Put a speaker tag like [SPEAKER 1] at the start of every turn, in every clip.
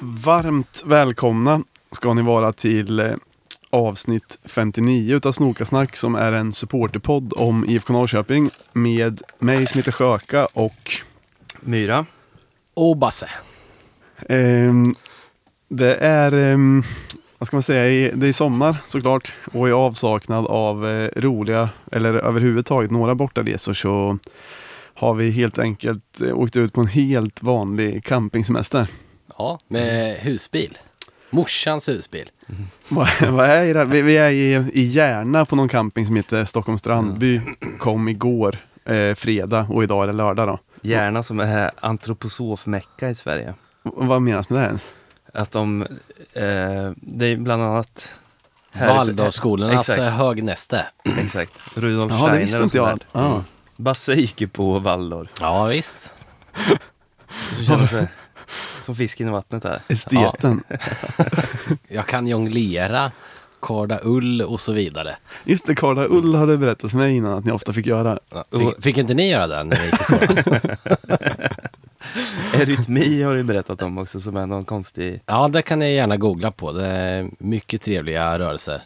[SPEAKER 1] Varmt välkomna ska ni vara till eh, avsnitt 59 utav Snokasnack som är en supporterpodd om IFK Norrköping med mig som heter Sjöka och
[SPEAKER 2] Myra.
[SPEAKER 3] Och Basse.
[SPEAKER 1] ehm, det är, ehm, vad ska man säga, i- det är sommar såklart och i avsaknad av eh, roliga eller överhuvudtaget några bortaresor så har vi helt enkelt eh, åkt ut på en helt vanlig campingsemester.
[SPEAKER 3] Ja, Mm. med husbil. Morsans husbil.
[SPEAKER 1] Vad vad är det? Vi, vi är i, i Järna på någon camping som heter Stockholms strandby. Kom igår, eh, fredag och idag är det lördag då.
[SPEAKER 2] Gärna som är antroposofmecka i Sverige.
[SPEAKER 1] V- vad menas med det ens?
[SPEAKER 2] Att de, eh, det är bland annat här-
[SPEAKER 3] Waldorfskolornas
[SPEAKER 2] Exakt.
[SPEAKER 3] eh, högnäste.
[SPEAKER 2] Exakt. Rudolf
[SPEAKER 1] Jaha, det
[SPEAKER 2] Steiner
[SPEAKER 1] visste
[SPEAKER 2] och
[SPEAKER 1] inte jag.
[SPEAKER 2] sånt där.
[SPEAKER 1] Ja.
[SPEAKER 2] Basse gick ju på Waldorf.
[SPEAKER 3] Ja, visst.
[SPEAKER 2] Så känner sig som fisken i vattnet här.
[SPEAKER 1] Esteten.
[SPEAKER 3] Jag kan jonglera, karda ull och så vidare.
[SPEAKER 1] Just det, Karla Ull har du berättat för mig innan att ni ofta fick göra.
[SPEAKER 3] Ja, Fick, fick inte ni göra det när ni gick i skolan?
[SPEAKER 2] Erytmi har du berättat om också som är någon konstig,
[SPEAKER 3] Ja, det kan ni gärna googla på. Det är mycket trevliga rörelser.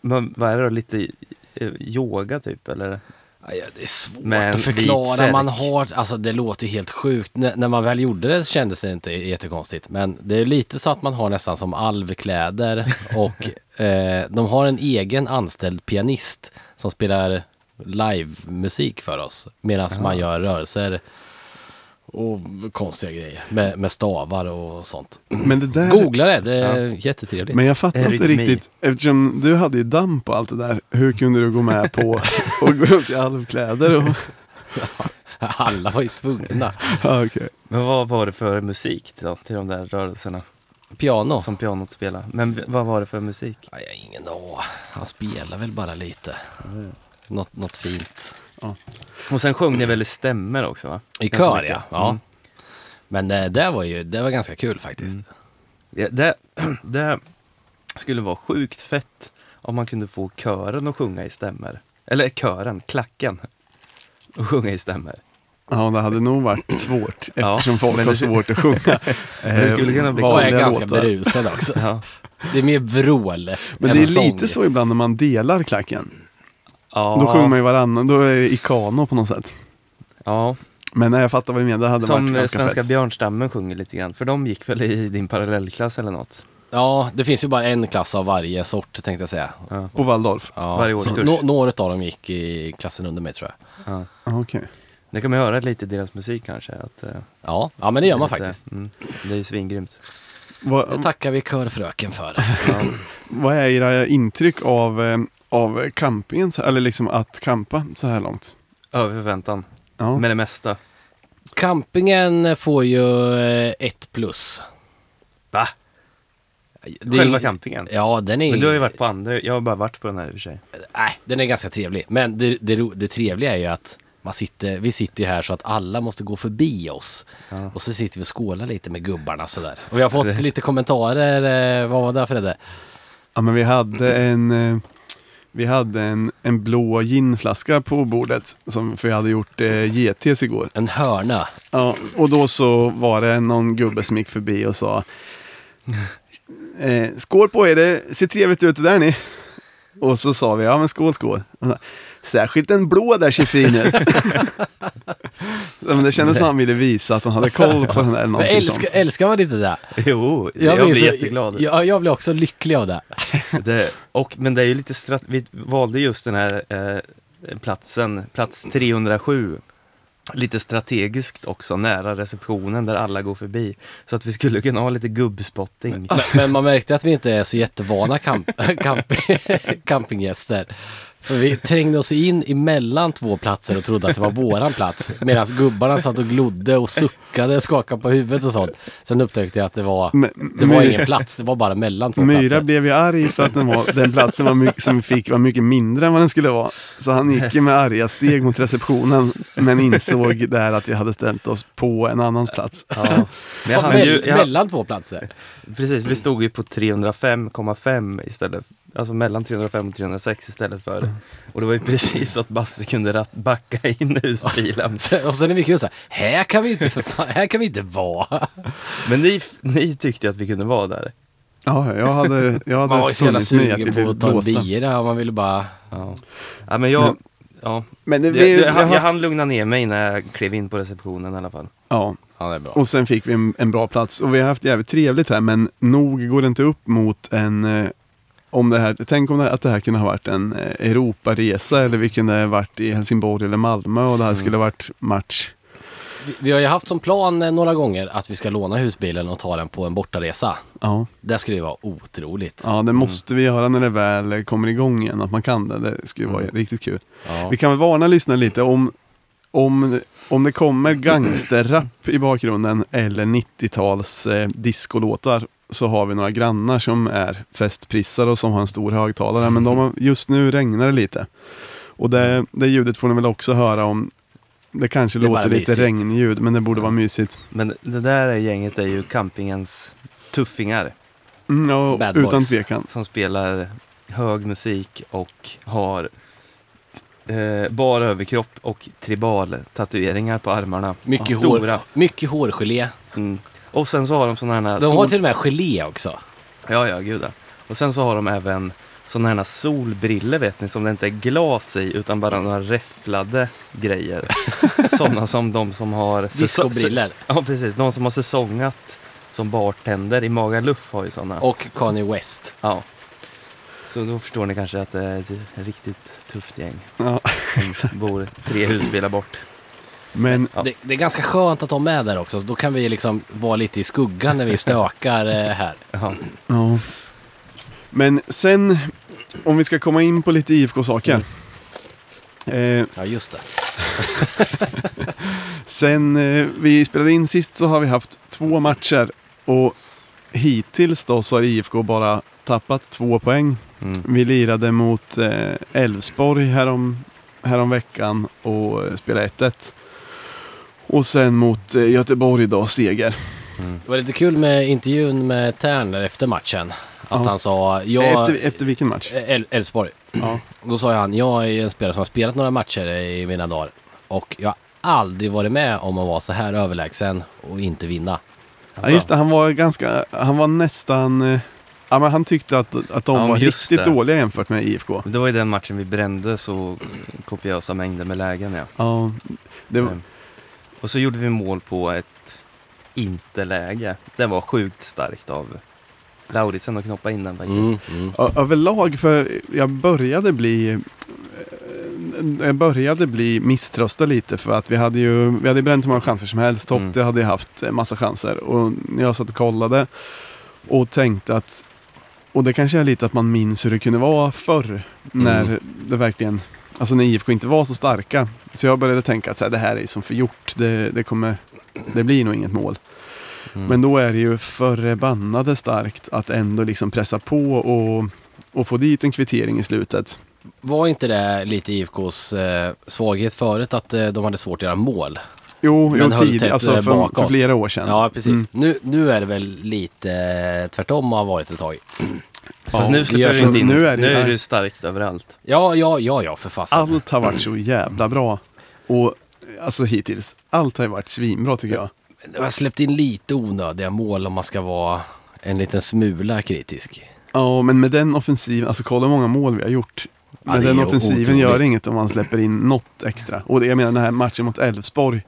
[SPEAKER 2] men vad är det då, lite eh, yoga typ eller?
[SPEAKER 3] Ja, det är svårt
[SPEAKER 2] Med en
[SPEAKER 3] att
[SPEAKER 2] vit
[SPEAKER 3] förklara.
[SPEAKER 2] särk.
[SPEAKER 3] Man har, alltså det låter helt sjukt. N- när man väl gjorde det kändes det inte jättekonstigt. Men det är lite så att man har nästan som alvkläder och eh, de har en egen anställd pianist som spelar livemusik för oss. Medan man gör rörelser och konstiga grejer med, med stavar och sånt.
[SPEAKER 1] Men det där...
[SPEAKER 3] Googla det, det är jättetrevligt.
[SPEAKER 1] Men jag fattar inte
[SPEAKER 2] Erytmi.
[SPEAKER 1] riktigt, eftersom du hade ju damp på allt det där, hur kunde du gå med på att gå runt i alvkläder? Och,
[SPEAKER 3] Alla var ju tvungna.
[SPEAKER 1] ja, okej.
[SPEAKER 2] Men vad var det för musik då, till de där rörelserna
[SPEAKER 3] Piano.
[SPEAKER 2] som pianot spelar? Men v- vad var det för musik?
[SPEAKER 3] Nej, jag har ingen aning. Han spelar väl bara lite. Något, något fint.
[SPEAKER 2] Och sen sjöng ni väl i stämmer också va?
[SPEAKER 3] I
[SPEAKER 2] Ganska
[SPEAKER 3] kör
[SPEAKER 2] mycket.
[SPEAKER 3] ja. ja.
[SPEAKER 2] Mm.
[SPEAKER 3] Men det, det var ju, det var ganska kul faktiskt.
[SPEAKER 1] Mm.
[SPEAKER 2] Ja, det, det skulle vara sjukt fett om man kunde få kören att sjunga i stämmer. Eller kören, klacken, att sjunga i stämmer.
[SPEAKER 1] Ja, det hade nog varit svårt
[SPEAKER 2] Ja,
[SPEAKER 1] eftersom folk
[SPEAKER 2] men
[SPEAKER 1] har
[SPEAKER 2] det-
[SPEAKER 1] svårt att sjunga.
[SPEAKER 2] det skulle kunna bli-
[SPEAKER 1] eh,
[SPEAKER 3] Och är
[SPEAKER 1] vanliga
[SPEAKER 3] ganska
[SPEAKER 1] låtar.
[SPEAKER 3] berusad också.
[SPEAKER 2] Ja,
[SPEAKER 3] Det är mer vrål
[SPEAKER 1] Men
[SPEAKER 3] än
[SPEAKER 1] det är
[SPEAKER 3] sång.
[SPEAKER 1] lite så ibland när man delar klacken.
[SPEAKER 2] ja,
[SPEAKER 1] Då sjunger man ju varannan, då är det i kano på något sätt.
[SPEAKER 2] ja.
[SPEAKER 1] Men nej, jag fattar vad du menar, det hade
[SPEAKER 2] som
[SPEAKER 1] varit
[SPEAKER 2] eh,
[SPEAKER 1] ganska
[SPEAKER 2] Svenska
[SPEAKER 1] fett.
[SPEAKER 2] björnstammen sjunger lite grann. För de gick väl i din parallellklass eller något?
[SPEAKER 3] Ja, det finns ju bara en klass av varje sort tänkte jag säga.
[SPEAKER 2] Ja.
[SPEAKER 1] På Waldorf?
[SPEAKER 3] Ja.
[SPEAKER 2] Varje
[SPEAKER 3] så
[SPEAKER 2] årskurs.
[SPEAKER 3] nå- några av dem gick i klassen under mig tror jag.
[SPEAKER 2] Ja.
[SPEAKER 1] Ah, Okej.
[SPEAKER 2] Det kan man höra lite i deras musik kanske. Att, eh,
[SPEAKER 3] Ja, ja men det gör man
[SPEAKER 2] lite-
[SPEAKER 3] faktiskt.
[SPEAKER 2] Mm, det är ju svingrymt.
[SPEAKER 3] Det
[SPEAKER 1] Vad,
[SPEAKER 3] tackar vi körfröken för.
[SPEAKER 2] Ja.
[SPEAKER 1] vad är era intryck av, eh, av campingen, så- eller liksom att campa så här långt?
[SPEAKER 2] Över förväntan,
[SPEAKER 1] Ja.
[SPEAKER 2] med det mesta.
[SPEAKER 3] Campingen får ju eh, ett plus.
[SPEAKER 2] Va?
[SPEAKER 3] Det är-
[SPEAKER 2] Själva campingen?
[SPEAKER 3] Ja, den är
[SPEAKER 2] Men du har ju varit på andra, jag har bara varit på den här i och för sig.
[SPEAKER 3] Nej, den är ganska trevlig. Men det, det, ro- det trevliga är ju att man sitter, vi sitter ju här så att alla måste gå förbi oss.
[SPEAKER 2] Ja.
[SPEAKER 3] Och så sitter vi och skålar lite med gubbarna sådär. Och vi har fått lite kommentarer. eh, Vad var det Fredde?
[SPEAKER 1] Ja men vi hade en eh, Vi hade en, en blå ginflaska på bordet som för jag hade gjort eh, GTs igår.
[SPEAKER 3] En hörna.
[SPEAKER 1] Ja, och då så var det någon gubbe som gick förbi och sa eh, Skål på er, det ser trevligt ut det där ni. Och så sa vi, ja men skål skål. Och så, Särskilt den blå där ser fin ut. ja, men det kändes som han ville visa att han hade koll på den där eller
[SPEAKER 3] Men
[SPEAKER 1] någonting
[SPEAKER 3] älskar,
[SPEAKER 1] sånt.
[SPEAKER 3] älskar man inte det där?
[SPEAKER 2] Jo, jag, jag
[SPEAKER 3] blir
[SPEAKER 2] blir
[SPEAKER 3] så-
[SPEAKER 2] jätteglad.
[SPEAKER 3] Jag, jag blir också lycklig av det.
[SPEAKER 2] Det, och, men det är ju lite strat- vi valde just den här eh, platsen, plats 307, lite strategiskt också, nära receptionen där alla går förbi. Så att vi skulle kunna ha lite gubbspotting.
[SPEAKER 3] Men, men man märkte att vi inte är så jättevana camp, camp, campinggäster. För vi trängde oss in emellan två platser och trodde att det var våran plats. Medan gubbarna satt och glodde och suckade, skakade på huvudet och sånt. Sen upptäckte jag att det var,
[SPEAKER 1] Men-
[SPEAKER 3] det var
[SPEAKER 1] My-
[SPEAKER 3] ingen plats, det var bara mellan två
[SPEAKER 1] Myra
[SPEAKER 3] platser.
[SPEAKER 1] blev ju arg för att den, var, den platsen var mycket, som vi fick var mycket mindre än vad den skulle vara. Så han gick ju med arga steg mot receptionen, men insåg där att vi hade ställt oss på en annans plats.
[SPEAKER 2] Ja. Men jag
[SPEAKER 3] Ja,
[SPEAKER 2] hann ju,
[SPEAKER 3] mell-
[SPEAKER 2] jag,
[SPEAKER 3] mellan två platser.
[SPEAKER 2] precis, vi stod ju på 305,5 istället alltså mellan 305 och 306 istället för...
[SPEAKER 3] Mm.
[SPEAKER 2] Och det var ju precis så att Basse kunde rat- backa in husbilen.
[SPEAKER 3] Sen- Och sen är det kul så här, här kan vi inte för fan, här kan vi inte vara.
[SPEAKER 2] Men ni, ni tyckte ju att vi kunde vara där.
[SPEAKER 1] Ja, jag hade, jag
[SPEAKER 3] Man var
[SPEAKER 1] hade
[SPEAKER 3] ju så jävla
[SPEAKER 1] funnits med att vi
[SPEAKER 3] sugen på
[SPEAKER 1] blev
[SPEAKER 3] att ta en
[SPEAKER 1] blåsta.
[SPEAKER 3] bira och man ville bara...
[SPEAKER 2] Ja, ja men jag... Ja.
[SPEAKER 1] Men det,
[SPEAKER 2] Jag,
[SPEAKER 1] vi,
[SPEAKER 2] jag,
[SPEAKER 1] vi har
[SPEAKER 2] jag, jag
[SPEAKER 1] haft,
[SPEAKER 2] hann lugna ner mig när jag klev in på receptionen i alla fall.
[SPEAKER 1] ja,
[SPEAKER 3] Ja, det är bra.
[SPEAKER 1] och sen fick vi en, en bra plats och vi har haft jävligt trevligt här men nog går det inte upp mot en eh, om det här, tänk om det, att det här kunde ha varit en eh, Europaresa eller vi kunde ha varit i Helsingborg eller Malmö och det här
[SPEAKER 3] Mm.
[SPEAKER 1] skulle ha varit match.
[SPEAKER 3] Vi, vi har ju haft som plan eh, några gånger att vi ska låna husbilen och ta den på en bortaresa.
[SPEAKER 1] Ja,
[SPEAKER 3] Det skulle ju vara otroligt.
[SPEAKER 1] ja det måste vi göra när det väl kommer igång igen, att man kan det. Det skulle vara
[SPEAKER 3] Mm.
[SPEAKER 1] riktigt kul.
[SPEAKER 3] Ja.
[SPEAKER 1] Vi kan väl varna lyssnarna lite om, om, om det kommer gangsterrap i bakgrunden eller 90-tals eh, discolåtar så har vi några grannar som är festprissar och som har en stor högtalare. Men de har, just nu regnar det lite. Och det, det ljudet får ni väl också höra om. Det kanske
[SPEAKER 3] Det är bara
[SPEAKER 1] låter lite
[SPEAKER 3] mysigt.
[SPEAKER 1] regnljud, men det borde vara mysigt.
[SPEAKER 2] Men det där gänget är ju campingens tuffingar
[SPEAKER 1] Mm, ja,
[SPEAKER 3] Bad
[SPEAKER 1] utan
[SPEAKER 3] boys.
[SPEAKER 1] tvekan.
[SPEAKER 2] som spelar hög musik och har eh, bar överkropp och tribal tatueringar på armarna.
[SPEAKER 3] Mycket
[SPEAKER 2] Stora.
[SPEAKER 3] hår, mycket hårgelé.
[SPEAKER 2] Mm. Och sen så har de sådana här...
[SPEAKER 3] De har
[SPEAKER 2] sol-
[SPEAKER 3] till och med gelé också.
[SPEAKER 2] Ja, ja, gud ja. Och sen så har de även sådana här solbriller vet ni, som det inte är glas i utan bara några räfflade grejer. sådana som de som har... säso-
[SPEAKER 3] Discobriller.
[SPEAKER 2] Ja, precis. De som har säsongat som bartender i Magaluf har ju sådana.
[SPEAKER 3] Och Kanye West.
[SPEAKER 2] Ja. Så då förstår ni kanske att det är ett riktigt tufft gäng
[SPEAKER 1] Ja,
[SPEAKER 2] som bor tre husbilar bort.
[SPEAKER 1] men
[SPEAKER 2] Ja.
[SPEAKER 3] Det, det är ganska skönt att de är där också. så Då kan vi liksom vara lite i skuggan när vi stökar eh, här.
[SPEAKER 2] Ja.
[SPEAKER 1] Ja. Men sen, om vi ska komma in på lite IFK-saker. Eh,
[SPEAKER 3] Ja, just det.
[SPEAKER 1] sen eh, vi spelade in sist så har vi haft två matcher och hittills då så har IFK bara tappat två poäng.
[SPEAKER 2] Mm.
[SPEAKER 1] Vi lirade mot eh, Elfsborg härom, härom veckan och eh, spelade 1-1. Och sen mot eh, Göteborg idag, seger.
[SPEAKER 2] Mm.
[SPEAKER 3] Det var lite kul med intervjun med Tern där efter matchen. Att
[SPEAKER 1] Ja.
[SPEAKER 3] han sa... Jag,
[SPEAKER 1] Efter, efter vilken match?
[SPEAKER 3] El- Elfsborg.
[SPEAKER 2] Alltså.
[SPEAKER 1] Ja.
[SPEAKER 3] Då sa han, jag är en spelare som har spelat några matcher i mina dagar. Och jag har aldrig varit med om att vara så här överlägsen och inte vinna.
[SPEAKER 1] Ja,
[SPEAKER 2] Alltså,
[SPEAKER 1] just det, han var ganska, han var nästan, eh, ja men han tyckte att, att de
[SPEAKER 2] Ja,
[SPEAKER 1] var
[SPEAKER 2] men just
[SPEAKER 1] riktigt
[SPEAKER 2] det.
[SPEAKER 1] dåliga jämfört med IFK.
[SPEAKER 2] Det var ju den matchen vi brände så kopiösa mängder med lägen. Ja.
[SPEAKER 1] Ja, det var,
[SPEAKER 2] Mm. Och så gjorde vi mål på ett inte-läge. Det var sjukt starkt av Lauritsen att knoppa in den faktiskt.
[SPEAKER 3] Mm, mm.
[SPEAKER 1] ö- överlag, för jag började bli, eh, jag började bli misströstad lite för att vi hade ju, vi hade bränt hur många chanser som helst. Totte
[SPEAKER 2] Mm.
[SPEAKER 1] hade ju haft eh, massa chanser och när jag satt och kollade och tänkte att, och det kanske är lite att man minns hur det kunde vara förr när
[SPEAKER 3] Mm.
[SPEAKER 1] det verkligen Alltså när IFK inte var så starka. Så jag började tänka att så här, det här är ju som förgjort. Det, det, kommer, det blir nog inget mål.
[SPEAKER 2] Mm.
[SPEAKER 1] Men då är det ju förbannade starkt att ändå liksom pressa på och, och få dit en kvittering i slutet.
[SPEAKER 3] Var inte det lite IFKs eh, svaghet förut att eh, de hade svårt att göra mål?
[SPEAKER 1] Jo,
[SPEAKER 3] Men
[SPEAKER 1] jo
[SPEAKER 3] höll
[SPEAKER 1] tidigt,
[SPEAKER 3] tätt,
[SPEAKER 1] alltså
[SPEAKER 3] eh,
[SPEAKER 1] för,
[SPEAKER 3] bakåt.
[SPEAKER 1] för flera år sedan.
[SPEAKER 3] Ja, precis.
[SPEAKER 1] Mm.
[SPEAKER 3] Nu, nu är det väl lite eh, tvärtom och har varit ett tag.
[SPEAKER 2] Fast nu
[SPEAKER 3] gör
[SPEAKER 2] släpper vi
[SPEAKER 3] så.
[SPEAKER 2] inte in.
[SPEAKER 1] Nu är det-
[SPEAKER 2] nu är
[SPEAKER 1] nej.
[SPEAKER 2] det ju starkt överallt.
[SPEAKER 3] Ja, ja, ja, ja, för fasen.
[SPEAKER 1] Allt har varit så
[SPEAKER 3] Mm.
[SPEAKER 1] jävla bra. Och alltså hittills, allt har ju varit svinbra tycker jag.
[SPEAKER 3] Jag har släppt in lite onödiga mål om man ska vara en liten smula kritisk.
[SPEAKER 1] Ja, men med den offensiven, alltså kolla hur många mål vi har gjort.
[SPEAKER 3] Ja,
[SPEAKER 1] Med
[SPEAKER 3] det är
[SPEAKER 1] den
[SPEAKER 3] ju
[SPEAKER 1] offensiven
[SPEAKER 3] otroligt.
[SPEAKER 1] gör det inget om man släpper in något extra. Och det, jag menar den här matchen mot Elfsborg,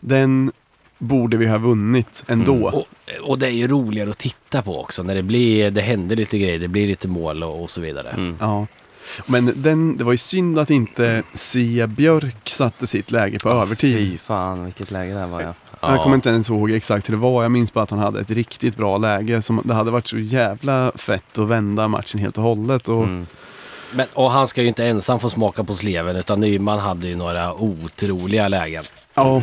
[SPEAKER 1] den borde vi ha vunnit ändå.
[SPEAKER 3] Och, och det är ju roligare att titta på också när det blir, det händer lite grejer, det blir lite mål och, och så vidare.
[SPEAKER 2] Mm.
[SPEAKER 1] Ja. Men den, det var ju synd att inte Sia Björk satte sitt läge på övertid.
[SPEAKER 2] Fy fan vilket läge det här var ja.
[SPEAKER 1] Jag kommer inte ens ihåg exakt hur det var. Jag minns bara att han hade ett riktigt bra läge. Som, det hade varit så jävla fett att vända matchen helt och hållet. Och,
[SPEAKER 2] Mm.
[SPEAKER 3] Men, och han ska ju inte ensam få smaka på sleven utan Nyman hade ju några otroliga lägen.
[SPEAKER 1] ja,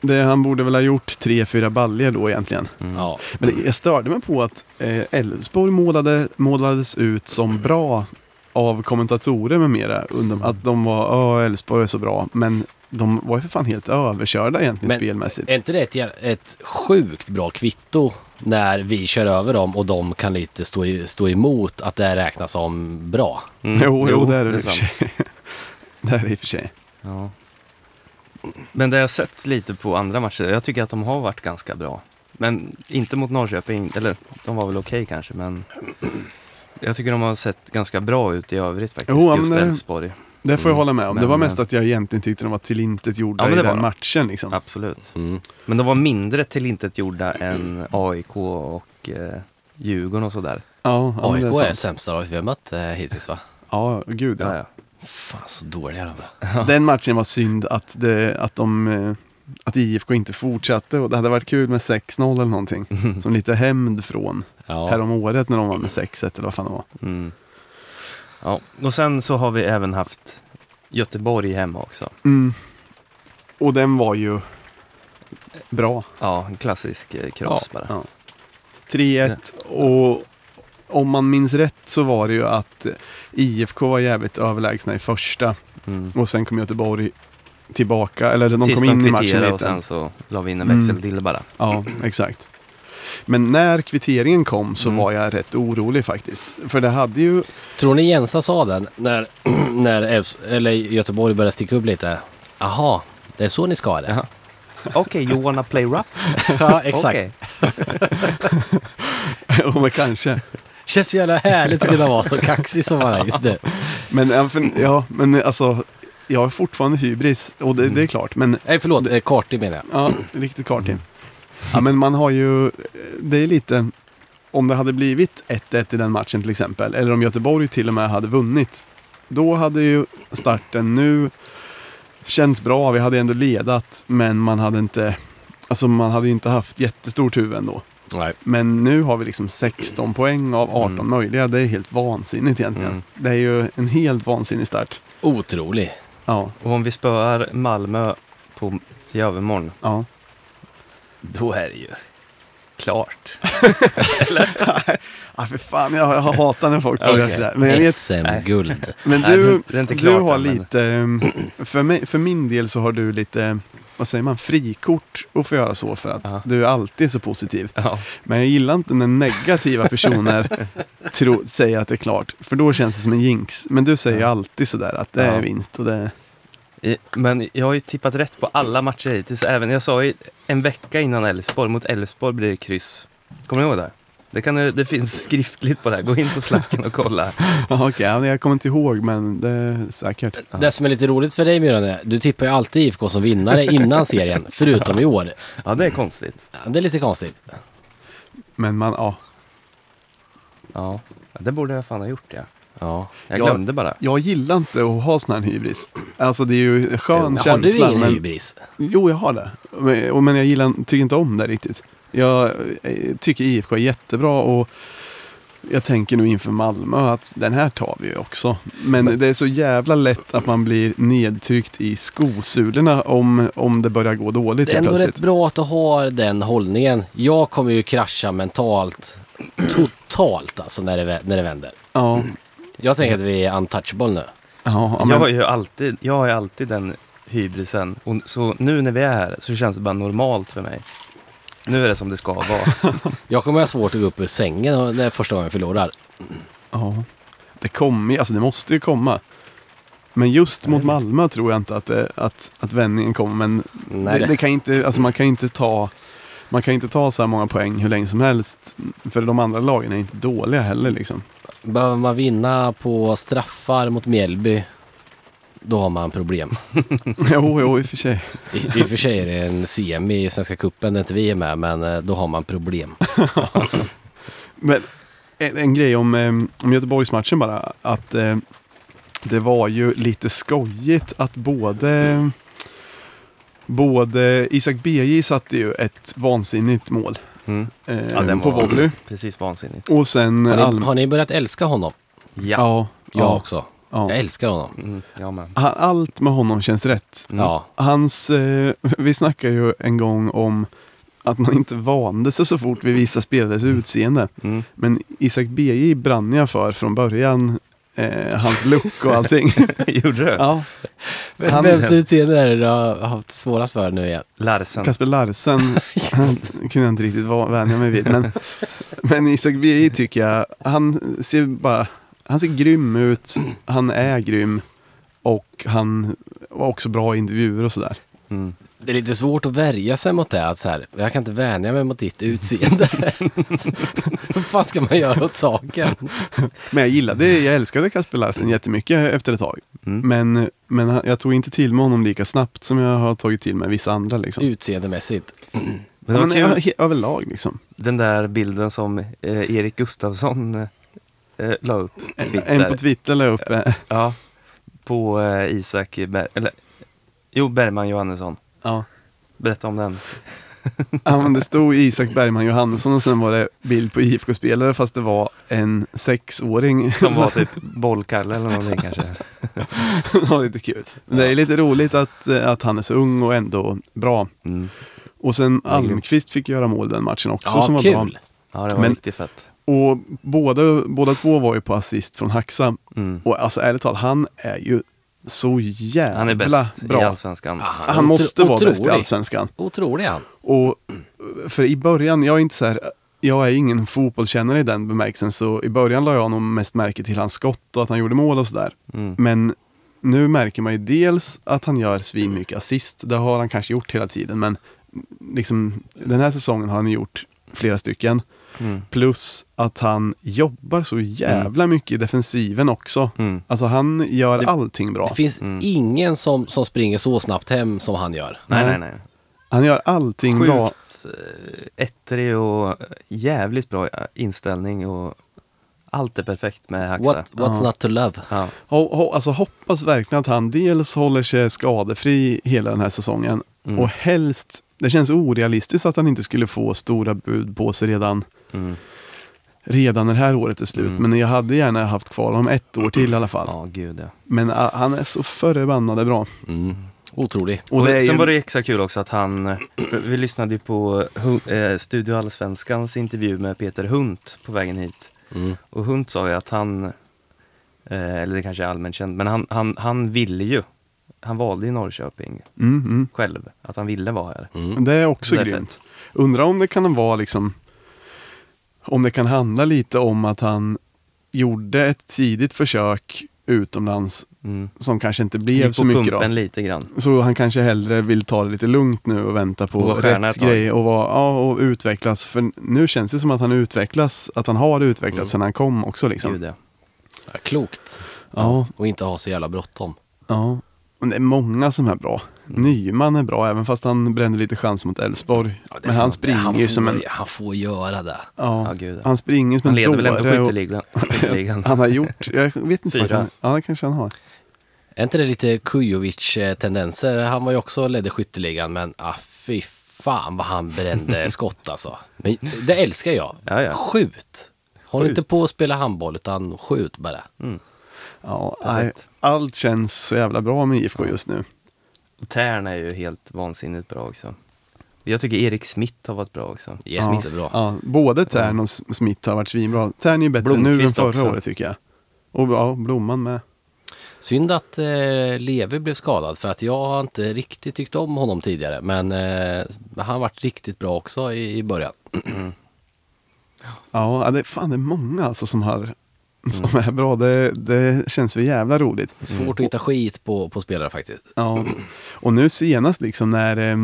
[SPEAKER 1] det, han borde väl ha gjort tre, fyra baljer då egentligen.
[SPEAKER 3] Ja.
[SPEAKER 1] Men det- jag störde mig på att eh, Elfsborg målade, målades ut som bra av kommentatorer med mera.
[SPEAKER 2] Mm.
[SPEAKER 1] Under, att de var, ja Elfsborg är så bra. Men de var ju för fan helt överkörda egentligen
[SPEAKER 3] Men-
[SPEAKER 1] spelmässigt.
[SPEAKER 3] Är inte det ett, jä- ett sjukt bra kvitto när vi kör över dem och de kan lite stå, i, stå emot att det här räknas som bra.
[SPEAKER 2] Mm.
[SPEAKER 1] Jo, jo, det är det i och för
[SPEAKER 2] sant.
[SPEAKER 1] sig. Det är det i och för sig.
[SPEAKER 2] Ja. Men det har jag sett lite på andra matcher, jag tycker att de har varit ganska bra. Men inte mot Norrköping, eller de var väl okej kanske, men jag tycker de har sett ganska bra ut i övrigt faktiskt,
[SPEAKER 1] Jo, ja,
[SPEAKER 2] just
[SPEAKER 1] men det-
[SPEAKER 2] Elfsborg.
[SPEAKER 1] Det får jag
[SPEAKER 2] Mm.
[SPEAKER 1] hålla med om. det
[SPEAKER 2] Men-
[SPEAKER 1] var mest att jag egentligen tyckte de var tillintetgjorda
[SPEAKER 2] Ja, men
[SPEAKER 1] i
[SPEAKER 2] det
[SPEAKER 1] den
[SPEAKER 2] var de.
[SPEAKER 1] matchen. Liksom.
[SPEAKER 2] Absolut.
[SPEAKER 3] Mm.
[SPEAKER 2] Men de var mindre tillintetgjorda än AIK och eh, Djurgården och sådär.
[SPEAKER 1] Ja, ja, men
[SPEAKER 3] AIK
[SPEAKER 1] det
[SPEAKER 3] är
[SPEAKER 1] är sant.
[SPEAKER 3] sämsta laget vi har mött eh, hittills va?
[SPEAKER 1] Ja, gud ja.
[SPEAKER 2] Ja, ja.
[SPEAKER 3] Fan så dåliga de är.
[SPEAKER 1] Den matchen var synd att, det, att, de, eh, att IFK inte fortsatte och det hade varit kul med 6-0 eller någonting. Som lite hämnd från
[SPEAKER 3] Ja.
[SPEAKER 1] häromåret när de vann med 6-1 eller vad fan det var.
[SPEAKER 2] Mm. ja. Och sen så har vi även haft Göteborg hemma också.
[SPEAKER 1] Mm. Och den var ju bra.
[SPEAKER 2] Ja, en klassisk eh, kross bara.
[SPEAKER 1] Ja. 3-1 och om man minns rätt så var det ju att eh, IFK var jävligt överlägsna i första
[SPEAKER 2] Mm.
[SPEAKER 1] och sen kom Göteborg tillbaka, eller de
[SPEAKER 2] Tills
[SPEAKER 1] kom in i matchen
[SPEAKER 2] kvitterade och
[SPEAKER 1] lite.
[SPEAKER 2] sen så la vi in en
[SPEAKER 1] Mm.
[SPEAKER 2] växel till bara.
[SPEAKER 1] Ja, exakt. Men när kvitteringen kom så
[SPEAKER 2] Mm.
[SPEAKER 1] var jag rätt orolig faktiskt. För det hade ju...
[SPEAKER 3] Tror ni Jensa sa den när, när Elfs, eller Göteborg började sticka upp lite? Aha, det är så ni ska ha det?
[SPEAKER 2] Ja. Okej, you wanna play rough?
[SPEAKER 3] ja, exakt.
[SPEAKER 2] Okej.
[SPEAKER 1] ja, men kanske.
[SPEAKER 3] Känns så jävla härligt att kunna vara så kaxig som man är just nu.
[SPEAKER 1] Men, ja, för, ja, men alltså, jag är fortfarande hybris. Och det,
[SPEAKER 2] Mm.
[SPEAKER 1] det är klart, men...
[SPEAKER 3] Nej, förlåt, eh, kartig menar jag.
[SPEAKER 1] Ja, riktigt klart Tim. Ja, men man har ju... Det är lite... Om det hade blivit 1-1 i den matchen till exempel, eller om Göteborg till och med hade vunnit. Då hade ju starten nu känts bra. Vi hade ändå ledat, men man hade inte... Alltså man hade ju inte haft jättestor tur ändå.
[SPEAKER 3] Nej.
[SPEAKER 1] Men nu har vi liksom 16 poäng av 18
[SPEAKER 2] Mm.
[SPEAKER 1] möjliga. Det är helt vansinnigt egentligen.
[SPEAKER 2] Mm.
[SPEAKER 1] Det är ju en helt vansinnig start.
[SPEAKER 3] Otrolig.
[SPEAKER 1] Ja,
[SPEAKER 2] Och om vi spöar Malmö på, i övermorgon,
[SPEAKER 1] ja.
[SPEAKER 2] då är det ju klart.
[SPEAKER 1] Ah, för fan, jag, jag hatar när folk börjar
[SPEAKER 2] Okej.
[SPEAKER 1] sådär. Men, jag vet,
[SPEAKER 3] SM-guld.
[SPEAKER 1] men
[SPEAKER 2] Nej, det är
[SPEAKER 1] du,
[SPEAKER 2] inte- det är inte
[SPEAKER 1] du
[SPEAKER 2] klart
[SPEAKER 1] har
[SPEAKER 2] än, men-
[SPEAKER 1] lite, ehm, för, mig, för min del så har du lite, vad säger man, frikort att få göra så för att
[SPEAKER 2] Ja.
[SPEAKER 1] du är alltid så positiv.
[SPEAKER 2] Ja.
[SPEAKER 1] Men jag gillar inte när negativa personer tro, säger att det är klart, för då känns det som en jinx. Men du säger ju
[SPEAKER 2] Ja.
[SPEAKER 1] alltid sådär att det är
[SPEAKER 2] Ja.
[SPEAKER 1] vinst och det
[SPEAKER 2] I- Men jag har ju tippat rätt på alla matcher hittills. Även, jag sa ju en vecka innan Elfsborg, mot Elfsborg blir det kryss. Kommer ni ihåg det? Det, kan, du- det finns skriftligt på det här, gå in på slacken och kolla.
[SPEAKER 1] Ja, Okej, ja, jag kommer inte ihåg men det är säkert.
[SPEAKER 2] Ja.
[SPEAKER 3] Det som är lite roligt för dig Myran är, du tippar ju alltid IFK som vinnare innan serien, förutom i år.
[SPEAKER 2] Ja, det är konstigt.
[SPEAKER 3] Ja, Det är lite konstigt.
[SPEAKER 1] Men man, ja.
[SPEAKER 2] Ja, Ja, det borde jag fan ha gjort ja.
[SPEAKER 3] Ja.
[SPEAKER 2] Jag
[SPEAKER 1] Ja.
[SPEAKER 2] glömde bara.
[SPEAKER 1] Jag gillar inte att ha sån här hybris. Alltså det är ju en skön
[SPEAKER 3] Har du
[SPEAKER 1] känsla.
[SPEAKER 3] ingen
[SPEAKER 1] men,
[SPEAKER 3] hybris?
[SPEAKER 1] Jo, jag har det. Men, och, men jag gillar, tycker inte om det riktigt. Jag eh, tycker IFK är jättebra och jag tänker nu inför Malmö att den här tar vi ju också. Men, det är så jävla lätt att man blir nedtryckt i skosulorna om, om det börjar gå dåligt
[SPEAKER 3] Det är
[SPEAKER 1] helt
[SPEAKER 3] ändå
[SPEAKER 1] plötsligt.
[SPEAKER 3] rätt bra att du har den hållningen. Jag kommer ju krascha mentalt, totalt alltså när det, vä- när det vänder.
[SPEAKER 1] Ja,
[SPEAKER 3] Jag tänker att vi är untouchable nu.
[SPEAKER 1] ja,
[SPEAKER 2] jag,
[SPEAKER 1] men,
[SPEAKER 2] har ju alltid, jag har ju alltid den hybrisen. Och så nu när vi är här så känns det bara normalt för mig. Nu är det som det ska vara.
[SPEAKER 3] Jag kommer ha svårt att gå upp ur sängen och- när första gången jag förlorar.
[SPEAKER 1] Ja, det kommer ju- alltså det måste ju komma. Men just mot Malmö tror jag inte att, det, att, att vändningen kommer. Men
[SPEAKER 3] Nej,
[SPEAKER 1] det, det kan inte, alltså man kan inte ta man kan inte ta så här många poäng hur länge som helst. För de andra lagen är inte dåliga heller liksom.
[SPEAKER 3] Behöver man vinna på straffar mot Mjällby, då har man problem.
[SPEAKER 1] jo, jo, i och för sig.
[SPEAKER 3] I, I och för sig är det en semi i Svenska Cupen där inte vi är med, men eh, då har man problem.
[SPEAKER 1] Men en, en grej om, eh, om Göteborgsmatchen bara. Att eh, det var ju lite skojigt att både Både Isak Beji satte ju ett vansinnigt mål
[SPEAKER 2] Mm.
[SPEAKER 1] eh,
[SPEAKER 2] Ja, den
[SPEAKER 1] på
[SPEAKER 2] var
[SPEAKER 1] volley.
[SPEAKER 2] precis vansinnigt.
[SPEAKER 1] Och sen
[SPEAKER 3] Har ni,
[SPEAKER 1] Alm...
[SPEAKER 3] har ni börjat älska honom?
[SPEAKER 2] Ja.
[SPEAKER 1] Oh. Ja.
[SPEAKER 3] Jag
[SPEAKER 1] ja,
[SPEAKER 3] också.
[SPEAKER 1] ja.
[SPEAKER 3] Jag älskar honom.
[SPEAKER 2] Mm, jag med.
[SPEAKER 1] Han- Allt med honom känns rätt.
[SPEAKER 2] Mm.
[SPEAKER 3] Ja.
[SPEAKER 1] Hans, eh, vi snackade ju en gång om att man inte vande sig så fort vid vissa spelares utseende.
[SPEAKER 2] Mm.
[SPEAKER 1] Men Isak BJ brann jag för från början. eh, hans look och allting.
[SPEAKER 2] Gjorde du?
[SPEAKER 1] ja.
[SPEAKER 3] Vem-
[SPEAKER 1] Han-
[SPEAKER 3] Vems utseende är det du har haft svårast för nu igen?
[SPEAKER 2] Larsen.
[SPEAKER 1] Kasper Larsen han kunde jag inte riktigt va- vänja mig vid. Men, men Isak Bie tycker jag, han ser bara, han ser grym ut, han är grym och han var också bra i intervjuer och sådär.
[SPEAKER 2] Mm.
[SPEAKER 3] Det är lite svårt att värja sig mot det. Att så här, jag kan inte vänja mig mot ditt utseende. Vad fan ska man göra åt saken?
[SPEAKER 1] Men jag gillade, jag älskade Kasper Larsen jättemycket efter ett tag.
[SPEAKER 2] Mm.
[SPEAKER 1] Men, men han- jag tog inte till mig honom lika snabbt som jag har tagit till mig vissa andra. Liksom.
[SPEAKER 2] Mm.
[SPEAKER 3] Utseendemässigt.
[SPEAKER 2] Men det
[SPEAKER 1] Ja,
[SPEAKER 2] var
[SPEAKER 1] men
[SPEAKER 2] kul.
[SPEAKER 1] ö- he- överlag liksom.
[SPEAKER 2] den där bilden som eh, Erik Gustafsson eh, eh, la upp på Twitter.
[SPEAKER 1] En på Twitter la jag upp, eh,
[SPEAKER 2] ja, på eh, Isak, Ber- eller, jo Bergman Johannesson.
[SPEAKER 1] ja.
[SPEAKER 2] Berätta om den.
[SPEAKER 1] Ja, men det stod Isak Bergman Johansson och sen var det bild på IFK-spelare fast det var en sexåring.
[SPEAKER 2] Som var typ bollkalle eller någonting kanske.
[SPEAKER 1] det var lite kul. Men Det är lite roligt att, eh, att han är så ung och ändå bra.
[SPEAKER 2] Mm.
[SPEAKER 1] Och sen Almqvist fick göra mål den matchen också
[SPEAKER 3] Ja,
[SPEAKER 1] som var bra.
[SPEAKER 3] kul.
[SPEAKER 2] Ja, det var
[SPEAKER 1] Men-
[SPEAKER 2] riktigt fett.
[SPEAKER 1] Och båda, båda två var ju på assist från Haxa.
[SPEAKER 2] Mm.
[SPEAKER 1] Och alltså ärligt talat, han är ju så jävla
[SPEAKER 2] Han är bäst i
[SPEAKER 1] bra.
[SPEAKER 2] Allsvenskan.
[SPEAKER 3] Ja, han är
[SPEAKER 1] Han
[SPEAKER 3] otro-
[SPEAKER 1] måste vara bäst i
[SPEAKER 3] otrolig.
[SPEAKER 1] Allsvenskan.
[SPEAKER 3] Otrolig han.
[SPEAKER 1] Och för i början, jag är inte så här, jag är ingen fotbollskännare i den bemärkelsen, så i början la jag nog mest märke till hans skott och att han gjorde mål och sådär.
[SPEAKER 2] Mm.
[SPEAKER 1] Men nu märker man ju dels att han gör svinmycket assist, det har han kanske gjort hela tiden, men liksom den här säsongen har han gjort flera stycken.
[SPEAKER 2] Mm.
[SPEAKER 1] Plus att han jobbar så jävla mycket i defensiven också.
[SPEAKER 2] Mm.
[SPEAKER 1] Alltså han gör
[SPEAKER 3] Det-
[SPEAKER 1] allting bra.
[SPEAKER 3] Det finns
[SPEAKER 2] Mm.
[SPEAKER 3] ingen som, som springer så snabbt hem som han gör.
[SPEAKER 2] Nej,
[SPEAKER 1] Nej.
[SPEAKER 2] nej, nej.
[SPEAKER 1] Han gör allting Mm. bra.
[SPEAKER 2] Sjukt eh, ettrig och eh, jävligt bra eh, inställning och allt är perfekt med Haxa.
[SPEAKER 3] What, what's
[SPEAKER 1] Ja.
[SPEAKER 3] not to love?
[SPEAKER 2] Ja.
[SPEAKER 1] Ho, ho, alltså hoppas verkligen att han dels håller sig skadefri hela den här säsongen
[SPEAKER 2] Mm.
[SPEAKER 1] och helst, det känns orealistiskt att han inte skulle få stora bud på sig redan,
[SPEAKER 2] Mm.
[SPEAKER 1] redan när det här året är slut.
[SPEAKER 2] Mm.
[SPEAKER 1] Men jag hade gärna haft kvar honom ett år till i alla fall.
[SPEAKER 2] ja, gud ja.
[SPEAKER 1] Men ah, han är så förbannade bra.
[SPEAKER 3] Mm. Otrolig.
[SPEAKER 1] Och det är
[SPEAKER 2] sen
[SPEAKER 1] ju,
[SPEAKER 2] var det extra kul också att han, eh, vi lyssnade ju på Hun- eh, Studio Allsvenskans intervju med Peter Hunt på vägen hit.
[SPEAKER 3] Mm.
[SPEAKER 2] Och Hunt sa ju att han, eh, eller det kanske är allmänt känt, men han, han, han ville ju, han valde ju Norrköping
[SPEAKER 1] mm,
[SPEAKER 2] själv, att han ville vara här.
[SPEAKER 3] Mm.
[SPEAKER 1] mm. det är också
[SPEAKER 2] Det är
[SPEAKER 1] grymt. Undrar om det kan vara liksom, om det kan handla lite om att han gjorde ett tidigt försök utomlands
[SPEAKER 2] Mm.
[SPEAKER 1] som kanske inte
[SPEAKER 2] Gick
[SPEAKER 1] blev
[SPEAKER 2] på
[SPEAKER 1] så mycket då.
[SPEAKER 2] pumpen lite grann.
[SPEAKER 1] Så han kanske hellre vill ta det lite lugnt nu och vänta på
[SPEAKER 2] Och vara stjärna
[SPEAKER 1] rätt
[SPEAKER 2] ett tag.
[SPEAKER 1] grej och, vara, ja, och utvecklas. För nu känns det som att han utvecklas, att han har utvecklats
[SPEAKER 3] Mm.
[SPEAKER 1] sedan han kom också. Liksom.
[SPEAKER 2] Gud, ja.
[SPEAKER 3] Ja, klokt.
[SPEAKER 1] Ja,
[SPEAKER 3] Och inte ha så jävla bråttom.
[SPEAKER 1] ja. Men det är många som är bra.
[SPEAKER 2] Mm.
[SPEAKER 1] Nyman är bra, även fast han brände lite chans mot Elfsborg.
[SPEAKER 3] Ja, det
[SPEAKER 1] Men han
[SPEAKER 3] fan-
[SPEAKER 1] springer
[SPEAKER 3] han
[SPEAKER 1] ju
[SPEAKER 3] får,
[SPEAKER 1] som en...
[SPEAKER 3] Han får göra det.
[SPEAKER 1] Ja,
[SPEAKER 2] Ja, gud, ja.
[SPEAKER 1] han springer som
[SPEAKER 2] Han
[SPEAKER 1] en
[SPEAKER 2] leder väl ändå
[SPEAKER 1] dåre. och-
[SPEAKER 2] skytteligan? skytteligan.
[SPEAKER 1] Han har gjort, jag vet inte vad
[SPEAKER 2] Fyra.
[SPEAKER 1] han... Ja, det kanske han har.
[SPEAKER 3] Är inte det lite Kujovic-tendenser? Han var ju också ledde skytteligan, men ah, fy fan vad han brände skott alltså. Men det älskar jag.
[SPEAKER 2] Ja, ja.
[SPEAKER 3] Skjut! Håll
[SPEAKER 2] Skjut.
[SPEAKER 3] inte på att spela handboll, utan skjut bara.
[SPEAKER 2] Mm.
[SPEAKER 1] Ja, nej,
[SPEAKER 2] Perfekt.
[SPEAKER 1] allt känns så jävla bra med IFK just nu.
[SPEAKER 2] Och Tern är ju helt vansinnigt bra också. Jag tycker Erik Smith har varit bra också.
[SPEAKER 3] Jättebra.
[SPEAKER 1] Ja, både Tern och Smith har varit svinbra. Tern är ju bättre nu än
[SPEAKER 2] Blomqvist
[SPEAKER 1] förra
[SPEAKER 2] också.
[SPEAKER 1] året tycker jag. Och ja, Blomman med.
[SPEAKER 3] Synd att eh, Levi blev skadad, för att jag har inte riktigt tyckt om honom tidigare. Men eh, han varit riktigt bra också i, i början.
[SPEAKER 1] Ja, det, fan det är många alltså som har som är bra. Det, det känns för jävla roligt. Mm.
[SPEAKER 3] Svårt att hitta skit på, på spelare faktiskt.
[SPEAKER 1] Ja. Och nu senast liksom när, eh,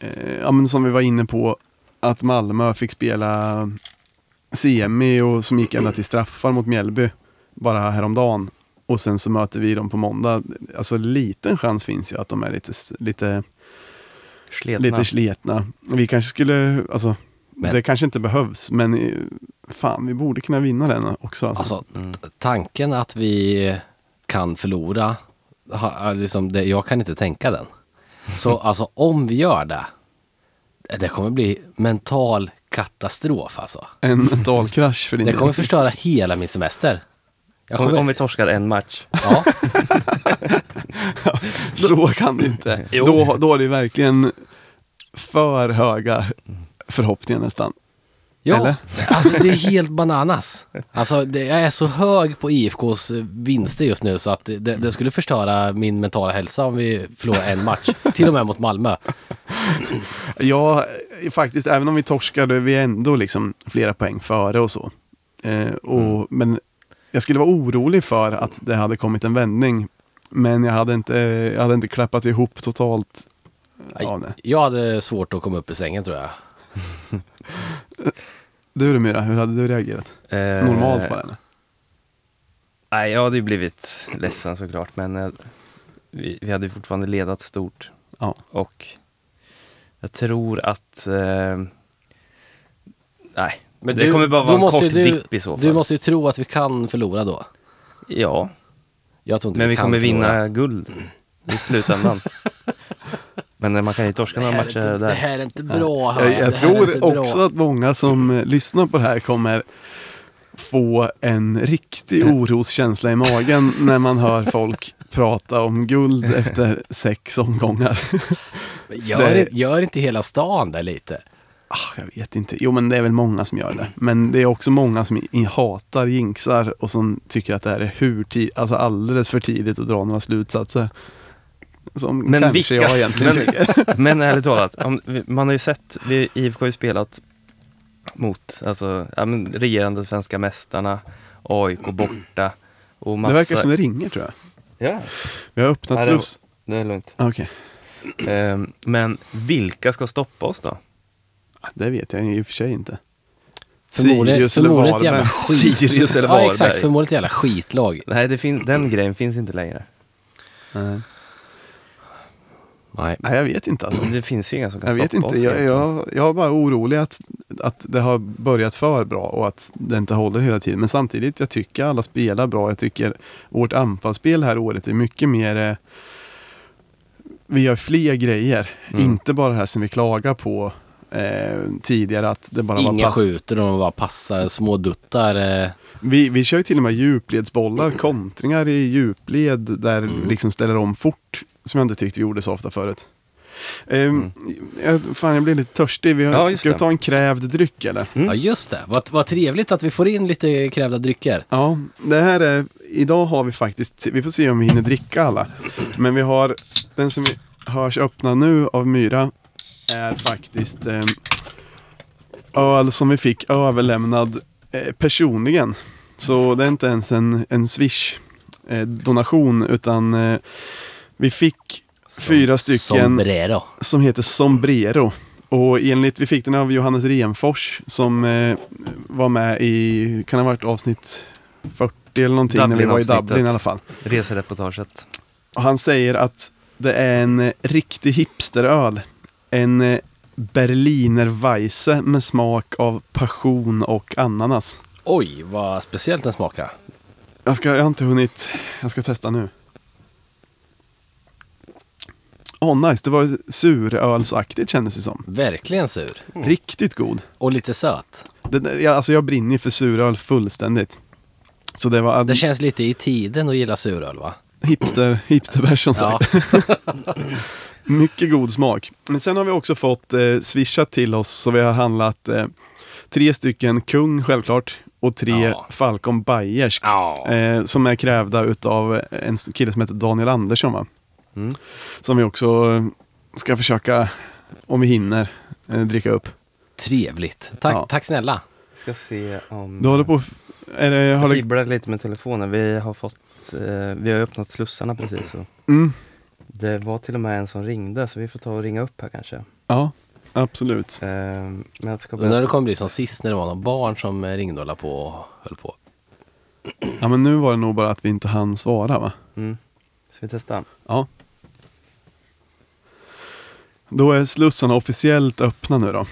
[SPEAKER 1] eh, ja, men som vi var inne på, att Malmö fick spela semi och som gick ända till straffar mot Mjällby bara häromdagen. Och sen så möter vi dem på måndag. Alltså liten chans finns ju att de är lite, s- lite
[SPEAKER 2] Sletna.
[SPEAKER 1] lite sletna. Vi kanske skulle, alltså,
[SPEAKER 3] Men-
[SPEAKER 1] det kanske inte behövs, men eh, fan, vi borde kunna vinna den också. Alltså.
[SPEAKER 3] Alltså, t- tanken att vi kan förlora, ha, liksom det, jag kan inte tänka den. Så alltså om vi gör det, det kommer bli mental katastrof alltså.
[SPEAKER 1] En mental krasch för din
[SPEAKER 3] Det
[SPEAKER 1] del.
[SPEAKER 3] kommer förstöra hela min semester. Jag
[SPEAKER 2] Om,
[SPEAKER 3] kommer,
[SPEAKER 2] om vi torskar en match.
[SPEAKER 3] ja,
[SPEAKER 1] Så kan det inte.
[SPEAKER 3] Jo.
[SPEAKER 1] Då, då är det verkligen för höga förhoppningar nästan.
[SPEAKER 3] Ja,
[SPEAKER 1] Eller?
[SPEAKER 3] alltså det är helt bananas. Alltså det, jag är så hög på IFKs eh, vinster just nu så att det, det skulle förstöra min mentala hälsa om vi förlorar en match. Till och med mot Malmö.
[SPEAKER 1] Ja, eh, faktiskt. Även om vi torskar, då är vi ändå liksom flera poäng före och så. Eh,
[SPEAKER 3] Mm.
[SPEAKER 1] och, Men jag skulle vara orolig för att det hade kommit en vändning. Men jag hade inte, jag hade inte klappat ihop totalt. Ja, nej.
[SPEAKER 3] Jag hade svårt att komma upp i sängen tror jag.
[SPEAKER 1] Du då Myra, hur hade du reagerat?
[SPEAKER 2] Eh,
[SPEAKER 1] Normalt bara? Eller?
[SPEAKER 2] Nej, jag hade ju blivit ledsen såklart, men eh, vi, vi hade ju fortfarande ledat stort.
[SPEAKER 1] Ja.
[SPEAKER 2] Och jag tror att... Eh, nej,
[SPEAKER 3] Men
[SPEAKER 2] det
[SPEAKER 3] du-
[SPEAKER 2] kommer bara
[SPEAKER 3] då
[SPEAKER 2] vara en
[SPEAKER 3] måste
[SPEAKER 2] kort
[SPEAKER 3] ju du-
[SPEAKER 2] dipp i så fall.
[SPEAKER 3] Du måste ju tro att vi kan förlora då.
[SPEAKER 2] Ja,
[SPEAKER 3] Jag tror inte
[SPEAKER 2] men vi
[SPEAKER 3] kan
[SPEAKER 2] kommer vinna
[SPEAKER 3] förlora.
[SPEAKER 2] guld i slutändan. men eh, man kan ju torska några matcher
[SPEAKER 3] det, här är
[SPEAKER 1] typ
[SPEAKER 2] där.
[SPEAKER 3] inte, det här är inte bra.
[SPEAKER 2] Ah,
[SPEAKER 3] hör
[SPEAKER 1] Jag,
[SPEAKER 3] Det här
[SPEAKER 1] jag
[SPEAKER 3] är
[SPEAKER 1] tror
[SPEAKER 3] inte bra.
[SPEAKER 1] också att många som eh, lyssnar på det här kommer få en riktig
[SPEAKER 2] Mm.
[SPEAKER 1] oroskänsla i magen när man hör folk prata om guld efter sex omgångar.
[SPEAKER 3] Men Gör,
[SPEAKER 1] det-
[SPEAKER 3] gör inte hela stan där lite?
[SPEAKER 1] Ah, jag vet inte. Jo, men det är väl många som gör det. Men det är också många som i- i hatar jinxar och som tycker att det här är hur ti- alltså alldeles för tidigt att dra några slutsatser. Som
[SPEAKER 2] Men
[SPEAKER 1] kanske
[SPEAKER 2] vilka?
[SPEAKER 1] jag egentligen
[SPEAKER 2] Men-
[SPEAKER 1] tycker.
[SPEAKER 2] Men ärligt talat, om, vi- man har ju sett, vi, IFK har ju spelat mot alltså, ja, men, regerande svenska mästarna, AIK borta och massa...
[SPEAKER 1] Det verkar som det ringer tror jag.
[SPEAKER 2] Ja,
[SPEAKER 1] Vi har öppnat
[SPEAKER 2] Ja, det-
[SPEAKER 1] sluss.
[SPEAKER 2] det är lugnt.
[SPEAKER 1] Okej,
[SPEAKER 2] Ehm, men vilka ska stoppa oss då?
[SPEAKER 1] det vet jag i och för sig inte.
[SPEAKER 3] Förmodligen,
[SPEAKER 1] Sirius eller
[SPEAKER 3] förmodligen ett jävla
[SPEAKER 1] Varberg.
[SPEAKER 3] skit...
[SPEAKER 2] Sirius eller
[SPEAKER 3] Ja, exakt.
[SPEAKER 2] Varberg?
[SPEAKER 3] Förmodligen ett jävla skitlag.
[SPEAKER 2] Nej, det fin- den grejen finns inte längre.
[SPEAKER 1] Nej.
[SPEAKER 3] Nej.
[SPEAKER 1] Nej, jag vet inte alltså.
[SPEAKER 2] Det finns ju inga som kan
[SPEAKER 1] Jag vet inte.
[SPEAKER 2] stoppa oss.
[SPEAKER 1] Jag,
[SPEAKER 2] egentligen.
[SPEAKER 1] jag, jag är bara orolig att, att det har börjat för bra och att det inte håller hela tiden. Men samtidigt, jag tycker alla spelar bra. Jag tycker vårt anfallsspel här året är mycket mer... Eh, vi gör fler grejer.
[SPEAKER 2] Mm.
[SPEAKER 1] Inte bara det här som vi klagar på eh, tidigare att det bara var
[SPEAKER 3] Inga
[SPEAKER 1] pass.
[SPEAKER 3] skjuter och de bara passar små duttar. eh.
[SPEAKER 1] Vi, vi kör ju till och med djupledsbollar, kontringar i djupled där
[SPEAKER 2] Mm.
[SPEAKER 1] vi liksom ställer om fort. Som jag inte tyckte vi gjorde så ofta förut. Ehm, jag, fan, jag blir lite törstig. Vi har,
[SPEAKER 2] Mm. Ja, just
[SPEAKER 1] ska vi
[SPEAKER 2] det.
[SPEAKER 1] ta en krävd dryck eller?
[SPEAKER 2] Mm.
[SPEAKER 3] Ja, just det. Vad, vad trevligt att vi får in lite krävda drycker.
[SPEAKER 1] Ja, det här är... Idag har vi faktiskt... Vi får se om vi hinner dricka alla. Men vi har... Den som vi hörs öppna nu av Myra är faktiskt ehm, öl som vi fick överlämnad eh, personligen. Så det är inte ens en, en Swish-donation utan eh, vi fick fyra stycken
[SPEAKER 3] Sombrero.
[SPEAKER 1] som heter Sombrero. Och enligt, vi fick den av Johannes Renfors som eh, var med i, kan det ha varit avsnitt 40 eller någonting när vi var i
[SPEAKER 2] Dublin-avsnittet.
[SPEAKER 1] Dublin i alla fall.
[SPEAKER 2] Resereportaget.
[SPEAKER 1] Och han säger att det är en eh, riktig hipsteröl. En eh, Berliner Weisse med smak av passion och ananas.
[SPEAKER 3] Oj, vad speciellt den smakar.
[SPEAKER 1] Jag, ska, jag har inte hunnit, jag ska testa nu. Åh nice, det var surölsaktigt kändes det som.
[SPEAKER 3] Verkligen sur.
[SPEAKER 1] Riktigt god.
[SPEAKER 3] Och lite söt.
[SPEAKER 1] Det, det- jag, alltså jag brinner ju för suröl fullständigt. Så det var
[SPEAKER 3] Det känns lite i tiden att gilla suröl va?
[SPEAKER 1] hipster, hipsterbärs som sagt. Mycket god smak. Men sen har vi också fått eh, swishat till oss så vi har handlat eh, tre stycken Kung självklart och tre
[SPEAKER 3] Ja.
[SPEAKER 1] Falcon Bayersk.
[SPEAKER 3] Ja.
[SPEAKER 1] Eh, som är krävda utav en s- kille som heter Daniel Andersson va?
[SPEAKER 2] Mm.
[SPEAKER 1] Som vi också eh, ska försöka, om vi hinner, eh, dricka upp.
[SPEAKER 3] Trevligt. Tack,
[SPEAKER 1] Ja.
[SPEAKER 3] tack snälla.
[SPEAKER 2] Ska se om...
[SPEAKER 1] Du håller på, är det, har
[SPEAKER 2] Jag
[SPEAKER 1] du,
[SPEAKER 2] fibblar lite med telefonen. Vi har fått, eh, vi har ju öppnat slussarna precis. Och
[SPEAKER 1] mm,
[SPEAKER 2] det var till och med en som ringde, så vi får ta och ringa upp här kanske. Eh,
[SPEAKER 1] ja, absolut.
[SPEAKER 2] men jag ska
[SPEAKER 3] Undrar hur det
[SPEAKER 2] bara...
[SPEAKER 3] kommer bli som sist när det var någon barn som eh, ringde och höll på och höll på.
[SPEAKER 1] Ja men nu var det nog bara att vi inte hann svara va?
[SPEAKER 2] Mm. Ska vi testa?
[SPEAKER 1] Ja. Då är slussarna officiellt öppna nu då.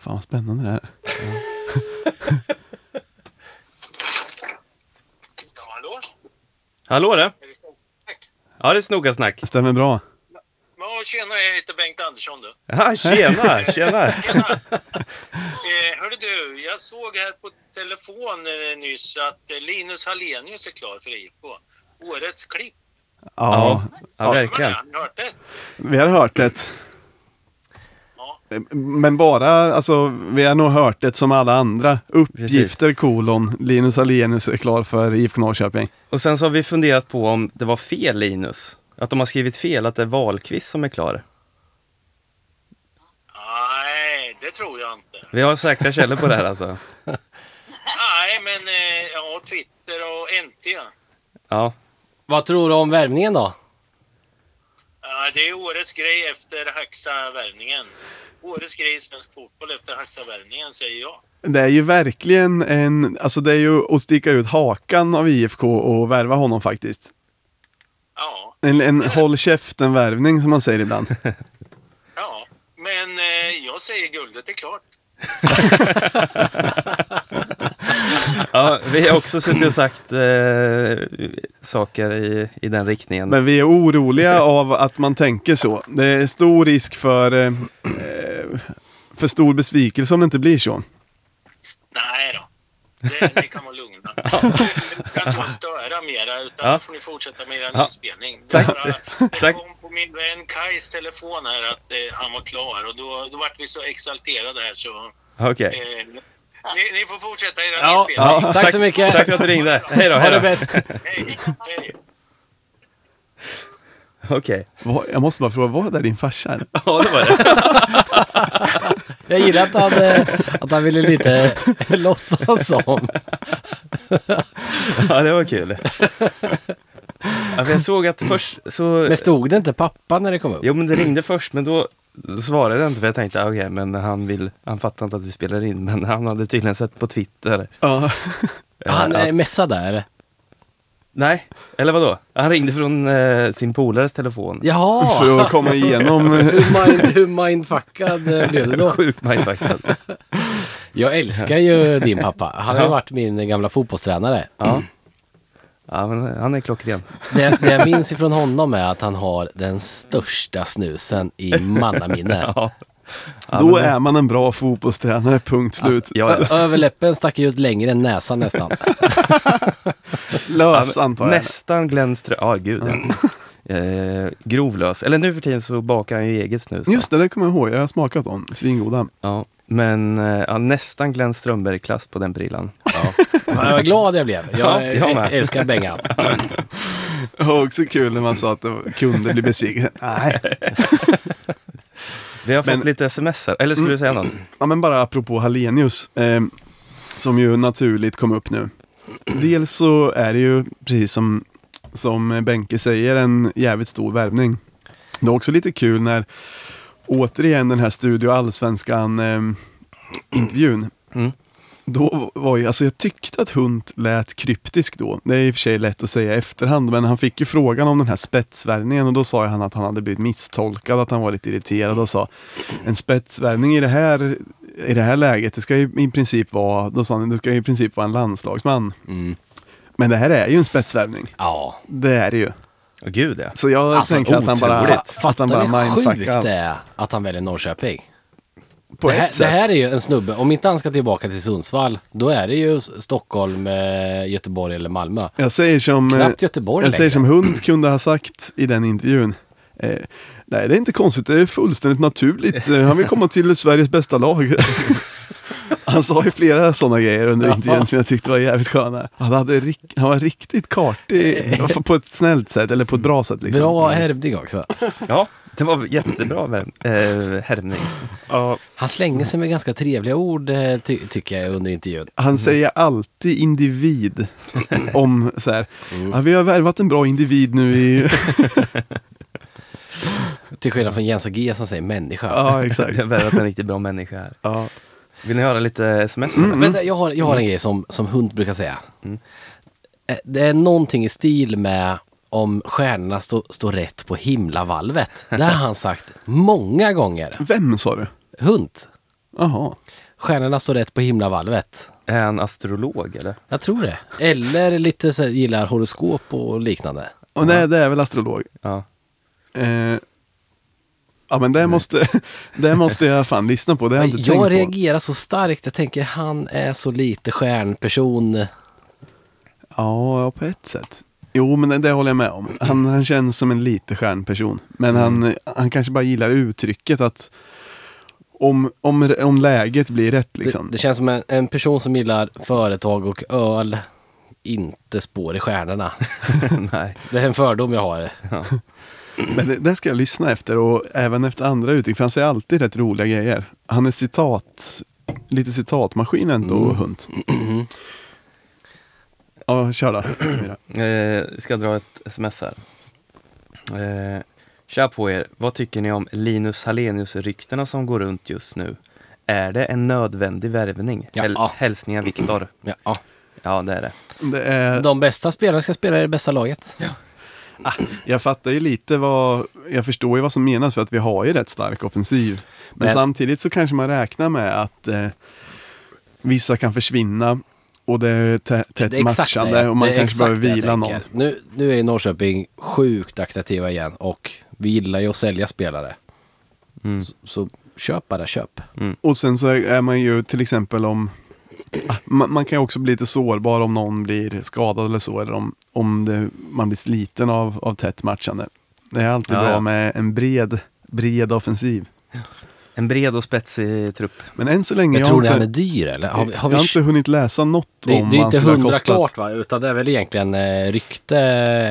[SPEAKER 1] Fan vad spännande det här är.
[SPEAKER 4] Ja, hallå?
[SPEAKER 2] Hallå du!
[SPEAKER 4] Är det snabbt?
[SPEAKER 2] Ja, det är Snokasnack.
[SPEAKER 1] Stämmer bra.
[SPEAKER 4] Ja, tjena, jag
[SPEAKER 2] Ah,
[SPEAKER 4] heter Bengt Andersson. Du.
[SPEAKER 2] Ja, tjena, tjena!
[SPEAKER 4] Eh, hörru du, jag Jag såg här på telefon eh, nyss att eh, Linus Hallenius är klar för IFK. Årets klipp.
[SPEAKER 1] Ja,
[SPEAKER 2] ja verkligen.
[SPEAKER 4] Har ni hört det?
[SPEAKER 1] vi har hört det.
[SPEAKER 4] Ja.
[SPEAKER 1] Men bara, alltså vi har nog hört det som alla andra. Uppgifter kolon, Linus Alenius är klar för IFK Norrköping.
[SPEAKER 2] Och sen så har vi funderat på om det var fel Linus. Att de har skrivit fel, att det är Wahlqvist som är klar.
[SPEAKER 4] Nej, det tror jag inte.
[SPEAKER 2] Vi har säkra källor på det här alltså.
[SPEAKER 4] Nej, men eh, ja, Twitter och NT.
[SPEAKER 2] Ja,
[SPEAKER 3] Vad tror du om värvningen då?
[SPEAKER 4] Ja, det är årets grej efter Haxa-värvningen. Årets grej i svensk fotboll efter Haxa-värvningen, säger jag.
[SPEAKER 1] Det är ju verkligen en, alltså det är ju att sticka ut hakan av IFK och värva honom faktiskt.
[SPEAKER 4] Ja,
[SPEAKER 1] En, en håll käften-värvning som man säger ibland.
[SPEAKER 4] ja. Men eh, jag säger guldet är klart.
[SPEAKER 2] ja vi har också suttit och sagt eh, saker i, i den riktningen.
[SPEAKER 1] Men vi är oroliga av att man tänker så. Det är stor risk för, eh, för stor besvikelse om det inte blir så.
[SPEAKER 4] Nej då. Det, ni kan vara lugna. Jag kan inte störa mera, utan
[SPEAKER 2] Ja.
[SPEAKER 4] då får ni fortsätta med er
[SPEAKER 2] Ja.
[SPEAKER 4] inspelning.
[SPEAKER 2] Tack.
[SPEAKER 4] Det, bara, det
[SPEAKER 2] Tack.
[SPEAKER 4] kom på min vän Kajs telefon här att eh, han var klar och då, då vart vi så exalterade här så...
[SPEAKER 2] Okej.
[SPEAKER 4] Eh, ni, ni får fortsätta era
[SPEAKER 3] Ja.
[SPEAKER 4] inspelning.
[SPEAKER 3] tack så mycket.
[SPEAKER 2] Tack för att du ringde. Hej då.
[SPEAKER 3] Ha
[SPEAKER 2] Hej
[SPEAKER 3] det
[SPEAKER 2] då.
[SPEAKER 3] bäst!
[SPEAKER 4] Hej. Hej.
[SPEAKER 2] Okej.
[SPEAKER 1] Vad- Jag måste bara fråga, var det din farsa? eller?
[SPEAKER 2] Ja, det var det.
[SPEAKER 3] Jag gillar att han, eh, att han ville lite låtsas som.
[SPEAKER 2] Ja, det var kul. Ja, för jag såg att först så...
[SPEAKER 3] Men stod det inte pappa när det kom upp?
[SPEAKER 2] Jo, men det ringde först, men då svarade jag inte för jag tänkte, ah, okej, men han vill... Han fattar inte att vi spelar in, men han hade tydligen sett på Twitter.
[SPEAKER 1] Ja.
[SPEAKER 2] eh,
[SPEAKER 3] Han
[SPEAKER 2] att-
[SPEAKER 3] eh, messade där.
[SPEAKER 2] Nej, eller vadå? Han ringde från eh, sin polares telefon.
[SPEAKER 3] Jaha!
[SPEAKER 1] För att komma igenom. eh,
[SPEAKER 3] Hur, mind, hur mindfuckad eh, blev du då?
[SPEAKER 2] Sjukt mindfuckad.
[SPEAKER 3] Jag älskar ju din pappa. Han har ju varit min gamla fotbollstränare.
[SPEAKER 2] Ja. ja, men han är klockren.
[SPEAKER 3] Det, det jag minns ifrån honom är att han har den största snusen i mannaminne.
[SPEAKER 2] Ja. Alltså,
[SPEAKER 1] Då är man en bra fotbollstränare, punkt slut.
[SPEAKER 2] Ja,
[SPEAKER 3] Ö- Överläppen stack ut längre än näsan nästan.
[SPEAKER 1] Lös antar jag. Mm.
[SPEAKER 2] Nästan Glenn Ström. Ja, gud ja. eh, Grovlös. Eller nu för tiden så bakar han ju eget snus. va?
[SPEAKER 1] Just det, det kommer jag ihåg. Jag har smakat dem. Svingoda.
[SPEAKER 2] Ja, men eh, ja, nästan Glenn Strömberg-klass på den prillan.
[SPEAKER 3] Men Vad glad jag blev.
[SPEAKER 2] Ja,
[SPEAKER 3] Jag,
[SPEAKER 2] jag med.
[SPEAKER 3] äl- älskar Bengan.
[SPEAKER 1] Det var också kul när man sa att det var- kunde bli besviken. Nej.
[SPEAKER 2] Vi har
[SPEAKER 1] Men- Mm.
[SPEAKER 2] fått lite sms här. Eller skulle du säga något?
[SPEAKER 1] Ja, men bara apropå Hallenius, eh, som ju naturligt kom upp nu. Dels så är det ju, precis som, som Benke säger, en jävligt stor värvning. Det är också lite kul när, återigen den här Studio ehm, Allsvenskan-intervjun,
[SPEAKER 2] Mm.
[SPEAKER 1] Då var ju, alltså jag tyckte att Hunt lät kryptisk då. Det är i och för sig lätt att säga i efterhand, men han fick ju frågan om den här spetsvärvningen och då sa han att han hade blivit misstolkad, att han var lite irriterad och sa en spetsvärvning i det här, i det här läget, det ska ju i princip vara, då sa han, det ska ju i princip vara en landslagsman.
[SPEAKER 3] Mm.
[SPEAKER 1] Men det här är ju en spetsvärvning.
[SPEAKER 3] Ja.
[SPEAKER 1] Det är det ju.
[SPEAKER 2] Åh, gud ja.
[SPEAKER 1] Så jag
[SPEAKER 3] Alltså,
[SPEAKER 1] tänker att han bara,
[SPEAKER 2] otroligt.
[SPEAKER 1] att han
[SPEAKER 3] Fattar
[SPEAKER 1] bara
[SPEAKER 3] ni hur sjukt
[SPEAKER 1] mindfuckar
[SPEAKER 3] det är att han väljer Norrköping?
[SPEAKER 1] på
[SPEAKER 3] det, här,
[SPEAKER 1] ett
[SPEAKER 3] det
[SPEAKER 1] sätt.
[SPEAKER 3] här är ju en snubbe, om inte han ska tillbaka till Sundsvall, då är det ju S- Stockholm, eh, Göteborg eller Malmö.
[SPEAKER 2] Liksom.
[SPEAKER 1] Jag säger som,
[SPEAKER 3] Knappt
[SPEAKER 1] eh,
[SPEAKER 3] Göteborg
[SPEAKER 1] jag
[SPEAKER 3] längre.
[SPEAKER 1] säger som Hund kunde ha sagt i den intervjun. Eh, nej, det är inte konstigt. Det är fullständigt naturligt. Eh, han vill komma till Sveriges bästa lag. han sa ju flera sådana grejer under
[SPEAKER 3] Ja.
[SPEAKER 1] intervjun som jag tyckte var jävligt sköna. Han, hade rik- han var riktigt kartig på ett snällt sätt, eller på ett bra sätt. Liksom.
[SPEAKER 3] Eh. Bra
[SPEAKER 2] Mm.
[SPEAKER 3] härmning också.
[SPEAKER 2] Ja, det var jättebra värm- eh, härmning.
[SPEAKER 1] Ja,
[SPEAKER 3] Han slänger sig med ganska trevliga ord, eh, ty tycker jag, under intervjun.
[SPEAKER 1] han säger alltid individ om så här.
[SPEAKER 3] Mm.
[SPEAKER 1] Ja, vi har värvat en bra individ nu i...
[SPEAKER 3] Till skillnad från Jens och G som säger människa.
[SPEAKER 1] ja,
[SPEAKER 2] Vi
[SPEAKER 1] exakt.
[SPEAKER 2] har värvat en riktigt bra människa här.
[SPEAKER 1] Ja. Mm.
[SPEAKER 2] Vill ni höra lite sms?
[SPEAKER 3] Vänta, jag har, jag har en grej som, som hund brukar säga. Eh, Det är någonting i stil med om stjärnorna stå- står rätt på himlavalvet. Det har han sagt många gånger.
[SPEAKER 1] Vem sa du?
[SPEAKER 3] Hund,
[SPEAKER 1] Jaha.
[SPEAKER 3] stjärnorna står rätt på himlavalvet.
[SPEAKER 2] Är han astrolog eller?
[SPEAKER 3] Jag tror det. Eller lite så här, gillar horoskop och liknande.
[SPEAKER 1] Och nej, det är väl astrolog.
[SPEAKER 2] Ja.
[SPEAKER 1] Eh, Ja men det måste, det måste jag fan lyssna på, det har jag inte
[SPEAKER 3] jag
[SPEAKER 1] tänkt på.
[SPEAKER 3] reagerar så starkt. Jag tänker han är så lite stjärnperson.
[SPEAKER 1] Ja, ja, på ett sätt. Jo, men det- det håller jag med om. Han, han känns som en lite stjärnperson. Men
[SPEAKER 3] Mm.
[SPEAKER 1] han, han kanske bara gillar uttrycket att om, om, om läget blir rätt liksom.
[SPEAKER 3] Det, det känns som en, en person som gillar företag och öl, inte spår i stjärnorna.
[SPEAKER 2] Nej.
[SPEAKER 3] Det är en fördom jag har.
[SPEAKER 1] Men det, det ska jag lyssna efter och även efter andra uttryck. För han säger alltid rätt roliga grejer. Han är citat, lite citatmaskin ändå,
[SPEAKER 3] Mm.
[SPEAKER 1] Hunt. Ja, kör då. Mira.
[SPEAKER 2] Eh, ska jag dra ett sms här. Eh, tja på er, vad tycker ni om Linus Hallenius-ryktena som går runt just nu? Är det en nödvändig värvning?
[SPEAKER 3] Ja.
[SPEAKER 2] Häl- hälsningar Viktor.
[SPEAKER 3] Ja, ja.
[SPEAKER 2] Ja, det är det.
[SPEAKER 1] Det är,
[SPEAKER 3] De bästa spelarna ska spela i det bästa laget.
[SPEAKER 1] Ah, jag fattar ju lite vad, jag förstår ju vad som menas för att vi har ju rätt stark offensiv. Men,
[SPEAKER 2] Men-
[SPEAKER 1] samtidigt så kanske man räknar med att eh, vissa kan försvinna och det är tä- tätt
[SPEAKER 3] är exakt det.
[SPEAKER 1] matchande och man
[SPEAKER 3] Det är
[SPEAKER 1] kanske
[SPEAKER 3] exakt
[SPEAKER 1] behöver
[SPEAKER 3] det jag
[SPEAKER 1] vila någon.
[SPEAKER 3] tänker. Nu, nu är ju Norrköping sjukt aktiva igen och vi gillar ju att sälja spelare.
[SPEAKER 2] Mm.
[SPEAKER 3] Så, så köp bara, köp.
[SPEAKER 1] Och sen så är man ju till exempel om... ah, Man, man kan ju också bli lite sårbar om någon blir skadad eller så. Eller om, om det, man blir sliten av, av tätt matchande. Det är alltid
[SPEAKER 2] Ja,
[SPEAKER 1] bra
[SPEAKER 2] ja.
[SPEAKER 1] med en bred, bred offensiv.
[SPEAKER 2] En bred och spetsig trupp.
[SPEAKER 1] Men än så länge...
[SPEAKER 3] Jag,
[SPEAKER 1] Jag,
[SPEAKER 3] tror
[SPEAKER 1] har
[SPEAKER 3] den är
[SPEAKER 1] inte,
[SPEAKER 3] dyr eller? Har vi,
[SPEAKER 1] Eh, jag
[SPEAKER 3] har vi
[SPEAKER 1] har inte hunnit läsa något
[SPEAKER 3] Det,
[SPEAKER 1] om
[SPEAKER 3] det är
[SPEAKER 1] vad han
[SPEAKER 3] inte
[SPEAKER 1] skulle ha
[SPEAKER 3] hundra
[SPEAKER 1] kostat.
[SPEAKER 3] klart va, utan det är väl egentligen eh, rykte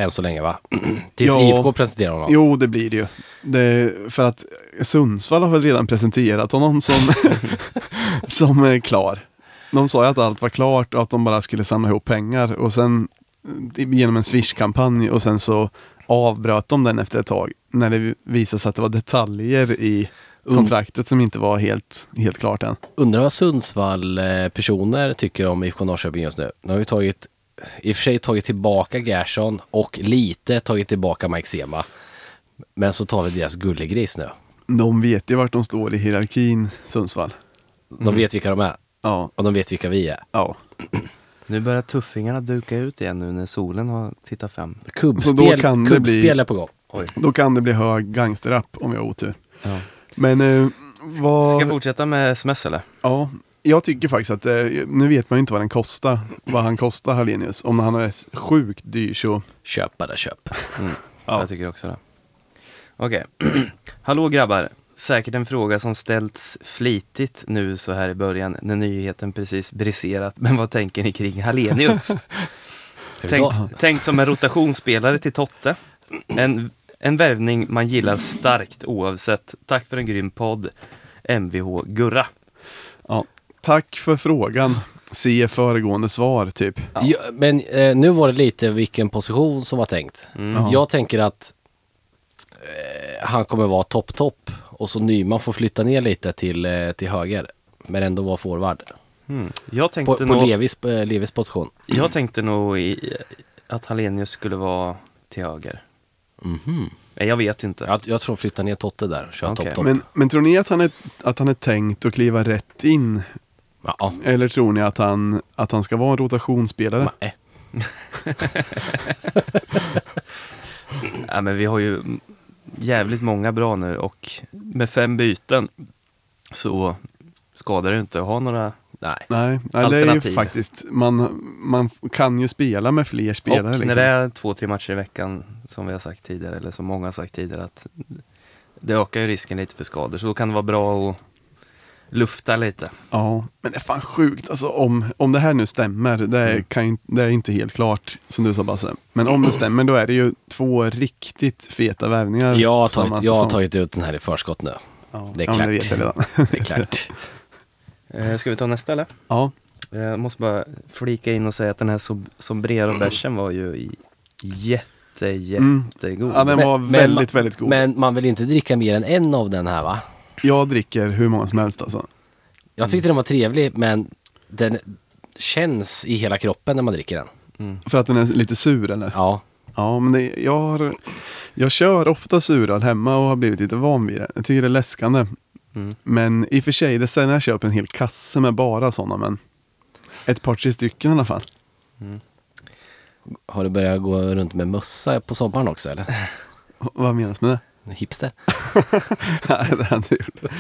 [SPEAKER 3] än så länge va? Tills
[SPEAKER 1] Ja.
[SPEAKER 3] IFK presenterar honom.
[SPEAKER 1] Jo, det blir det ju. Det, för att Sundsvall har väl redan presenterat honom som, som är klar. De sa ju att allt var klart och att de bara skulle samla ihop pengar och sen eh, genom en Swish-kampanj och sen så avbröt de den efter ett tag när det visade sig att det var detaljer i
[SPEAKER 3] Mm.
[SPEAKER 1] kontraktet som inte var helt, helt klart än.
[SPEAKER 3] Undrar vad Sundsvall-personer tycker om IFK Norrköping just nu. De har ju tagit, i och för sig tagit tillbaka Gerson och lite tagit tillbaka Mike Sema. Men så tar vi deras gullegris nu.
[SPEAKER 1] De vet ju vart de står i hierarkin, Sundsvall.
[SPEAKER 3] De
[SPEAKER 1] Mm.
[SPEAKER 3] vet vilka de är
[SPEAKER 1] Ja,
[SPEAKER 3] och de vet vilka vi är.
[SPEAKER 1] ja.
[SPEAKER 2] Nu börjar tuffingarna duka ut igen nu när solen har tittat fram.
[SPEAKER 1] Så då
[SPEAKER 3] Kubbspel,
[SPEAKER 1] kan det
[SPEAKER 3] kubbspel
[SPEAKER 1] bli-
[SPEAKER 3] är på gång.
[SPEAKER 1] Då kan det bli hög gangsterrap om vi har otur.
[SPEAKER 2] Ja.
[SPEAKER 1] Men eh, vad...
[SPEAKER 2] Ska jag fortsätta med sms eller?
[SPEAKER 1] Ja, jag tycker faktiskt att, eh, nu vet man ju inte vad den kostar, vad han kostar Hallenius. Om han är sjukt dyr så,
[SPEAKER 3] Köp bara köp.
[SPEAKER 2] Mm. Jag tycker också det. Okej. Hallå grabbar. Säkert en fråga som ställts flitigt nu så här i början när nyheten precis briserat. Men vad tänker ni kring Hallenius?
[SPEAKER 3] Ska vi
[SPEAKER 2] tänkt,
[SPEAKER 3] ta-
[SPEAKER 2] tänkt som en rotationsspelare till Totte. En, en värvning man gillar starkt oavsett. Tack för en grym podd. Mvh Gurra.
[SPEAKER 1] ja. Tack för frågan. Se föregående svar, typ.
[SPEAKER 3] Ja, men eh, nu var det lite vilken position som var tänkt.
[SPEAKER 1] Ja.
[SPEAKER 3] Jag tänker att eh, han kommer vara topp-topp och så Nyman får flytta ner lite till, eh, till höger. Men ändå vara forward.
[SPEAKER 2] Mm. Jag,
[SPEAKER 3] Hmm. På,
[SPEAKER 2] tänkte
[SPEAKER 3] på
[SPEAKER 2] nog,
[SPEAKER 3] Levis, eh, Levis position.
[SPEAKER 2] jag tänkte nog i, att Hallenius skulle vara till höger.
[SPEAKER 3] Mhm.
[SPEAKER 2] Nej, jag vet inte.
[SPEAKER 3] Jag, jag tror de flyttar ner Totte där och kör
[SPEAKER 2] Okej.
[SPEAKER 3] topp-topp.
[SPEAKER 1] Men, men tror ni att han, är, att han är tänkt att kliva rätt in?
[SPEAKER 3] Ja, ja.
[SPEAKER 1] Eller tror ni att han, att han ska vara en rotationsspelare?
[SPEAKER 3] Nej.
[SPEAKER 2] Ja, men vi har ju jävligt många bra nu och med fem byten så skadar det ju inte att ha några
[SPEAKER 3] Nej.
[SPEAKER 1] Nej, nej det är ju
[SPEAKER 2] Alternativ.
[SPEAKER 1] faktiskt, man, man kan ju spela med fler
[SPEAKER 2] och
[SPEAKER 1] spelare.
[SPEAKER 2] när
[SPEAKER 1] liksom.
[SPEAKER 2] det är två, tre matcher i veckan som vi har sagt tidigare, eller som många har sagt tidigare, att det ökar ju risken lite för skador. Så då kan det vara bra att lufta lite.
[SPEAKER 1] Ja, men det är fan sjukt. Alltså, om, om det här nu stämmer, det
[SPEAKER 3] Mm.
[SPEAKER 1] är, kan, ju- det är inte helt klart som du sa Basse. Men om det stämmer då är det ju två riktigt feta värvningar.
[SPEAKER 3] Jag har,
[SPEAKER 1] samma
[SPEAKER 3] tagit, jag har
[SPEAKER 1] säsong.
[SPEAKER 3] tagit ut den här i förskott nu.
[SPEAKER 1] Ja,
[SPEAKER 3] Det
[SPEAKER 1] ja, men
[SPEAKER 3] är klart.
[SPEAKER 1] det vet jag redan.
[SPEAKER 3] Det är klart.
[SPEAKER 2] Eh, ska vi ta nästa eller?
[SPEAKER 1] ja,
[SPEAKER 2] Eh, Jag måste bara flika in och säga att den här sob- sombrero-bärsen var ju i- jätte, jättegod.
[SPEAKER 1] Mm. ja den var
[SPEAKER 3] Men- men-
[SPEAKER 1] väldigt, väldigt god.
[SPEAKER 3] Men man vill inte dricka mer än en av den här va?
[SPEAKER 1] Jag dricker hur många som helst alltså.
[SPEAKER 3] Jag tyckte den var trevlig men den känns i hela kroppen när man dricker den.
[SPEAKER 1] För att den är lite sur eller? Ja,
[SPEAKER 3] Mm. Ja.
[SPEAKER 1] men det, jag, har, jag kör ofta suröl hemma och har blivit lite van vid det. Jag tycker det är läskande.
[SPEAKER 3] Mm.
[SPEAKER 1] Men i och för sig, det är sällan jag köper en hel kasse med bara sådana, men ett par, tre stycken i alla fall.
[SPEAKER 3] Har du börjat gå runt med mössa på sommaren också eller?
[SPEAKER 1] Vad menas med det?
[SPEAKER 3] hipster.
[SPEAKER 1] Nej, det hade jag gjort.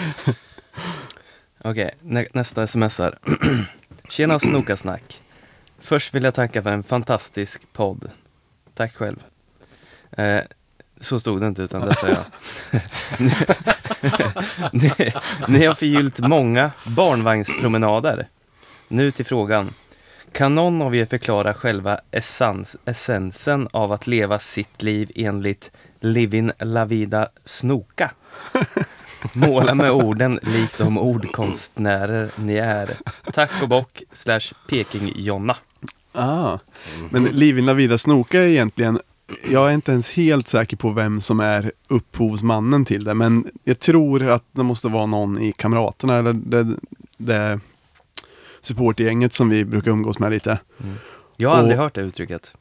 [SPEAKER 2] Okej, nä- nästa sms här. Tjena Snokasnack. Först vill jag tacka för en fantastisk podd. Tack själv. Eh, så stod det inte utan det sa jag. ni, ni, ni har förgyllt många barnvagnspromenader. Nu till frågan. Kan någon av er förklara själva essens, essensen av att leva sitt liv enligt Livin La Vida Snoka? Måla med orden likt de ordkonstnärer ni är. Tack och bock slash Peking-Jonna.
[SPEAKER 1] Ah. Men Livin La Vida Snoka är egentligen, jag är inte ens helt säker på vem som är upphovsmannen till det, men jag tror att det måste vara någon i Kamraterna eller det, det supportgänget som vi brukar umgås med lite.
[SPEAKER 3] Mm.
[SPEAKER 2] Jag har aldrig
[SPEAKER 1] Och-
[SPEAKER 2] hört det uttrycket.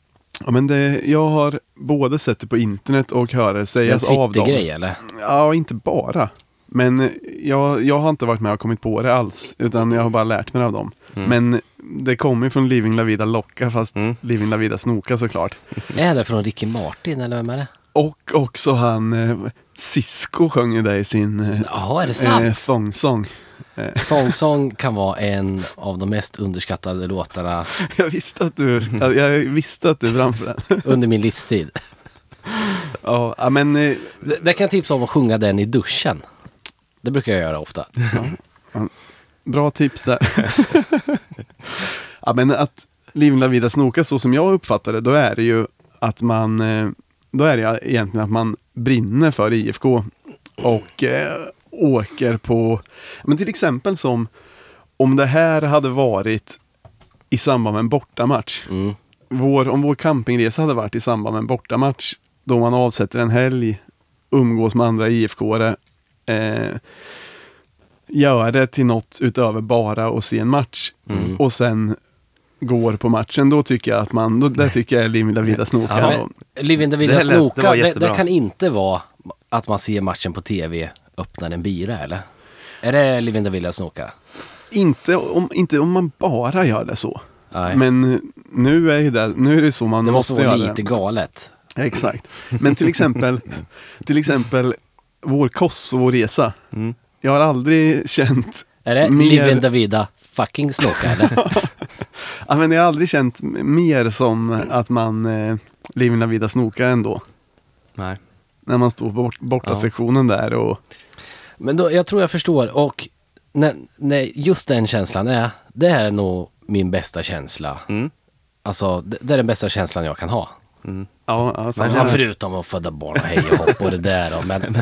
[SPEAKER 1] Ja, men det, jag har både sett det på internet och hört det
[SPEAKER 3] Det är en
[SPEAKER 1] sägas av dem.
[SPEAKER 3] Twitter-grej eller?
[SPEAKER 1] Ja, inte bara. Men jag, jag har inte varit med och kommit på det alls, utan jag har bara lärt mig av dem.
[SPEAKER 3] Mm.
[SPEAKER 1] Men det kommer ju från Living La Vida Locka, fast
[SPEAKER 2] Mm.
[SPEAKER 1] Living La Vida Snoka såklart.
[SPEAKER 3] Är det från Ricky Martin eller vem är det?
[SPEAKER 1] Och också han, eh, Cisco sjöng ju det i sin eh,
[SPEAKER 3] Jaha, är det sant?
[SPEAKER 1] eh, thong-song.
[SPEAKER 3] Thong-song Eh, kan vara en av de mest underskattade låtarna
[SPEAKER 1] Jag visste att du, jag, jag visste att du framför den.
[SPEAKER 3] under min livstid.
[SPEAKER 1] ja, ja, men eh,
[SPEAKER 3] Det, det kan jag tipsa om att sjunga den i duschen. Det brukar jag göra ofta.
[SPEAKER 1] Bra tips där. ja, men att Livin La Vida Snoka, så som jag uppfattar det, då är det ju att man, eh, då är det egentligen att man brinner för IFK och eh, åker på, men till exempel som om det här hade varit i samband med en bortamatch.
[SPEAKER 3] Mm.
[SPEAKER 1] Vår, om vår campingresa hade varit i samband med en bortamatch, då man avsätter en helg, umgås med andra IFK-are, eh, göra det till något utöver bara att se en match
[SPEAKER 3] Mm.
[SPEAKER 1] och sen går på matchen, då tycker jag att man, då, det tycker jag är Limla Vida Snokar.
[SPEAKER 2] Ja,
[SPEAKER 3] Men, Livin
[SPEAKER 2] Det
[SPEAKER 3] Davida
[SPEAKER 2] lät- det var
[SPEAKER 3] Snoka, det, det,
[SPEAKER 2] jättebra.
[SPEAKER 3] kan inte vara att man ser matchen på tv, öppnar en bira eller? Är det Livin Davida Snoka?
[SPEAKER 1] inte, om, inte om man bara gör det så.
[SPEAKER 3] Nej.
[SPEAKER 1] Men nu är, ju det, nu är det så man
[SPEAKER 3] Det måste
[SPEAKER 1] måste,
[SPEAKER 3] vara
[SPEAKER 1] göra det.
[SPEAKER 3] lite galet.
[SPEAKER 1] Ja, Exakt. Men till exempel, till exempel vår Kosovo-resa.
[SPEAKER 2] Mm.
[SPEAKER 1] Jag har aldrig känt
[SPEAKER 3] Är det
[SPEAKER 1] Mer-
[SPEAKER 3] Livin Davida fucking Snoka eller?
[SPEAKER 1] Ja, men jag har aldrig känt m- mer som att man eh, Livin La Vida Snoka ändå.
[SPEAKER 2] Nej.
[SPEAKER 1] När man står på bort, borta
[SPEAKER 2] Ja.
[SPEAKER 1] sektionen där och...
[SPEAKER 3] Men då, jag tror jag förstår och när, när just den känslan är, det är nog min bästa känsla.
[SPEAKER 2] Mm.
[SPEAKER 3] Alltså det, det är den bästa känslan jag kan ha.
[SPEAKER 1] Ja, ja, samma
[SPEAKER 3] Ja,
[SPEAKER 1] här.
[SPEAKER 3] förutom att föda barn och hej och hopp och det där då, men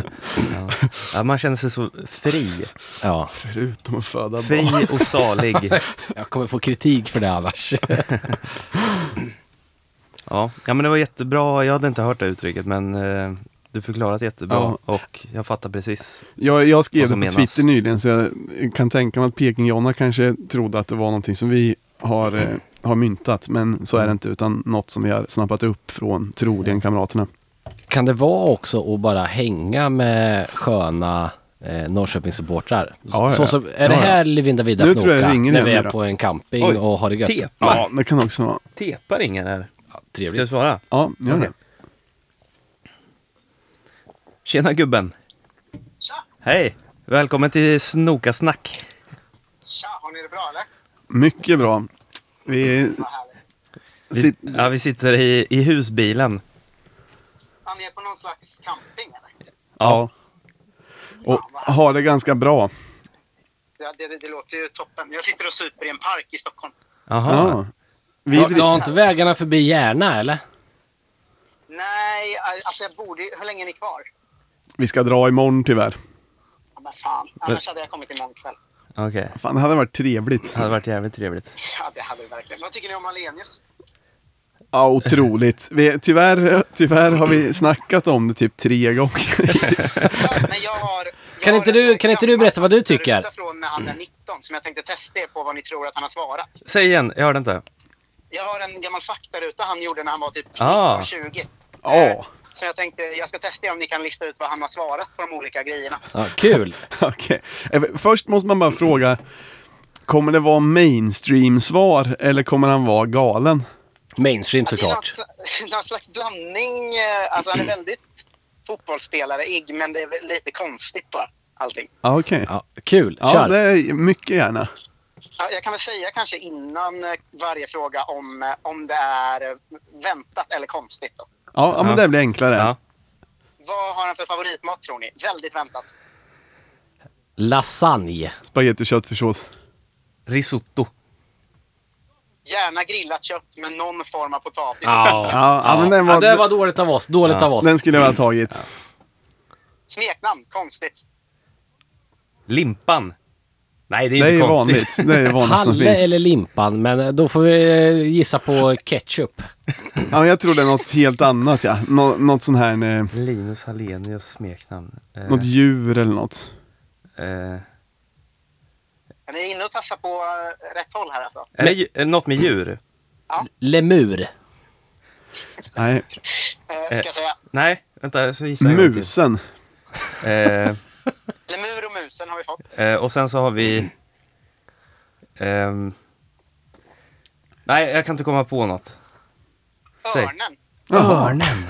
[SPEAKER 2] Ja. Ja, man känner sig så fri.
[SPEAKER 3] ja.
[SPEAKER 1] Förutom att föda barn.
[SPEAKER 2] Fri och salig.
[SPEAKER 3] Jag kommer få kritik för det annars.
[SPEAKER 2] Ja. ja, men det var jättebra. Jag hade inte hört det uttrycket, men eh, du förklarat jättebra
[SPEAKER 1] Ja.
[SPEAKER 2] och jag fattar precis.
[SPEAKER 1] Jag, jag skrev
[SPEAKER 2] Vad
[SPEAKER 1] det på
[SPEAKER 2] som menas.
[SPEAKER 1] Twitter nyligen så jag kan tänka mig att Peking-Jonna kanske trodde att det var någonting som vi har, eh, har myntat. Men
[SPEAKER 2] Mm.
[SPEAKER 1] så är det inte, utan något som vi har snappat upp från troligen kamraterna.
[SPEAKER 3] Kan det vara också att bara hänga med sköna eh, Norrköpingssupportrar? S-
[SPEAKER 1] Ja, ja,
[SPEAKER 3] Så
[SPEAKER 1] ja.
[SPEAKER 3] som, är det
[SPEAKER 1] Ja, ja.
[SPEAKER 3] här Livin Davida
[SPEAKER 1] Nu
[SPEAKER 3] Snoka?
[SPEAKER 1] tror jag det ringer
[SPEAKER 3] när
[SPEAKER 1] igen
[SPEAKER 3] vi
[SPEAKER 1] nu
[SPEAKER 3] är
[SPEAKER 1] då.
[SPEAKER 3] på en camping
[SPEAKER 2] Oj,
[SPEAKER 3] och har det gött?
[SPEAKER 2] Tepa.
[SPEAKER 1] Ja, det kan också vara.
[SPEAKER 2] Tepa ringer här.
[SPEAKER 3] Ja,
[SPEAKER 2] Ska du
[SPEAKER 3] trevligt.
[SPEAKER 2] svara?
[SPEAKER 1] Ja, gör
[SPEAKER 2] Okej.
[SPEAKER 1] det.
[SPEAKER 2] Tjena gubben!
[SPEAKER 4] Tja!
[SPEAKER 2] Hej! Välkommen till Snokasnack!
[SPEAKER 4] Tja! Har ni det bra eller?
[SPEAKER 1] Mycket bra. Vi
[SPEAKER 4] Vad härligt.
[SPEAKER 2] Vi,
[SPEAKER 1] sit,
[SPEAKER 2] ja, vi sitter i, i husbilen.
[SPEAKER 4] Ja, ni är på någon slags camping eller?
[SPEAKER 1] ja. Och har det ganska bra.
[SPEAKER 4] Ja, det, det, det låter ju toppen. Jag sitter och super i en park i Stockholm.
[SPEAKER 2] Jaha.
[SPEAKER 1] Ja. Vi,
[SPEAKER 3] Ja, du har inte vägarna förbi Järna eller?
[SPEAKER 4] Nej, alltså jag borde ju- Hur länge är ni kvar?
[SPEAKER 1] vi ska dra imorgon tyvärr.
[SPEAKER 4] Ja, men fan, annars hade jag kommit imorgon kväll.
[SPEAKER 2] Okej.
[SPEAKER 1] Fan, det hade varit trevligt.
[SPEAKER 2] Det hade varit jävligt trevligt.
[SPEAKER 4] Ja, det hade vi verkligen. Vad tycker ni om Hallenius?
[SPEAKER 1] Ja, otroligt. Vi, tyvärr, tyvärr har vi snackat om det typ tre gånger hittills.
[SPEAKER 4] Ja, men jag har, jag
[SPEAKER 3] Kan
[SPEAKER 4] har
[SPEAKER 3] inte
[SPEAKER 4] en
[SPEAKER 3] du-
[SPEAKER 4] sån
[SPEAKER 3] kan inte du
[SPEAKER 4] gammal
[SPEAKER 3] berätta vad du
[SPEAKER 4] faktaruta
[SPEAKER 3] tycker? Mm.
[SPEAKER 4] från när han är 19 som jag tänkte testa er på vad ni tror att han har svarat.
[SPEAKER 2] Säg igen, jag hörde inte.
[SPEAKER 4] Jag har en gammal faktaruta han gjorde när han var typ
[SPEAKER 2] Ah.
[SPEAKER 4] 19-20.
[SPEAKER 1] Ja,
[SPEAKER 4] Så jag tänkte jag ska testa er om ni kan lista ut vad han har svarat på de olika grejerna.
[SPEAKER 3] Ja, kul!
[SPEAKER 1] okej. Eh, Först måste man bara fråga, kommer det vara mainstream-svar eller kommer han vara galen?
[SPEAKER 3] Mainstream
[SPEAKER 4] Det är någon,
[SPEAKER 3] såklart. Mm.
[SPEAKER 4] sla- någon slags blandning. eh, Alltså han är väldigt
[SPEAKER 5] fotbollsspelare, igg, men det är väl lite konstigt bara, allting.
[SPEAKER 1] Ja, okej.
[SPEAKER 3] Ja, kul,
[SPEAKER 1] Ja,
[SPEAKER 3] kör!
[SPEAKER 1] det är mycket gärna.
[SPEAKER 5] Ja, Jag kan väl säga kanske innan eh, varje fråga om, eh, om det är eh, väntat eller konstigt. Då.
[SPEAKER 1] Ja, ja, men
[SPEAKER 2] Ja.
[SPEAKER 1] det blir enklare.
[SPEAKER 2] Ja.
[SPEAKER 5] Vad har han för favoritmat tror ni? Väldigt väntat.
[SPEAKER 3] Lasagne.
[SPEAKER 1] Spagetti och köttfärssås.
[SPEAKER 2] Risotto.
[SPEAKER 5] Gärna grillat kött med någon form av potatis.
[SPEAKER 1] Ja, ja, men den
[SPEAKER 3] Ja,
[SPEAKER 1] var,
[SPEAKER 3] det var dåligt av oss. Dåligt av oss.
[SPEAKER 1] den skulle jag ha tagit.
[SPEAKER 5] Smeknamn, konstigt.
[SPEAKER 2] Limpan. Nej, det är
[SPEAKER 1] Det är ju
[SPEAKER 2] inte konstigt.
[SPEAKER 1] vanligt. Det är ju vanligt som
[SPEAKER 3] Halle
[SPEAKER 1] finns.
[SPEAKER 3] eller Limpan, men då får vi eh, gissa på ketchup.
[SPEAKER 1] Ja, men jag tror det är något helt annat ja. Nå- något sån här, eh,
[SPEAKER 2] Linus Hallenius smeknamn. Eh,
[SPEAKER 1] något djur eller något.
[SPEAKER 2] eh,
[SPEAKER 5] Men ni är inne och tassar på eh, rätt håll här alltså.
[SPEAKER 2] är det ju- är det något med djur?
[SPEAKER 3] Lemur.
[SPEAKER 1] Nej,
[SPEAKER 5] Eh,
[SPEAKER 2] Eh.
[SPEAKER 5] ska jag säga.
[SPEAKER 2] Nej, vänta, så gissar jag en gång
[SPEAKER 1] musen.
[SPEAKER 2] till. Eh,
[SPEAKER 5] Lemur och musen har vi fått.
[SPEAKER 2] eh, och sen så har vi... ehm, nej, jag kan inte komma på något. Säg.
[SPEAKER 5] Örnen. Alltså,
[SPEAKER 2] Örnen.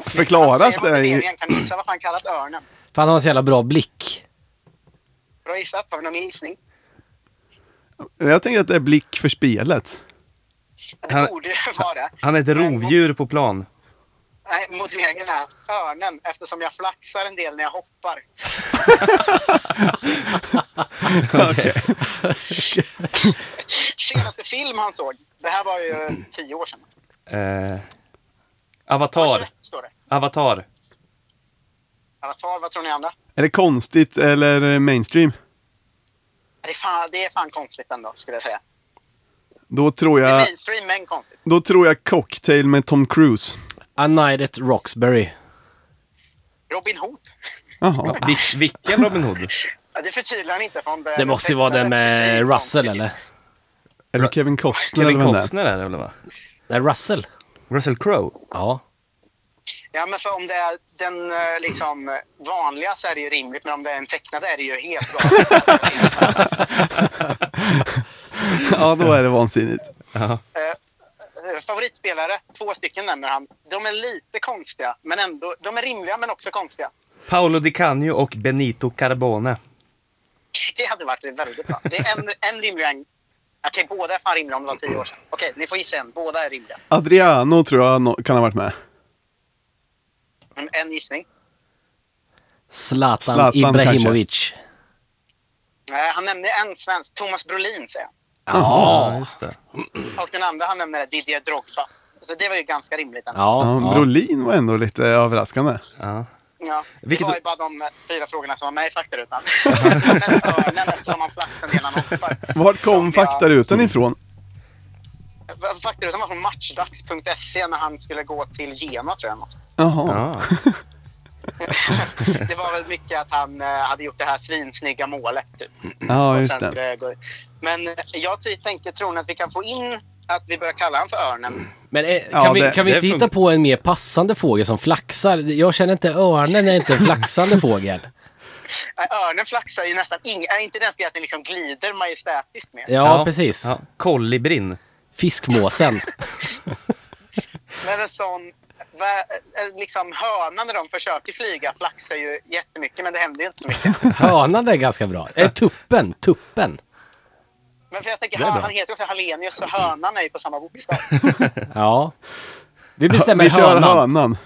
[SPEAKER 1] Förklaras
[SPEAKER 5] Säger man
[SPEAKER 1] det? i-
[SPEAKER 5] motiveringen, Kan ni gissa vad fan kallas örnen?
[SPEAKER 3] För han har en så jävla bra blick.
[SPEAKER 5] Bra gissat. Har vi någon mer gissning?
[SPEAKER 1] Jag tänker att det är blick för spelet.
[SPEAKER 5] Det
[SPEAKER 2] Han-
[SPEAKER 5] borde ju vara det. Eh,
[SPEAKER 2] Han är ett rovdjur på plan.
[SPEAKER 5] Nej, motiveringen är örnen eftersom jag flaxar en del när jag hoppar. Senaste film han såg, det här var ju tio år sedan.
[SPEAKER 2] Eh,
[SPEAKER 5] Han var
[SPEAKER 2] avatar.
[SPEAKER 5] 21 står det.
[SPEAKER 2] Avatar.
[SPEAKER 5] Avatar, vad tror ni andra?
[SPEAKER 1] Är det konstigt eller eh, mainstream?
[SPEAKER 5] Det är fan, det är fan konstigt ändå, skulle jag säga.
[SPEAKER 1] Då tror
[SPEAKER 5] Det är
[SPEAKER 1] jag,
[SPEAKER 5] mainstream, men konstigt.
[SPEAKER 1] då tror jag cocktail med Tom Cruise.
[SPEAKER 3] A night at Roxbury.
[SPEAKER 5] Robin Hood.
[SPEAKER 1] Jaha.
[SPEAKER 2] Vil- vilken Robin Hood?
[SPEAKER 5] Ja, det förtydligar han inte. För han börjar
[SPEAKER 3] Det måste ju vara den
[SPEAKER 5] Tjejer,
[SPEAKER 3] med Russell
[SPEAKER 5] konstigt.
[SPEAKER 3] eller?
[SPEAKER 1] Eller Kevin Costner
[SPEAKER 2] Kevin
[SPEAKER 1] eller vem det är.
[SPEAKER 2] Costner är det väl va?
[SPEAKER 3] Nej, Russell.
[SPEAKER 2] Russell Crowe.
[SPEAKER 3] Ja.
[SPEAKER 5] Ja, men för om det är den eh, liksom, vanliga så är det ju rimligt, men om det är en tecknad är det ju helt bra.
[SPEAKER 1] Ja, då är det vansinnigt.
[SPEAKER 5] Eh, Favoritspelare, två stycken nämner han. De är lite konstiga, men ändå. De är rimliga, men också konstiga.
[SPEAKER 2] Paolo Di Canio och Benito Carbone.
[SPEAKER 5] Det hade varit väldigt bra. Det är en, en rimlig och en... Okej, båda är fan rimliga om det var tio år sedan. Okej, ni får gissa en. Båda är rimliga.
[SPEAKER 1] Adriano tror jag no- kan ha varit med.
[SPEAKER 5] Mm, En gissning.
[SPEAKER 3] Zlatan
[SPEAKER 1] Zlatan
[SPEAKER 3] Ibrahimovic.
[SPEAKER 5] Eh, Han nämnde en svensk, Thomas Brolin säger han.
[SPEAKER 2] Ja, just det.
[SPEAKER 5] Och den andra han nämner är Didier Drogba. Så det var ju ganska rimligt ändå.
[SPEAKER 1] Ja,
[SPEAKER 3] Ja, ja.
[SPEAKER 1] Brolin var ändå lite överraskande.
[SPEAKER 2] Ja.
[SPEAKER 5] Ja, det
[SPEAKER 2] Vilket-
[SPEAKER 5] var ju bara de fyra frågorna som var med i faktarutan. Men örnen eftersom han flaxar när han hoppar.
[SPEAKER 1] Vart kom
[SPEAKER 5] Som jag-
[SPEAKER 1] faktarutan ifrån?
[SPEAKER 5] Faktarutan var från matchdags.se E när han skulle gå till Gena tror jag. något.
[SPEAKER 1] Jaha.
[SPEAKER 2] Ja.
[SPEAKER 5] Det var väl mycket att han eh, hade gjort det här svinsnygga målet. Typ.
[SPEAKER 1] Ja,
[SPEAKER 5] Och
[SPEAKER 1] just
[SPEAKER 5] sen
[SPEAKER 1] det.
[SPEAKER 5] skulle jag gå- Men eh, jag ty- tänker troligen att vi kan få in att vi börjar kalla honom för
[SPEAKER 1] Mm.
[SPEAKER 5] örnen.
[SPEAKER 3] Men eh, kan,
[SPEAKER 1] Ja,
[SPEAKER 3] vi,
[SPEAKER 1] det-
[SPEAKER 3] kan vi
[SPEAKER 2] det
[SPEAKER 3] inte
[SPEAKER 2] fun-
[SPEAKER 3] hitta på en mer passande fågel som flaxar? Jag känner inte örnen är inte en flaxande fågel.
[SPEAKER 5] Nej, Örnen flaxar ju nästan ing- äh, inte ens det att den liksom glider majestätiskt med.
[SPEAKER 3] Ja, precis.
[SPEAKER 2] Ja. Kolibrin.
[SPEAKER 3] Fiskmåsen.
[SPEAKER 5] Men en sån, va, eh, liksom hönan när de försöker flyga flaxar ju jättemycket men det händer ju inte så mycket.
[SPEAKER 3] Hönan är ganska bra. Eh, tuppen. Tuppen.
[SPEAKER 5] Men för jag tänker,
[SPEAKER 2] Det är bra.
[SPEAKER 5] han heter ju också Hallenius så hönan är ju på samma bokstav.
[SPEAKER 3] Ja. Vi bestämmer
[SPEAKER 1] Vi kör
[SPEAKER 3] hönan.
[SPEAKER 1] hönan.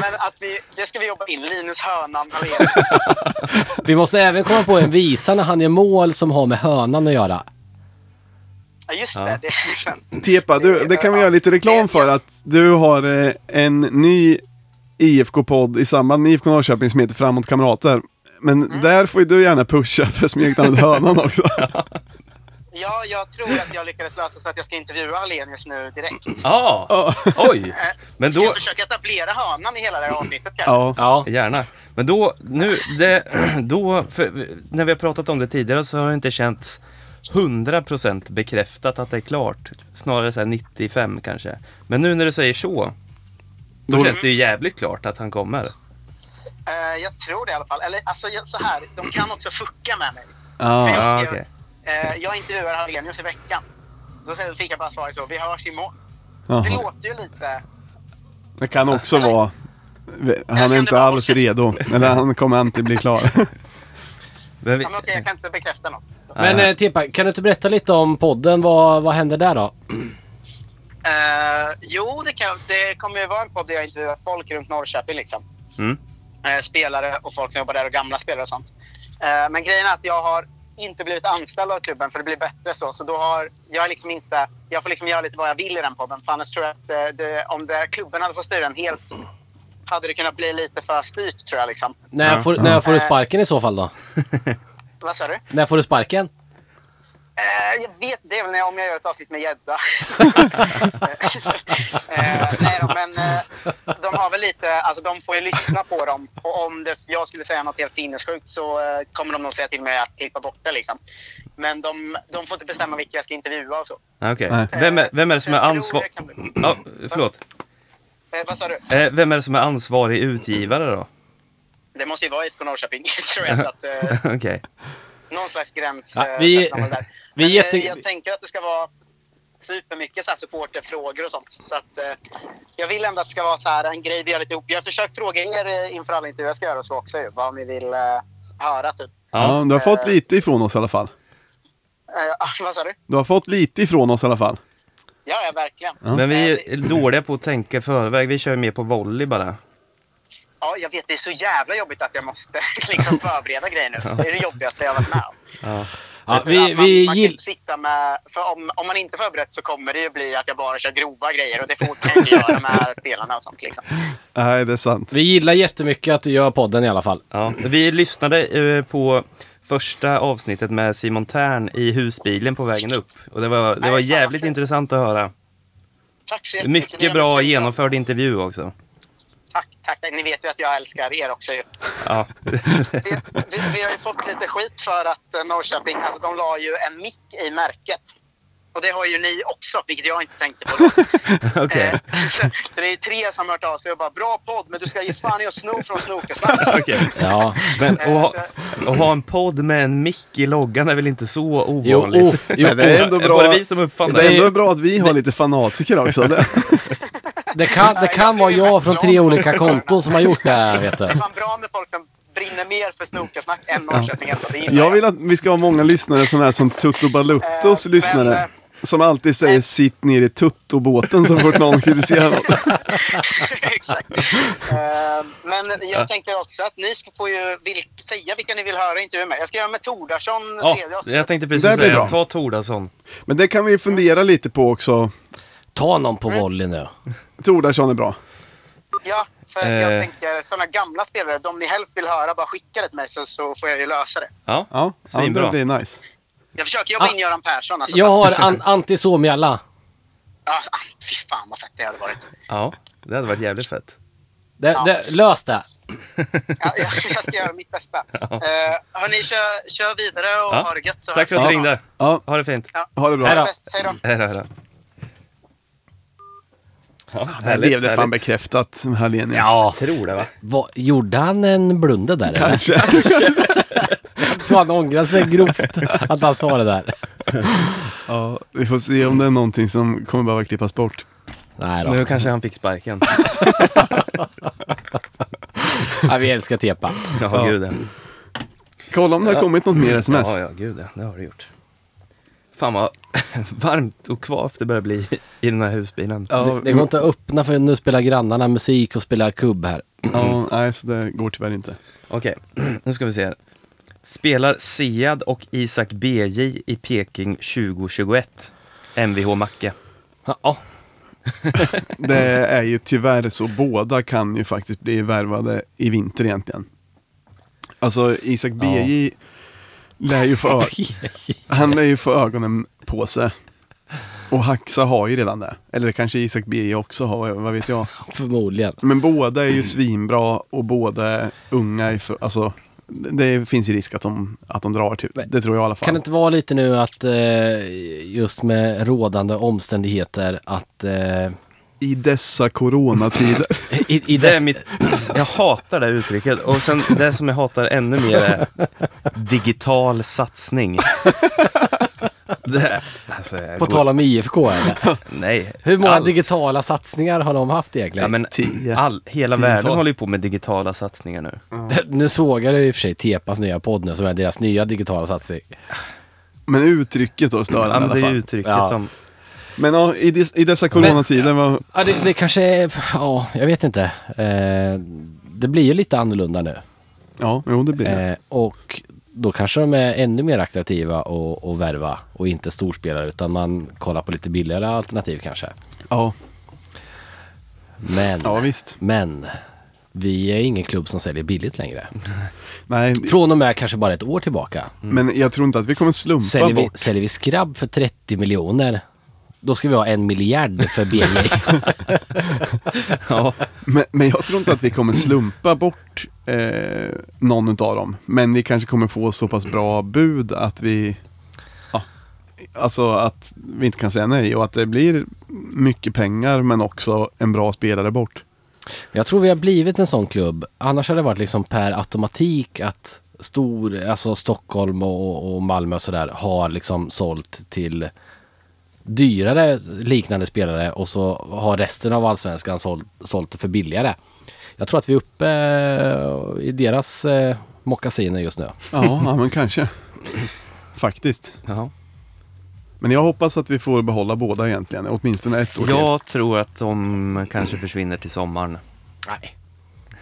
[SPEAKER 5] Men att vi, det ska vi jobba in, Linus hönan Hallenius.
[SPEAKER 3] Vi måste även komma på en visa när han gör mål som har med hönan att göra.
[SPEAKER 5] Ja just
[SPEAKER 2] Ja.
[SPEAKER 5] det, det är sant.
[SPEAKER 1] Tepa, du, det kan vi göra lite reklam för att du har eh, en ny IFK-podd i samband med IFK Norrköping som heter Framåt Kamrater. Men
[SPEAKER 5] Mm.
[SPEAKER 1] där får ju du gärna pusha för smeknamnet Hönan också.
[SPEAKER 5] Ja, jag tror att jag lyckades lösa så att jag ska intervjua Hallenius nu direkt. Eh,
[SPEAKER 2] Ja,
[SPEAKER 1] Ja.
[SPEAKER 2] oj. Mm. Men
[SPEAKER 5] Ska
[SPEAKER 2] då,
[SPEAKER 5] jag försöka etablera hönan i hela det här avsnittet kanske?
[SPEAKER 1] Ja.
[SPEAKER 3] Ja.
[SPEAKER 2] gärna. Men då, nu, det, då, för, när vi har pratat om det tidigare så har det inte känts 100% bekräftat att det är klart. Snarare så här 95 kanske. Men nu när du säger så, då
[SPEAKER 1] Då-
[SPEAKER 2] känns det ju jävligt klart att han kommer.
[SPEAKER 5] Eh, jag tror det i alla fall. Eller alltså jag- så här, de kan också fucka med mig. För
[SPEAKER 1] Ja.
[SPEAKER 5] jag,
[SPEAKER 2] Ja, Ah,
[SPEAKER 5] skrev,
[SPEAKER 2] okej.
[SPEAKER 5] eh, jag intervjuar Hallenius i veckan. Då säger- fick jag bara svaret så, vi hörs imorgon. Det
[SPEAKER 1] Jaha.
[SPEAKER 5] låter ju lite...
[SPEAKER 1] Det kan också vara... Han
[SPEAKER 5] kände
[SPEAKER 1] är inte
[SPEAKER 5] bara,
[SPEAKER 1] alls
[SPEAKER 5] "Åh, shit."
[SPEAKER 1] redo. Eller han kommer inte bli klar.
[SPEAKER 2] Men vi,
[SPEAKER 5] Ja, men okej, jag kan inte bekräfta något.
[SPEAKER 3] Men eh, Tippa, kan du inte berätta lite om podden? Vad, vad händer där då?
[SPEAKER 5] Eh, jo, det, kan, det kommer ju vara en podd där jag intervjuar folk runt Norrköping. Liksom.
[SPEAKER 2] Mm.
[SPEAKER 5] Eh, spelare och folk som jobbar där och gamla spelare och sånt. Eh, men grejen är att jag har inte blivit anställd av klubben för det blir bättre så. Så då har jag liksom inte... Jag får liksom göra lite vad jag vill i den podden. För annars tror jag att eh, det, om det, klubben hade fått styra den helt hade det kunnat bli lite för styrt tror jag. Liksom.
[SPEAKER 3] När,
[SPEAKER 2] Ja.
[SPEAKER 3] får, när får du sparken i så fall då?
[SPEAKER 5] Vad sa du?
[SPEAKER 3] När får du sparken?
[SPEAKER 5] Eh, jag vet det är väl när jag, om jag gör ett avsnitt med gädda. eh, nej då, men eh, de har väl lite, alltså de får ju lyssna på dem. Och om det, jag skulle säga något helt sinnessjukt så eh, kommer de nog säga till mig att klippa bort det liksom. Men de, de får inte bestämma vilka jag ska intervjua och så. Eh,
[SPEAKER 2] Ah, okej.
[SPEAKER 1] Nej.
[SPEAKER 2] Vem, är, vem är det som är
[SPEAKER 5] Jag tror det
[SPEAKER 2] ansvarig?
[SPEAKER 5] kan bli-
[SPEAKER 2] Ja, förlåt.
[SPEAKER 5] Eh, vad sa du?
[SPEAKER 2] Eh, vem är det som är ansvarig utgivare då?
[SPEAKER 5] Det måste ju vara IFK Norrköping tror jag. Så att, eh,
[SPEAKER 2] Okej.
[SPEAKER 5] någon slags gräns.
[SPEAKER 3] Ja,
[SPEAKER 5] eh,
[SPEAKER 3] vi-
[SPEAKER 5] sätter man väl där.
[SPEAKER 3] vi
[SPEAKER 5] Men, eh,
[SPEAKER 3] jätte-
[SPEAKER 5] Jag tänker att det ska vara supermycket så här supporterfrågor och sånt. Så att, eh, jag vill ändå att det ska vara så här en grej vi gör lite ihop. Jag har försökt fråga er eh, inför alla intervjuer jag ska göra och så också ju, vad ni vill eh, höra typ.
[SPEAKER 1] Ja,
[SPEAKER 2] Ja.
[SPEAKER 1] du har fått lite ifrån oss i alla fall.
[SPEAKER 5] Eh, ah, vad sa du?
[SPEAKER 1] Du har fått lite ifrån oss i alla fall.
[SPEAKER 5] Ja, ja verkligen.
[SPEAKER 1] Ja.
[SPEAKER 2] Men vi
[SPEAKER 5] Eh,
[SPEAKER 2] är dåliga på att tänka i förväg. Vi kör ju mer på volley bara.
[SPEAKER 5] Ja, jag vet, det är så jävla jobbigt att jag måste liksom förbereda grejer nu. Det är det jobbigaste jag har varit med om.
[SPEAKER 2] Ja.
[SPEAKER 3] Ja,
[SPEAKER 5] För
[SPEAKER 3] vi,
[SPEAKER 5] att man,
[SPEAKER 3] vi
[SPEAKER 5] man kan
[SPEAKER 3] gill...
[SPEAKER 5] inte sitta med, för om, om man inte är förberett så kommer det ju bli att jag bara kör grova grejer och det får kan jag inte göra med spelarna och sånt liksom.
[SPEAKER 1] Nej, det är sant.
[SPEAKER 3] Vi gillar jättemycket att du gör podden i alla fall.
[SPEAKER 2] Ja. Vi lyssnade eh, på första avsnittet med Simon Tern i husbilen på vägen upp. Och det var, det var
[SPEAKER 5] Nej, fan, vad
[SPEAKER 2] jävligt
[SPEAKER 5] fint.
[SPEAKER 2] intressant att höra.
[SPEAKER 5] Tack så jättemycket. Ni
[SPEAKER 2] Mycket
[SPEAKER 5] har
[SPEAKER 2] bra
[SPEAKER 5] beslutat.
[SPEAKER 2] genomförd intervju också.
[SPEAKER 5] Tack, tack, tack. Ni vet ju att jag älskar er också ju.
[SPEAKER 2] Ja.
[SPEAKER 5] Vi, vi, vi har ju fått lite skit för att eh, Norrköping, alltså de la ju en mick i märket. Och det har ju ni också, vilket jag inte tänkte på då.
[SPEAKER 2] Okej.
[SPEAKER 5] Eh, så, så det är ju tre som har hört av sig och bara “Bra podd, men du ska ge fan i att sno från Snokesnack”.
[SPEAKER 2] Okej.
[SPEAKER 3] Ja.
[SPEAKER 2] Men att ha, att ha en podd med en mick i loggan är väl inte så
[SPEAKER 3] Jo,
[SPEAKER 2] ovanligt?
[SPEAKER 3] oh, jo,
[SPEAKER 1] Men det är ändå
[SPEAKER 2] Var
[SPEAKER 1] bra.
[SPEAKER 2] det vi som uppfann
[SPEAKER 1] Det är
[SPEAKER 2] det?
[SPEAKER 1] ändå bra att vi har lite fanatiker också. Det,
[SPEAKER 3] det kan, det kan vara jag från tre olika konton som har gjort det här, vet du.
[SPEAKER 5] Det är fan bra med folk som brinner mer för Snokesnack än Norrköping. ändå. Det gillar
[SPEAKER 1] jag vill att vi ska ha många lyssnare som är som Tutto Baluttos
[SPEAKER 5] Eh, men, eh,
[SPEAKER 1] lyssnare. Som alltid säger sitt ner i tuttobåten så fort någon kritiserar något.
[SPEAKER 5] Exakt. Eh, men jag tänker också att ni ska få ju vilk- säga vilka ni vill höra intervjuer med. Jag ska göra med Tordarsson
[SPEAKER 2] Ja,
[SPEAKER 5] tredje avsnittet.
[SPEAKER 2] jag tänkte
[SPEAKER 1] Det här
[SPEAKER 2] precis
[SPEAKER 1] blir bra.
[SPEAKER 2] säga, ta Tordarsson.
[SPEAKER 1] Men det kan vi fundera lite på också.
[SPEAKER 3] Ta någon på volley nu.
[SPEAKER 1] Tordarsson är bra.
[SPEAKER 5] Ja, för att jag
[SPEAKER 2] Eh.
[SPEAKER 5] tänker sådana gamla spelare, de ni helst vill höra, bara skicka det till mig så, så får jag ju lösa det.
[SPEAKER 2] Ja,
[SPEAKER 1] Ja, ja det
[SPEAKER 2] svinbra.
[SPEAKER 1] blir nice.
[SPEAKER 5] Jag försöker jobba
[SPEAKER 3] Ah.
[SPEAKER 5] in Göran Persson. Alltså,
[SPEAKER 3] Jag har an antisomialla.
[SPEAKER 5] Ah, ah, fy fan vad fett det hade varit.
[SPEAKER 2] Ja, det hade varit jävligt fett.
[SPEAKER 3] Det, det, lös det.
[SPEAKER 5] Ja, jag, jag ska göra mitt bästa. Eh, hörni, kör, kör vidare och
[SPEAKER 2] Ja.
[SPEAKER 5] ha det gött. Så
[SPEAKER 2] Tack för att
[SPEAKER 5] hörs
[SPEAKER 2] du
[SPEAKER 5] vi.
[SPEAKER 2] ringde.
[SPEAKER 1] Ja,
[SPEAKER 2] Ha det fint.
[SPEAKER 5] Ja.
[SPEAKER 1] ha det
[SPEAKER 5] Ha
[SPEAKER 1] bra.
[SPEAKER 5] det
[SPEAKER 3] då.
[SPEAKER 5] bäst. Hej då.
[SPEAKER 2] Hej då, hej då. Ja,
[SPEAKER 1] Det
[SPEAKER 2] härligt,
[SPEAKER 1] blev det fan
[SPEAKER 2] härligt.
[SPEAKER 1] bekräftat, Hallenius.
[SPEAKER 3] Ja.
[SPEAKER 2] Tror det va?
[SPEAKER 3] Vad, gjorde han en blunder där eller?
[SPEAKER 1] Kanske.
[SPEAKER 3] Jag tror han ångrar sig grovt att han sa det där.
[SPEAKER 1] Ja, vi får se om det är någonting som kommer behöva klippas bort.
[SPEAKER 3] Nej då.
[SPEAKER 2] Nu kanske han fick sparken.
[SPEAKER 3] Ja, vi älskar Tepa.
[SPEAKER 2] Ja, gud ja.
[SPEAKER 1] Kolla om det har kommit något mer sms.
[SPEAKER 2] Ja, ja, gud ja. Det har det gjort. Fan vad varmt och kvavt det börjar bli i den här husbilen.
[SPEAKER 1] Ja,
[SPEAKER 3] Det går inte att öppna för nu spelar grannarna musik och spelar kubb här.
[SPEAKER 1] ja, nej, så det går tyvärr inte.
[SPEAKER 2] Okej, nu ska vi se. här. Spelar Sead och Isak BJ i Peking 2021? Mvh Macke.
[SPEAKER 3] Ja,
[SPEAKER 1] Det är ju tyvärr så, båda kan ju faktiskt bli värvade i vinter egentligen. Alltså Isak BJ lär ju få ö- han lär ju få ögonen på sig. Och Haxa har ju redan det. Eller kanske Isak BJ också har, vad vet jag.
[SPEAKER 3] förmodligen.
[SPEAKER 1] Men båda är
[SPEAKER 2] Mm.
[SPEAKER 1] ju svinbra och båda är unga. I för, alltså, det det finns ju risk att de, att de drar, typ. det tror jag i alla fall.
[SPEAKER 3] Kan det inte vara lite nu att eh, just med rådande omständigheter att eh,
[SPEAKER 1] I dessa coronatider.
[SPEAKER 3] i, i
[SPEAKER 2] Det är
[SPEAKER 3] dess,
[SPEAKER 2] mitt, jag hatar det här uttrycket och sen det som jag hatar ännu mer är digital satsning. Det, alltså, jag
[SPEAKER 3] På
[SPEAKER 2] går-
[SPEAKER 3] tal om IFK. eller?
[SPEAKER 2] Nej.
[SPEAKER 3] Hur många
[SPEAKER 2] allt.
[SPEAKER 3] digitala satsningar har de haft egentligen?
[SPEAKER 2] Ja, men
[SPEAKER 1] Tio.
[SPEAKER 2] all, hela
[SPEAKER 1] Tiotal.
[SPEAKER 2] världen håller ju på med digitala satsningar nu.
[SPEAKER 3] Nu sågar jag i och för sig Tepas nya podd nu som är deras nya digitala satsning.
[SPEAKER 1] Men uttrycket då är störande
[SPEAKER 2] Ja, men det
[SPEAKER 1] i
[SPEAKER 2] är
[SPEAKER 1] alla fall.
[SPEAKER 2] ju uttrycket
[SPEAKER 3] Ja.
[SPEAKER 2] som...
[SPEAKER 1] Men ja, i, dis- i dessa coronatider, vad,
[SPEAKER 3] Ja, det, det kanske är, ja, jag vet inte. Eh, det blir ju lite annorlunda nu.
[SPEAKER 1] ja, jo det blir det.
[SPEAKER 3] Eh, och då kanske de är ännu mer attraktiva och, och värva och inte storspelare utan man kollar på lite billigare alternativ kanske.
[SPEAKER 1] Ja,
[SPEAKER 3] Men,
[SPEAKER 1] ja visst.
[SPEAKER 3] men vi är ingen klubb som säljer billigt längre.
[SPEAKER 1] Nej,
[SPEAKER 3] Från och med kanske bara ett år tillbaka.
[SPEAKER 1] men jag tror inte att vi kommer slumpa
[SPEAKER 3] Säljer vi,
[SPEAKER 1] bort.
[SPEAKER 3] säljer vi skrabb för 30 miljoner då ska vi ha en miljard för BJ.
[SPEAKER 2] Ja.
[SPEAKER 1] Men, men jag tror inte att vi kommer slumpa bort eh, någon av dem. Men vi kanske kommer få så pass bra bud att vi... Ja, alltså att vi inte kan säga nej och att det blir mycket pengar men också en bra spelare bort.
[SPEAKER 3] Jag tror vi har blivit en sån klubb. Annars hade det varit liksom per automatik att stor, alltså Stockholm och, och Malmö och sådär har liksom sålt till dyrare liknande spelare och så har resten av allsvenskan sålt, sålt för billigare. Jag tror att vi är uppe eh, i deras eh, mockasiner just nu.
[SPEAKER 1] Ja, ja men kanske. Faktiskt.
[SPEAKER 2] Ja.
[SPEAKER 1] Men jag hoppas att vi får behålla båda egentligen, åtminstone ett år till.
[SPEAKER 2] Jag tror att de kanske försvinner till sommaren.
[SPEAKER 3] Nej.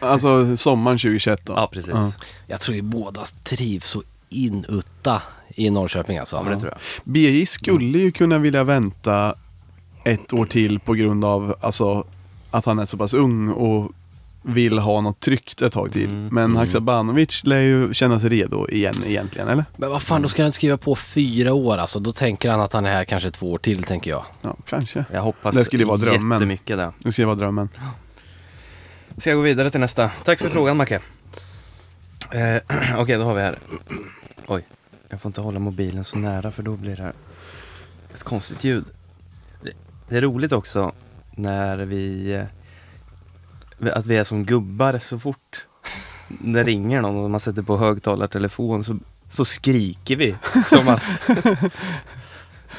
[SPEAKER 1] Alltså sommaren 2021 då.
[SPEAKER 2] Ja, precis.
[SPEAKER 1] Ja.
[SPEAKER 2] Ja,
[SPEAKER 3] Jag tror ju båda trivs så inutta i Norrköping alltså.
[SPEAKER 2] men det tror jag.
[SPEAKER 1] BJ skulle ju kunna vilja vänta ett år till på grund av alltså, att han är så pass ung och vill ha något tryggt ett tag till. Men Haksabanovic lär ju känna sig redo igen egentligen, eller?
[SPEAKER 3] Men vad fan, då ska han inte skriva på fyra år alltså. Då tänker han att han är här kanske två år till tänker jag.
[SPEAKER 1] Ja, kanske.
[SPEAKER 2] Jag hoppas
[SPEAKER 1] Det skulle ju vara drömmen.
[SPEAKER 2] jättemycket det.
[SPEAKER 1] Det ska ju vara drömmen.
[SPEAKER 2] Ska jag gå vidare till nästa? Tack för frågan Macke. Eh, Okej, då har vi här. Oj, jag får inte hålla mobilen så nära för då blir det här ett konstigt ljud. Det, det är roligt också när vi, eh, att vi är som gubbar så fort det ringer någon och man sätter på högtalartelefon så, så skriker vi som att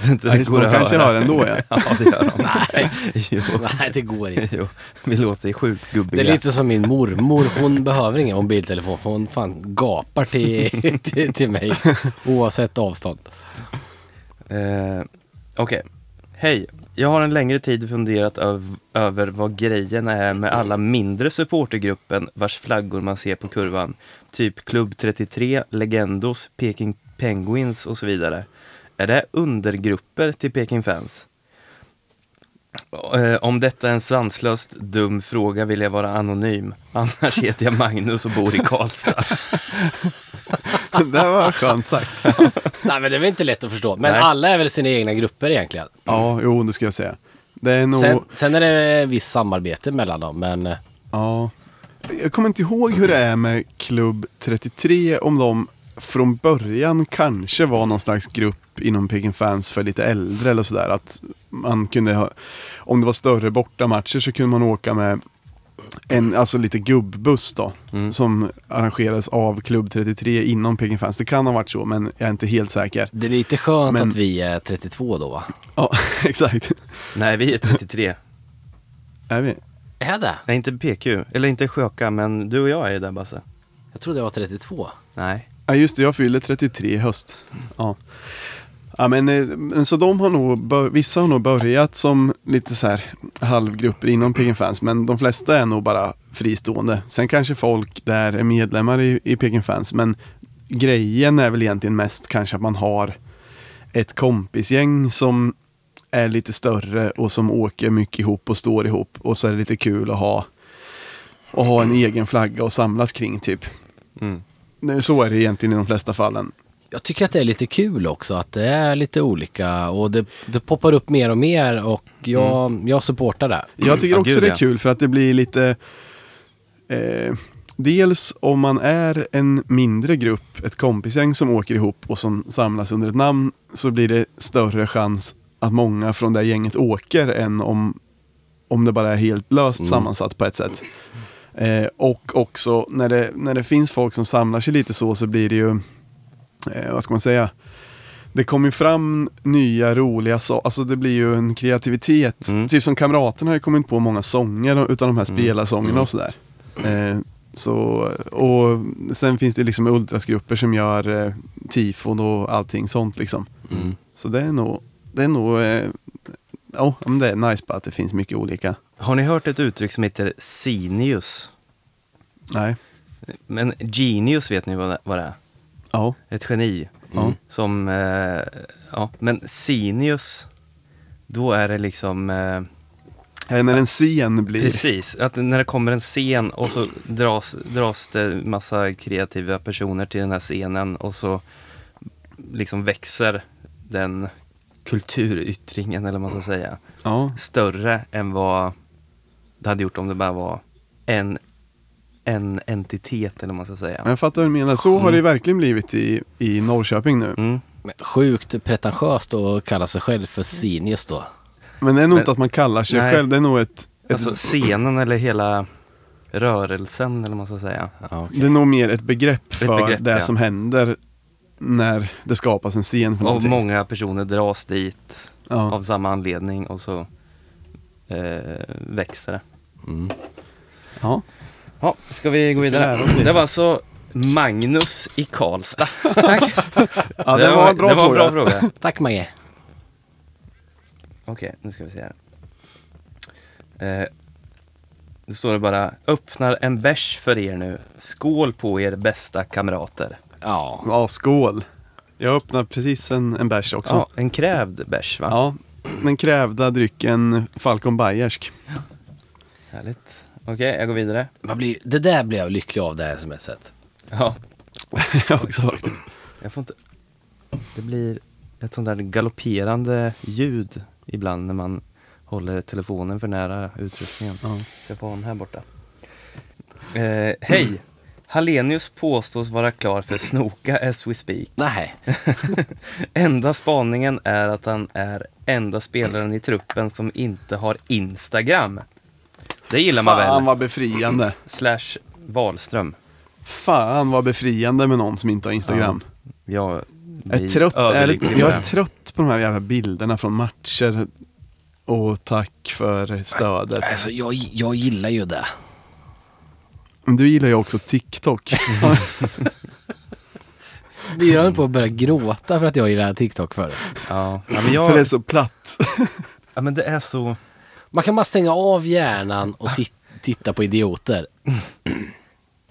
[SPEAKER 2] det inte
[SPEAKER 1] Ja, just det,
[SPEAKER 2] går
[SPEAKER 1] de
[SPEAKER 2] att
[SPEAKER 1] kanske
[SPEAKER 2] höra.
[SPEAKER 1] hör ändå, ja.
[SPEAKER 2] ja, det gör de. Nej. Jo,
[SPEAKER 3] Nej, det går inte.
[SPEAKER 2] jo, vi låter ju sjukt
[SPEAKER 3] Det
[SPEAKER 2] gubbiga.
[SPEAKER 3] är lite som min mormor, hon behöver ingen mobiltelefon för hon fan gapar till, till, till mig oavsett avstånd.
[SPEAKER 2] Eh, Okej. Hej. Jag har en längre tid funderat öv- över vad grejen är med alla mindre supportergruppen vars flaggor man ser på kurvan. Typ Klubb 33, Legendos, Peking Penguins och så vidare. Är det undergrupper till Peking Fans? Eh, Om detta är en sanslöst dum fråga vill jag vara anonym. Annars heter jag Magnus och bor i Karlstad.
[SPEAKER 1] det här var skönt sagt.
[SPEAKER 3] Nej men det är väl inte lätt att förstå. Men
[SPEAKER 2] Nej.
[SPEAKER 3] alla är väl sina egna grupper egentligen.
[SPEAKER 1] Ja, jo, det ska jag säga. Det är nog...
[SPEAKER 3] Sen, sen är det visst samarbete mellan dem men eh,
[SPEAKER 1] Ja. Jag kommer inte ihåg hur det är med Klubb 33, om de från början kanske var någon slags grupp inom Peking Fans för lite äldre eller sådär. Att man kunde ha, om det var större bortamatcher så kunde man åka med en, alltså lite gubbbuss då. Som arrangerades av Klubb 33 inom Peking Fans. Det kan ha varit så, men jag är inte helt säker.
[SPEAKER 3] det är lite skönt
[SPEAKER 1] Men-
[SPEAKER 3] att vi är 32 då va?
[SPEAKER 1] Ja, exakt.
[SPEAKER 2] Nej, vi är 33.
[SPEAKER 1] Är vi?
[SPEAKER 3] Är det?
[SPEAKER 2] Nej, inte PQ. Eller inte Sjöka, men du och jag är ju där Basse.
[SPEAKER 3] Jag trodde jag var 32.
[SPEAKER 2] Nej.
[SPEAKER 1] Ja just det, jag fyller 33 i höst. Ja. Ja, men, eh, men så de har nog, bör, vissa har nog börjat som lite så här halvgrupper inom Peking Fans, men de flesta är nog bara fristående. Sen kanske folk där är medlemmar i, i Peking Fans, men grejen är väl egentligen mest kanske att man har ett kompisgäng som är lite större och som åker mycket ihop och står ihop och så är det lite kul att ha, att ha en egen flagga och samlas kring typ.
[SPEAKER 2] Mm.
[SPEAKER 1] Nej, Så är det egentligen i de flesta fallen.
[SPEAKER 3] Jag tycker att det är lite kul också att det är lite olika och det, det poppar upp mer och mer och jag, jag supportar det.
[SPEAKER 1] Jag tycker
[SPEAKER 2] Mm. Ja,
[SPEAKER 1] också
[SPEAKER 2] gud,
[SPEAKER 1] det är
[SPEAKER 2] ja.
[SPEAKER 1] kul för att det blir lite... Eh, dels om man är en mindre grupp, ett kompisgäng som åker ihop och som samlas under ett namn, så blir det större chans att många från det gänget åker än om, om det bara är helt löst
[SPEAKER 2] Mm.
[SPEAKER 1] sammansatt på ett sätt. Eh, och också när det, när det finns folk som samlar sig lite så, så blir det ju, eh, vad ska man säga, det kommer ju fram nya roliga saker, alltså det blir ju en kreativitet.
[SPEAKER 2] Mm.
[SPEAKER 1] Typ som Kamraterna har ju kommit på många sånger utan de här spelarsångerna och sådär. Eh, så, och sen finns det liksom ultrasgrupper som gör eh, tifon och allting sånt liksom.
[SPEAKER 3] Mm.
[SPEAKER 1] Så det är nog, det är nog, eh, ja men det är nice bara att det finns mycket olika.
[SPEAKER 2] Har ni hört ett uttryck som heter sinius?
[SPEAKER 1] Nej,
[SPEAKER 2] Men genius vet ni vad det- vad det är?
[SPEAKER 1] ja,
[SPEAKER 2] Ett geni.
[SPEAKER 1] Ja.
[SPEAKER 2] Som, eh, ja, men sinius, då är det liksom, eh,
[SPEAKER 1] Eh, när en scen blir,
[SPEAKER 2] precis, att när det kommer en scen och så dras, dras det massa kreativa personer till den här scenen och så liksom växer den kulturyttringen eller vad man ska säga,
[SPEAKER 1] ja,
[SPEAKER 2] större än vad det hade gjort om det bara var en, en entitet eller vad man ska säga.
[SPEAKER 1] Men jag fattar hur du menar. Så har det ju verkligen blivit i, i Norrköping nu.
[SPEAKER 2] Mm.
[SPEAKER 3] Men Sjukt pretentiöst att kalla sig själv för Sinius då.
[SPEAKER 1] Men det är nog
[SPEAKER 2] Men-
[SPEAKER 1] inte att man kallar sig
[SPEAKER 2] Nej.
[SPEAKER 1] själv, det är nog ett, ett
[SPEAKER 2] Alltså scenen eller hela rörelsen eller vad man ska säga.
[SPEAKER 3] Ja, okej.
[SPEAKER 1] Det är nog mer ett begrepp för
[SPEAKER 2] begrepp,
[SPEAKER 1] det
[SPEAKER 2] ja.
[SPEAKER 1] som händer när det skapas en scen för
[SPEAKER 2] Och
[SPEAKER 1] någonting.
[SPEAKER 2] många personer dras dit
[SPEAKER 1] ja.
[SPEAKER 2] av samma anledning och så eh, växer det.
[SPEAKER 1] Ja.
[SPEAKER 2] Ja, ska vi gå
[SPEAKER 1] lära
[SPEAKER 2] vidare?
[SPEAKER 1] oss lite.
[SPEAKER 2] Det var alltså Magnus i Karlstad.
[SPEAKER 1] ja, det, var en bra
[SPEAKER 2] det var en
[SPEAKER 1] fråga.
[SPEAKER 2] bra fråga.
[SPEAKER 3] Tack Mange.
[SPEAKER 2] Okej, nu ska vi se här. Eh, nu står det bara, öppnar en bärs för er nu. Skål på er bästa kamrater.
[SPEAKER 3] Ja,
[SPEAKER 1] Ja, skål. Jag öppnade precis en, en bärs också.
[SPEAKER 2] Ja,
[SPEAKER 1] Ja.
[SPEAKER 2] en krävd bärs va?
[SPEAKER 1] Den krävda drycken Falcon Bayersk.
[SPEAKER 2] Härligt. Okej, jag går vidare.
[SPEAKER 3] man blir, det där blev jag lycklig av det här smset.
[SPEAKER 2] Ja,
[SPEAKER 1] Jag också faktiskt.
[SPEAKER 2] jag får inte... Det blir ett sånt där galopperande ljud ibland när man håller telefonen för nära utrustningen. Så jag får ha den här borta. Eh, Hej! Hallenius påstås vara klar för Snoka as we speak.
[SPEAKER 3] Nej.
[SPEAKER 2] Enda spaningen är att han är enda spelaren i truppen som inte har Instagram. Det gillar man
[SPEAKER 1] Fan
[SPEAKER 2] väl?
[SPEAKER 1] vad befriande.
[SPEAKER 2] Slash Wahlström.
[SPEAKER 1] Fan vad befriande med någon som inte har Instagram.
[SPEAKER 2] Jag
[SPEAKER 1] Jag är, trött, ärligt,
[SPEAKER 2] överlycklig på
[SPEAKER 1] jag
[SPEAKER 2] det.
[SPEAKER 1] är trött på de här jävla bilderna från matcher. Och tack för stödet.
[SPEAKER 3] Alltså jag, jag gillar ju det.
[SPEAKER 1] Men Du gillar ju också TikTok.
[SPEAKER 3] Jag höll på att börja gråta för att jag gillar TikTok för.
[SPEAKER 2] Ja, ja, men jag...
[SPEAKER 1] För det är så platt.
[SPEAKER 2] Ja men det är så,
[SPEAKER 3] Man kan bara stänga av hjärnan och ti- titta på idioter.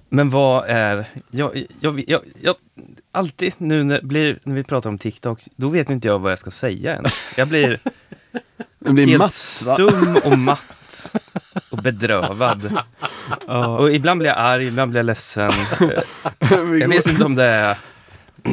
[SPEAKER 2] men vad är, jag, jag, jag, jag alltid nu när, blir, när vi pratar om TikTok, då vet inte jag vad jag ska säga än. Jag blir
[SPEAKER 1] Det blir
[SPEAKER 2] helt
[SPEAKER 1] massa.
[SPEAKER 2] stum och matt och bedrövad. Och ibland blir jag arg, ibland blir jag ledsen. Jag vet inte om det är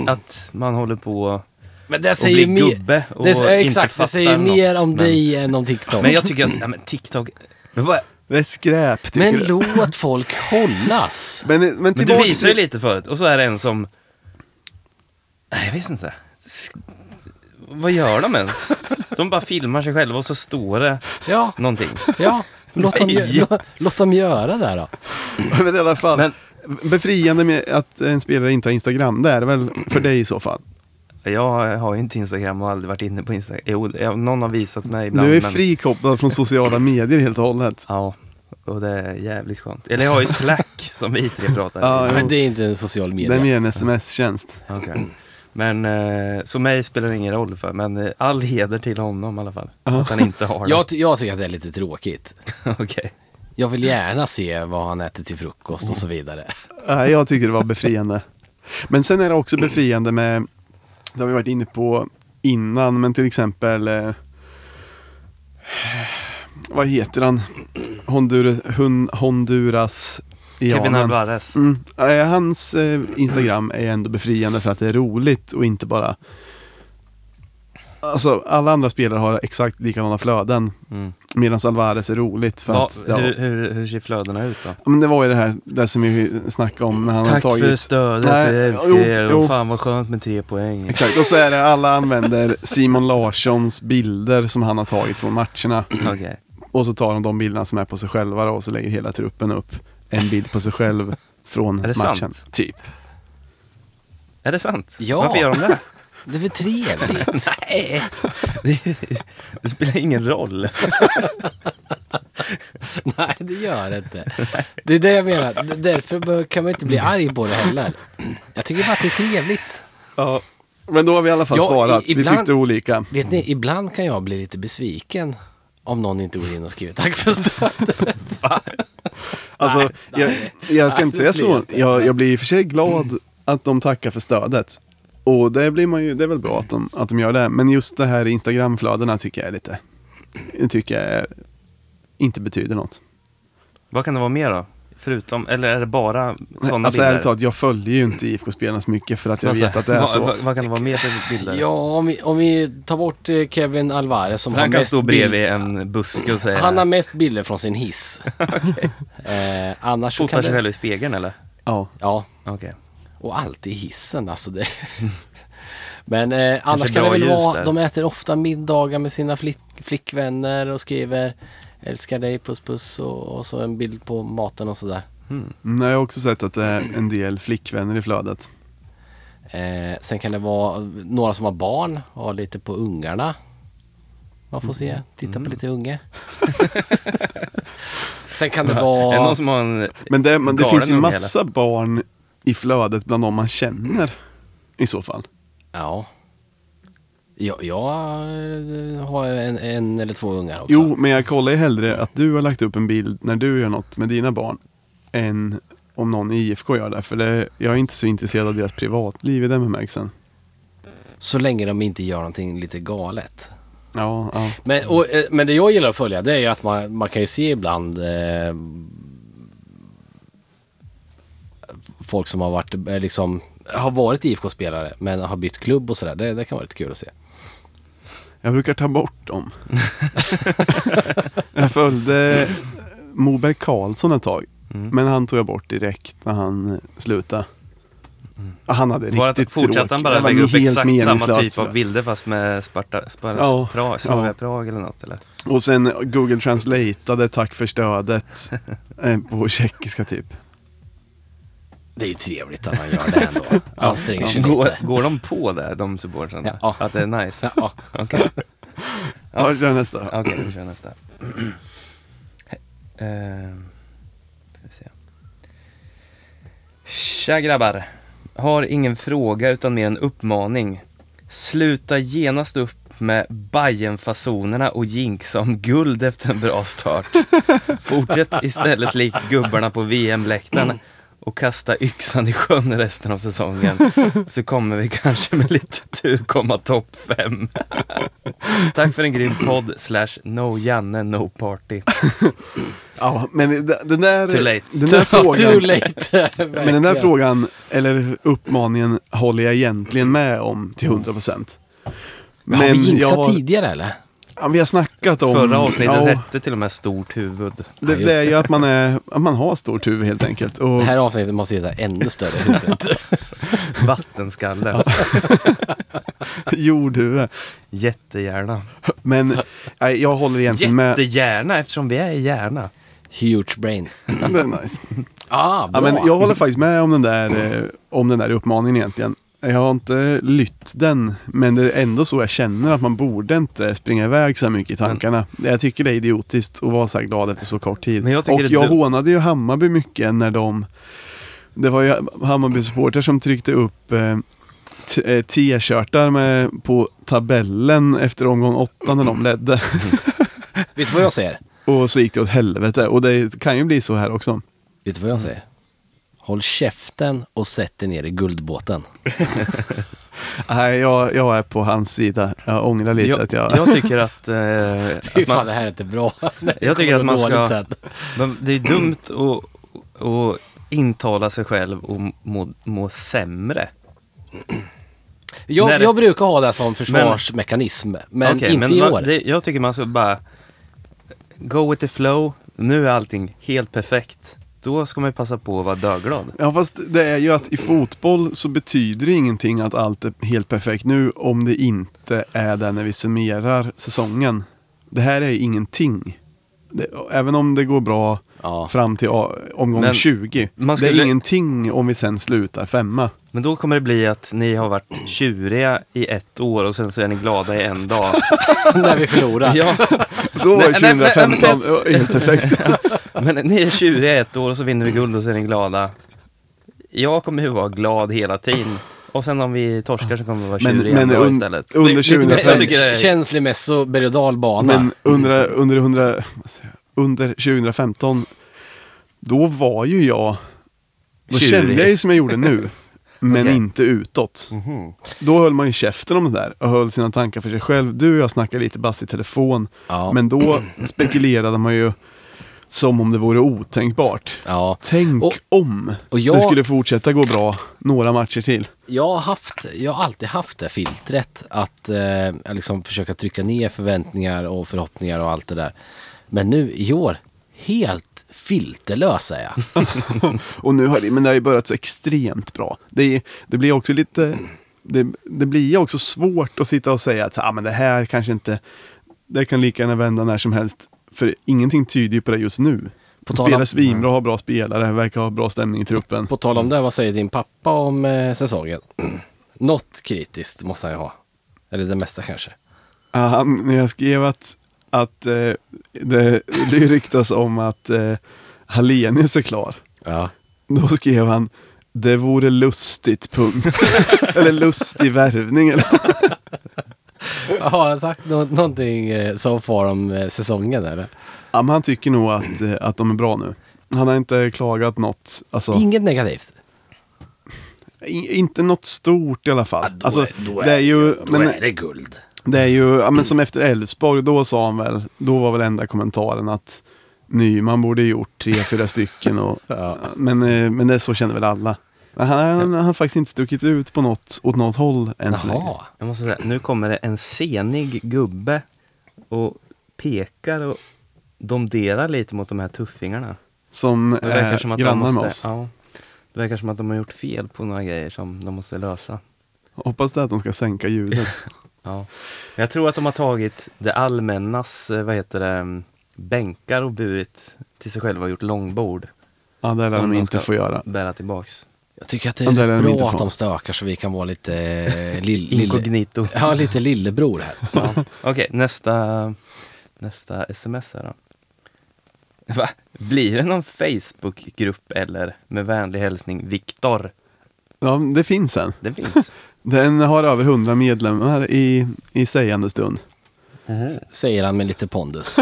[SPEAKER 2] att man håller på
[SPEAKER 3] Men det
[SPEAKER 2] och
[SPEAKER 3] säger
[SPEAKER 2] blir
[SPEAKER 3] mer...
[SPEAKER 2] gubbe och
[SPEAKER 3] Det, är-
[SPEAKER 2] inte
[SPEAKER 3] exakt,
[SPEAKER 2] fattar
[SPEAKER 3] det säger mer
[SPEAKER 2] något.
[SPEAKER 3] om
[SPEAKER 2] men,
[SPEAKER 3] dig än om TikTok.
[SPEAKER 2] Men jag tycker att, ja, men TikTok, men, vad,
[SPEAKER 1] Det är skräp tycker
[SPEAKER 3] Men
[SPEAKER 1] du.
[SPEAKER 3] låt folk hållas.
[SPEAKER 1] Men, men
[SPEAKER 2] Men du
[SPEAKER 1] tillbaks
[SPEAKER 2] visade ju
[SPEAKER 1] till-
[SPEAKER 2] lite förut och så är det en som... Nej, jag vet inte. Sk- Vad gör de ens? De bara filmar sig själva och så står det
[SPEAKER 3] Ja,
[SPEAKER 2] någonting.
[SPEAKER 3] ja. Låt dem,
[SPEAKER 2] Nej.
[SPEAKER 3] gö- låt, låt dem göra det här då.
[SPEAKER 1] men i alla fall.
[SPEAKER 2] Men-
[SPEAKER 1] Befriande med att en spelare inte har Instagram, det är det väl för dig i så fall?
[SPEAKER 2] Jag har ju inte Instagram och aldrig varit inne på Instagram. Jo, jag- någon har visat mig ibland.
[SPEAKER 1] Du är
[SPEAKER 2] men-
[SPEAKER 1] frikopplad från sociala medier helt och hållet.
[SPEAKER 2] Ja, och det är jävligt skönt. Eller jag har ju Slack som vi tre pratar
[SPEAKER 1] Ja,
[SPEAKER 2] i.
[SPEAKER 1] jo.
[SPEAKER 3] Men det är inte en social
[SPEAKER 1] Det är
[SPEAKER 3] media.
[SPEAKER 1] mer en sms-tjänst.
[SPEAKER 2] Okej. Men, eh, så mig spelar det ingen roll för, men eh, all heder till honom i alla fall. Att han inte har det.
[SPEAKER 3] Jag, ty- jag tycker att det är lite tråkigt.
[SPEAKER 2] Okej.
[SPEAKER 3] Jag vill gärna se vad han äter till frukost och så vidare.
[SPEAKER 1] Nej, jag tycker det var befriande. Men sen är det också befriande med, det har vi varit inne på innan, men till exempel, eh, vad heter han? Hondur, hun, Honduras
[SPEAKER 2] Kevin
[SPEAKER 1] Ianern.
[SPEAKER 2] Alvarez.
[SPEAKER 1] Mm. Eh, Hans eh, Instagram är ändå befriande för att det är roligt och inte bara... Alltså alla andra spelare har exakt likadana flöden.
[SPEAKER 2] Mm.
[SPEAKER 1] Medan Alvarez är roligt för
[SPEAKER 2] Va,
[SPEAKER 1] att... Ja,
[SPEAKER 2] hur, hur, hur ser flödena ut då?
[SPEAKER 1] men det var ju det här, det som vi snackade om när han har
[SPEAKER 2] Tack
[SPEAKER 1] tagit...
[SPEAKER 2] för stödet,
[SPEAKER 1] Nej,
[SPEAKER 2] jag älskar
[SPEAKER 1] jo,
[SPEAKER 2] er.
[SPEAKER 1] jo.
[SPEAKER 2] Och fan vad skönt med tre poäng.
[SPEAKER 1] Exakt, och så är det alla använder Simon Larssons bilder som han har tagit från matcherna.
[SPEAKER 2] Okej.
[SPEAKER 1] Och så tar de de bilderna som är på sig själva då, och så lägger hela truppen upp en bild på sig själv från
[SPEAKER 2] Är det
[SPEAKER 1] matchen.
[SPEAKER 2] sant?
[SPEAKER 1] Typ.
[SPEAKER 2] Är det sant?
[SPEAKER 3] Ja.
[SPEAKER 2] Varför gör de det?
[SPEAKER 3] Det är väl trevligt?
[SPEAKER 2] Nej, det, det spelar ingen roll.
[SPEAKER 3] Nej, det gör det inte. Det är det jag menar. D- Därför bör- kan man inte bli arg på det heller. Jag tycker bara att det är trevligt.
[SPEAKER 1] Ja. Men då har vi i alla fall
[SPEAKER 3] Ja, i-
[SPEAKER 1] svarat.
[SPEAKER 3] ibland-
[SPEAKER 1] Vi tyckte olika.
[SPEAKER 3] Vet ni, ibland kan jag bli lite besviken om någon inte går in och skriver tack för stödet.
[SPEAKER 1] Alltså, jag, jag ska
[SPEAKER 3] Nej,
[SPEAKER 1] inte
[SPEAKER 3] det
[SPEAKER 1] säga
[SPEAKER 3] blir
[SPEAKER 1] så. Jag, jag blir i och för sig glad att de tackar för stödet. Och det, blir man ju, det är väl bra att de, att de gör det. Men just det här Instagramflödena tycker jag är lite... Tycker jag är, inte betyder något.
[SPEAKER 2] Vad kan det vara mer då? Förutom, eller är det bara sådana
[SPEAKER 1] alltså
[SPEAKER 2] bilder?
[SPEAKER 1] ärligt talat, jag följer ju inte IFK-spelarna så mycket för att jag
[SPEAKER 2] Alltså,
[SPEAKER 1] vet att det är
[SPEAKER 2] vad,
[SPEAKER 1] så.
[SPEAKER 2] Vad, vad kan det vara mer för bilder?
[SPEAKER 3] Ja, om vi, om vi tar bort eh, Kevin Alvarez som
[SPEAKER 2] För han
[SPEAKER 3] har
[SPEAKER 2] kan
[SPEAKER 3] mest
[SPEAKER 2] stå
[SPEAKER 3] bild-
[SPEAKER 2] bredvid eh, en buske och säga
[SPEAKER 3] Han har mest bilder från sin hiss. eh, annars så
[SPEAKER 2] Fotar
[SPEAKER 3] kan
[SPEAKER 2] sig
[SPEAKER 3] det...
[SPEAKER 2] själv i spegeln eller?
[SPEAKER 1] Ja.
[SPEAKER 3] Ja,
[SPEAKER 2] Okej.
[SPEAKER 3] och alltid i hissen alltså. Det. Men eh, annars kan det
[SPEAKER 2] bra
[SPEAKER 3] väl
[SPEAKER 2] ljus
[SPEAKER 3] vara,
[SPEAKER 2] där.
[SPEAKER 3] de äter ofta middagar med sina flick, flickvänner och skriver Älskar dig, puss puss och, och så en bild på maten och sådär.
[SPEAKER 1] Mm, Jag har också sett att det är en del flickvänner i flödet.
[SPEAKER 3] Eh, sen kan det vara några som har barn och har lite på ungarna. Man får
[SPEAKER 2] Mm.
[SPEAKER 3] se, titta på lite unge. sen kan det
[SPEAKER 2] Är det
[SPEAKER 3] vara...
[SPEAKER 2] någon som har en...
[SPEAKER 1] Men det, men det
[SPEAKER 2] Galen
[SPEAKER 1] finns ju
[SPEAKER 2] unge,
[SPEAKER 1] massa barn i flödet bland de man känner i så fall.
[SPEAKER 3] Ja. Jag, jag eh, har en, en eller två ungar också.
[SPEAKER 1] Jo, men jag kollar ju hellre att du har lagt upp en bild när du gör något med dina barn än om någon i IFK gör det. För det, jag är inte så intresserad av deras privatliv i den bemärkelsen.
[SPEAKER 3] Så länge de inte gör någonting lite galet.
[SPEAKER 1] Ja, ja.
[SPEAKER 3] Men, och, eh, men det jag gillar att följa det är ju att man, man kan ju se ibland eh, folk som har varit, eh, liksom, har varit IFK-spelare men har bytt klubb och sådär. Det, det kan vara lite kul att se.
[SPEAKER 1] Jag brukar ta bort dem. jag följde Moberg Karlsson ett tag.
[SPEAKER 2] Mm.
[SPEAKER 1] Men han tog jag bort direkt när han slutade.
[SPEAKER 2] Mm.
[SPEAKER 1] Han hade
[SPEAKER 2] Bara
[SPEAKER 1] riktigt
[SPEAKER 2] fortsatte han
[SPEAKER 1] tråkigt.
[SPEAKER 2] bara
[SPEAKER 1] Det var
[SPEAKER 2] lägga upp
[SPEAKER 1] helt
[SPEAKER 2] exakt samma
[SPEAKER 1] meningslöst
[SPEAKER 2] typ
[SPEAKER 1] för
[SPEAKER 2] av bilder fast med Sparta, Sparta
[SPEAKER 1] Ja,
[SPEAKER 2] Prag, Slavia
[SPEAKER 1] ja.
[SPEAKER 2] Prag eller något eller?
[SPEAKER 1] Och sen Google translateade tack för stödet eh, på tjeckiska typ.
[SPEAKER 3] Det är ju trevligt att man gör det ändå. Anstränger sig lite.
[SPEAKER 2] Går, går de på det, de supportrarna?
[SPEAKER 3] Ja.
[SPEAKER 2] Att det är nice?
[SPEAKER 3] Ja,
[SPEAKER 2] Okej,
[SPEAKER 1] Ja, kör nästa då.
[SPEAKER 2] Okej, vi kör nästa. Eh, ska vi se. Tja grabbar! Har ingen fråga utan mer en uppmaning. Sluta genast upp med Bajenfasonerna och jinxa om guld efter en bra start. Fortsätt istället likt gubbarna på VM-läktaren och kasta yxan i sjön resten av säsongen. Så kommer vi kanske med lite tur komma topp fem. Tack för en grym podd slash no Janne no party.
[SPEAKER 1] Ja, men d- den där,
[SPEAKER 2] Too late.
[SPEAKER 1] Den där
[SPEAKER 3] Too
[SPEAKER 1] frågan,
[SPEAKER 3] late.
[SPEAKER 1] men den där
[SPEAKER 3] Verkligen.
[SPEAKER 1] frågan, eller uppmaningen, håller jag egentligen med om till 100 procent.
[SPEAKER 3] Men har vi
[SPEAKER 1] jag
[SPEAKER 3] jinxat
[SPEAKER 1] har-
[SPEAKER 3] tidigare eller?
[SPEAKER 1] Ja, vi har snackat om...
[SPEAKER 2] Förra avsnittet
[SPEAKER 1] ja,
[SPEAKER 2] hette till och med stort huvud.
[SPEAKER 1] det,
[SPEAKER 3] Ja, just
[SPEAKER 1] det är ju
[SPEAKER 3] det.
[SPEAKER 1] att man, är, att man har stort huvud helt enkelt. Och,
[SPEAKER 3] Det här avsnittet måste heta ännu större huvud.
[SPEAKER 2] Vattenskalle.
[SPEAKER 1] jordhuvud.
[SPEAKER 2] Jättegärna.
[SPEAKER 1] Men nej, jag håller egentligen med.
[SPEAKER 2] Jättegärna eftersom vi är i Järna.
[SPEAKER 3] Huge brain.
[SPEAKER 1] Det är nice.
[SPEAKER 3] Ah, bra.
[SPEAKER 1] Ja, men jag håller faktiskt med om den där, eh, om den där uppmaningen egentligen. Jag har inte lytt den, men det är ändå så jag känner att man borde inte springa iväg så här mycket i tankarna. Jag tycker det är idiotiskt att vara så här glad efter så kort tid.
[SPEAKER 2] Men jag tycker
[SPEAKER 1] och
[SPEAKER 2] det är
[SPEAKER 1] jag
[SPEAKER 2] dumt.
[SPEAKER 1] hånade ju Hammarby mycket när de... Det var ju Hammarby-supportrar som tryckte upp eh, t- eh, t-shirtar med, på tabellen efter omgång åtta när de ledde.
[SPEAKER 3] Vet du vad jag säger?
[SPEAKER 1] och så gick det åt helvete. Och det kan ju bli så här också.
[SPEAKER 3] Vet du vad
[SPEAKER 2] Mm.
[SPEAKER 3] jag säger? Håll käften och sätt dig ner i guldbåten.
[SPEAKER 1] Nej, jag, jag är på hans sida. Jag ångrar lite att jag...
[SPEAKER 2] jag tycker att... Eh,
[SPEAKER 3] Fy
[SPEAKER 2] att
[SPEAKER 3] fan,
[SPEAKER 2] man,
[SPEAKER 3] det här är inte bra. Det
[SPEAKER 2] jag tycker
[SPEAKER 3] kommer
[SPEAKER 2] att man ska...
[SPEAKER 3] dåligt sen.
[SPEAKER 2] Men det är dumt att, att intala sig själv och må, må sämre. när
[SPEAKER 3] Jag,
[SPEAKER 2] det-
[SPEAKER 3] jag brukar ha det som försvarsmekanism, men,
[SPEAKER 2] Okej,
[SPEAKER 3] inte i
[SPEAKER 2] man-
[SPEAKER 3] år.
[SPEAKER 2] Det, jag tycker man ska bara go with the flow. Nu är allting helt perfekt. Då ska man ju passa på att vara döglad.
[SPEAKER 1] Ja, fast det är ju att i fotboll så betyder det ingenting att allt är helt perfekt nu om det inte är det när vi summerar säsongen. Det här är ju ingenting. Det, även om det går bra
[SPEAKER 3] Ja.
[SPEAKER 1] fram till a- omgång
[SPEAKER 2] Men
[SPEAKER 1] 20.
[SPEAKER 2] man
[SPEAKER 1] Det
[SPEAKER 2] skulle-
[SPEAKER 1] är ingenting om vi sen slutar femma.
[SPEAKER 2] Men då kommer det bli att ni har varit tjuriga i ett år och sen så är ni glada i en dag.
[SPEAKER 3] När vi förlorar.
[SPEAKER 2] ja,
[SPEAKER 1] Så
[SPEAKER 2] Nej,
[SPEAKER 1] är
[SPEAKER 2] nej, nej, nej, men
[SPEAKER 1] 2015,
[SPEAKER 2] sätt-
[SPEAKER 1] ja, helt perfekt.
[SPEAKER 2] men ni är tjuriga i ett år och så vinner vi guld och så är ni glada. Jag kommer ju vara glad hela tiden. Och sen om vi torskar så kommer vi vara
[SPEAKER 1] Men-
[SPEAKER 2] tjuriga
[SPEAKER 1] men
[SPEAKER 2] en dag
[SPEAKER 1] un-
[SPEAKER 2] istället.
[SPEAKER 1] under
[SPEAKER 2] Det- det- jag
[SPEAKER 1] 2005
[SPEAKER 2] tycker det är-
[SPEAKER 3] Känslomässig berg och dalbana.
[SPEAKER 1] Men under, under, under, under 2015, då var ju jag, då
[SPEAKER 2] Tjurig.
[SPEAKER 1] kände jag ju som jag gjorde nu. Men
[SPEAKER 2] Okej.
[SPEAKER 1] inte utåt.
[SPEAKER 2] Mhm.
[SPEAKER 1] Då höll man ju käften om det där och höll sina tankar för sig själv. Du och jag snackade lite bass i telefon.
[SPEAKER 3] Ja.
[SPEAKER 1] Men då spekulerade man ju som om det vore otänkbart.
[SPEAKER 3] Ja.
[SPEAKER 1] Tänk
[SPEAKER 3] Och-
[SPEAKER 1] om
[SPEAKER 3] och jag-
[SPEAKER 1] det skulle fortsätta gå bra några matcher till.
[SPEAKER 3] Jag har, haft, jag har alltid haft det filtret att eh, liksom försöka trycka ner förväntningar och förhoppningar och allt det där. Men nu i år, helt filterlös är jag.
[SPEAKER 1] Och nu har det, men det har ju börjat så extremt bra. Det, är- det blir också lite... Det, det blir ju också svårt att sitta och säga att så, ah, men det här kanske inte... Det kan lika gärna vända när som helst. För ingenting tyder ju på det just nu.
[SPEAKER 3] På
[SPEAKER 1] På
[SPEAKER 3] tal om- Mm.
[SPEAKER 1] Spelar svinbra, har bra spelare, verkar ha bra stämning i truppen.
[SPEAKER 3] På tal om det, vad säger din pappa om eh, säsongen? Något kritiskt måste han ju ha. Eller det mesta kanske.
[SPEAKER 1] Ja, han- när jag skrev att, att eh, det, det ryktas om att eh, Hallenius är klar.
[SPEAKER 3] Ja.
[SPEAKER 1] Då skrev han det vore lustigt, punkt. eller lustig värvning. Eller.
[SPEAKER 3] Har han sagt nå- någonting eh, så far om eh, säsongen eller?
[SPEAKER 1] Ja, men han tycker nog att, eh, att de är bra nu. Han har inte klagat något. Alltså,
[SPEAKER 3] Inget negativt?
[SPEAKER 1] i- inte något stort i alla fall.
[SPEAKER 3] då
[SPEAKER 1] alltså,
[SPEAKER 3] är- då är-
[SPEAKER 1] det är ju,
[SPEAKER 3] Då
[SPEAKER 1] men
[SPEAKER 3] är det guld.
[SPEAKER 1] det är ju, ja, men som efter Elfsborg, då sa han väl, då var väl enda kommentaren att Nyman borde gjort tre, fyra stycken. Och,
[SPEAKER 3] Ja.
[SPEAKER 1] men, eh, men det så känner väl alla. Men han, han, han har faktiskt inte stuckit ut på något, åt något håll än så länge.
[SPEAKER 3] Jaha.
[SPEAKER 2] Jag måste säga, nu kommer det en senig gubbe och pekar och domderar lite mot de här tuffingarna.
[SPEAKER 1] Som
[SPEAKER 2] Det verkar
[SPEAKER 1] är
[SPEAKER 2] som att de
[SPEAKER 1] Eh, grannar
[SPEAKER 2] måste,
[SPEAKER 1] med oss.
[SPEAKER 2] Ja, det verkar som att de har gjort fel på några grejer som de måste lösa.
[SPEAKER 1] Hoppas det att de ska sänka ljudet.
[SPEAKER 2] Ja. Men Jag tror att de har tagit det allmännas, eh, vad heter det, mm, bänkar och burit till sig själva och gjort långbord.
[SPEAKER 1] Ja, det lär
[SPEAKER 2] Som
[SPEAKER 1] de
[SPEAKER 2] de
[SPEAKER 1] inte
[SPEAKER 2] ska-
[SPEAKER 1] få göra.
[SPEAKER 2] Bära tillbaks.
[SPEAKER 3] Jag tycker att det
[SPEAKER 1] Ja, där är
[SPEAKER 3] är
[SPEAKER 1] de inte
[SPEAKER 3] bra att
[SPEAKER 1] från.
[SPEAKER 3] de stökar så vi kan vara lite eh, lill, lille,
[SPEAKER 2] Inkognito.
[SPEAKER 3] ja, lite lillebror här.
[SPEAKER 2] Ja. Okej, nästa, nästa sms här då. Va? Blir det någon Facebookgrupp eller? Med vänlig hälsning Viktor.
[SPEAKER 1] Ja, det finns en.
[SPEAKER 2] Det finns.
[SPEAKER 1] Den har över 100 medlemmar i, i sägande stund.
[SPEAKER 3] Säger han med lite pondus.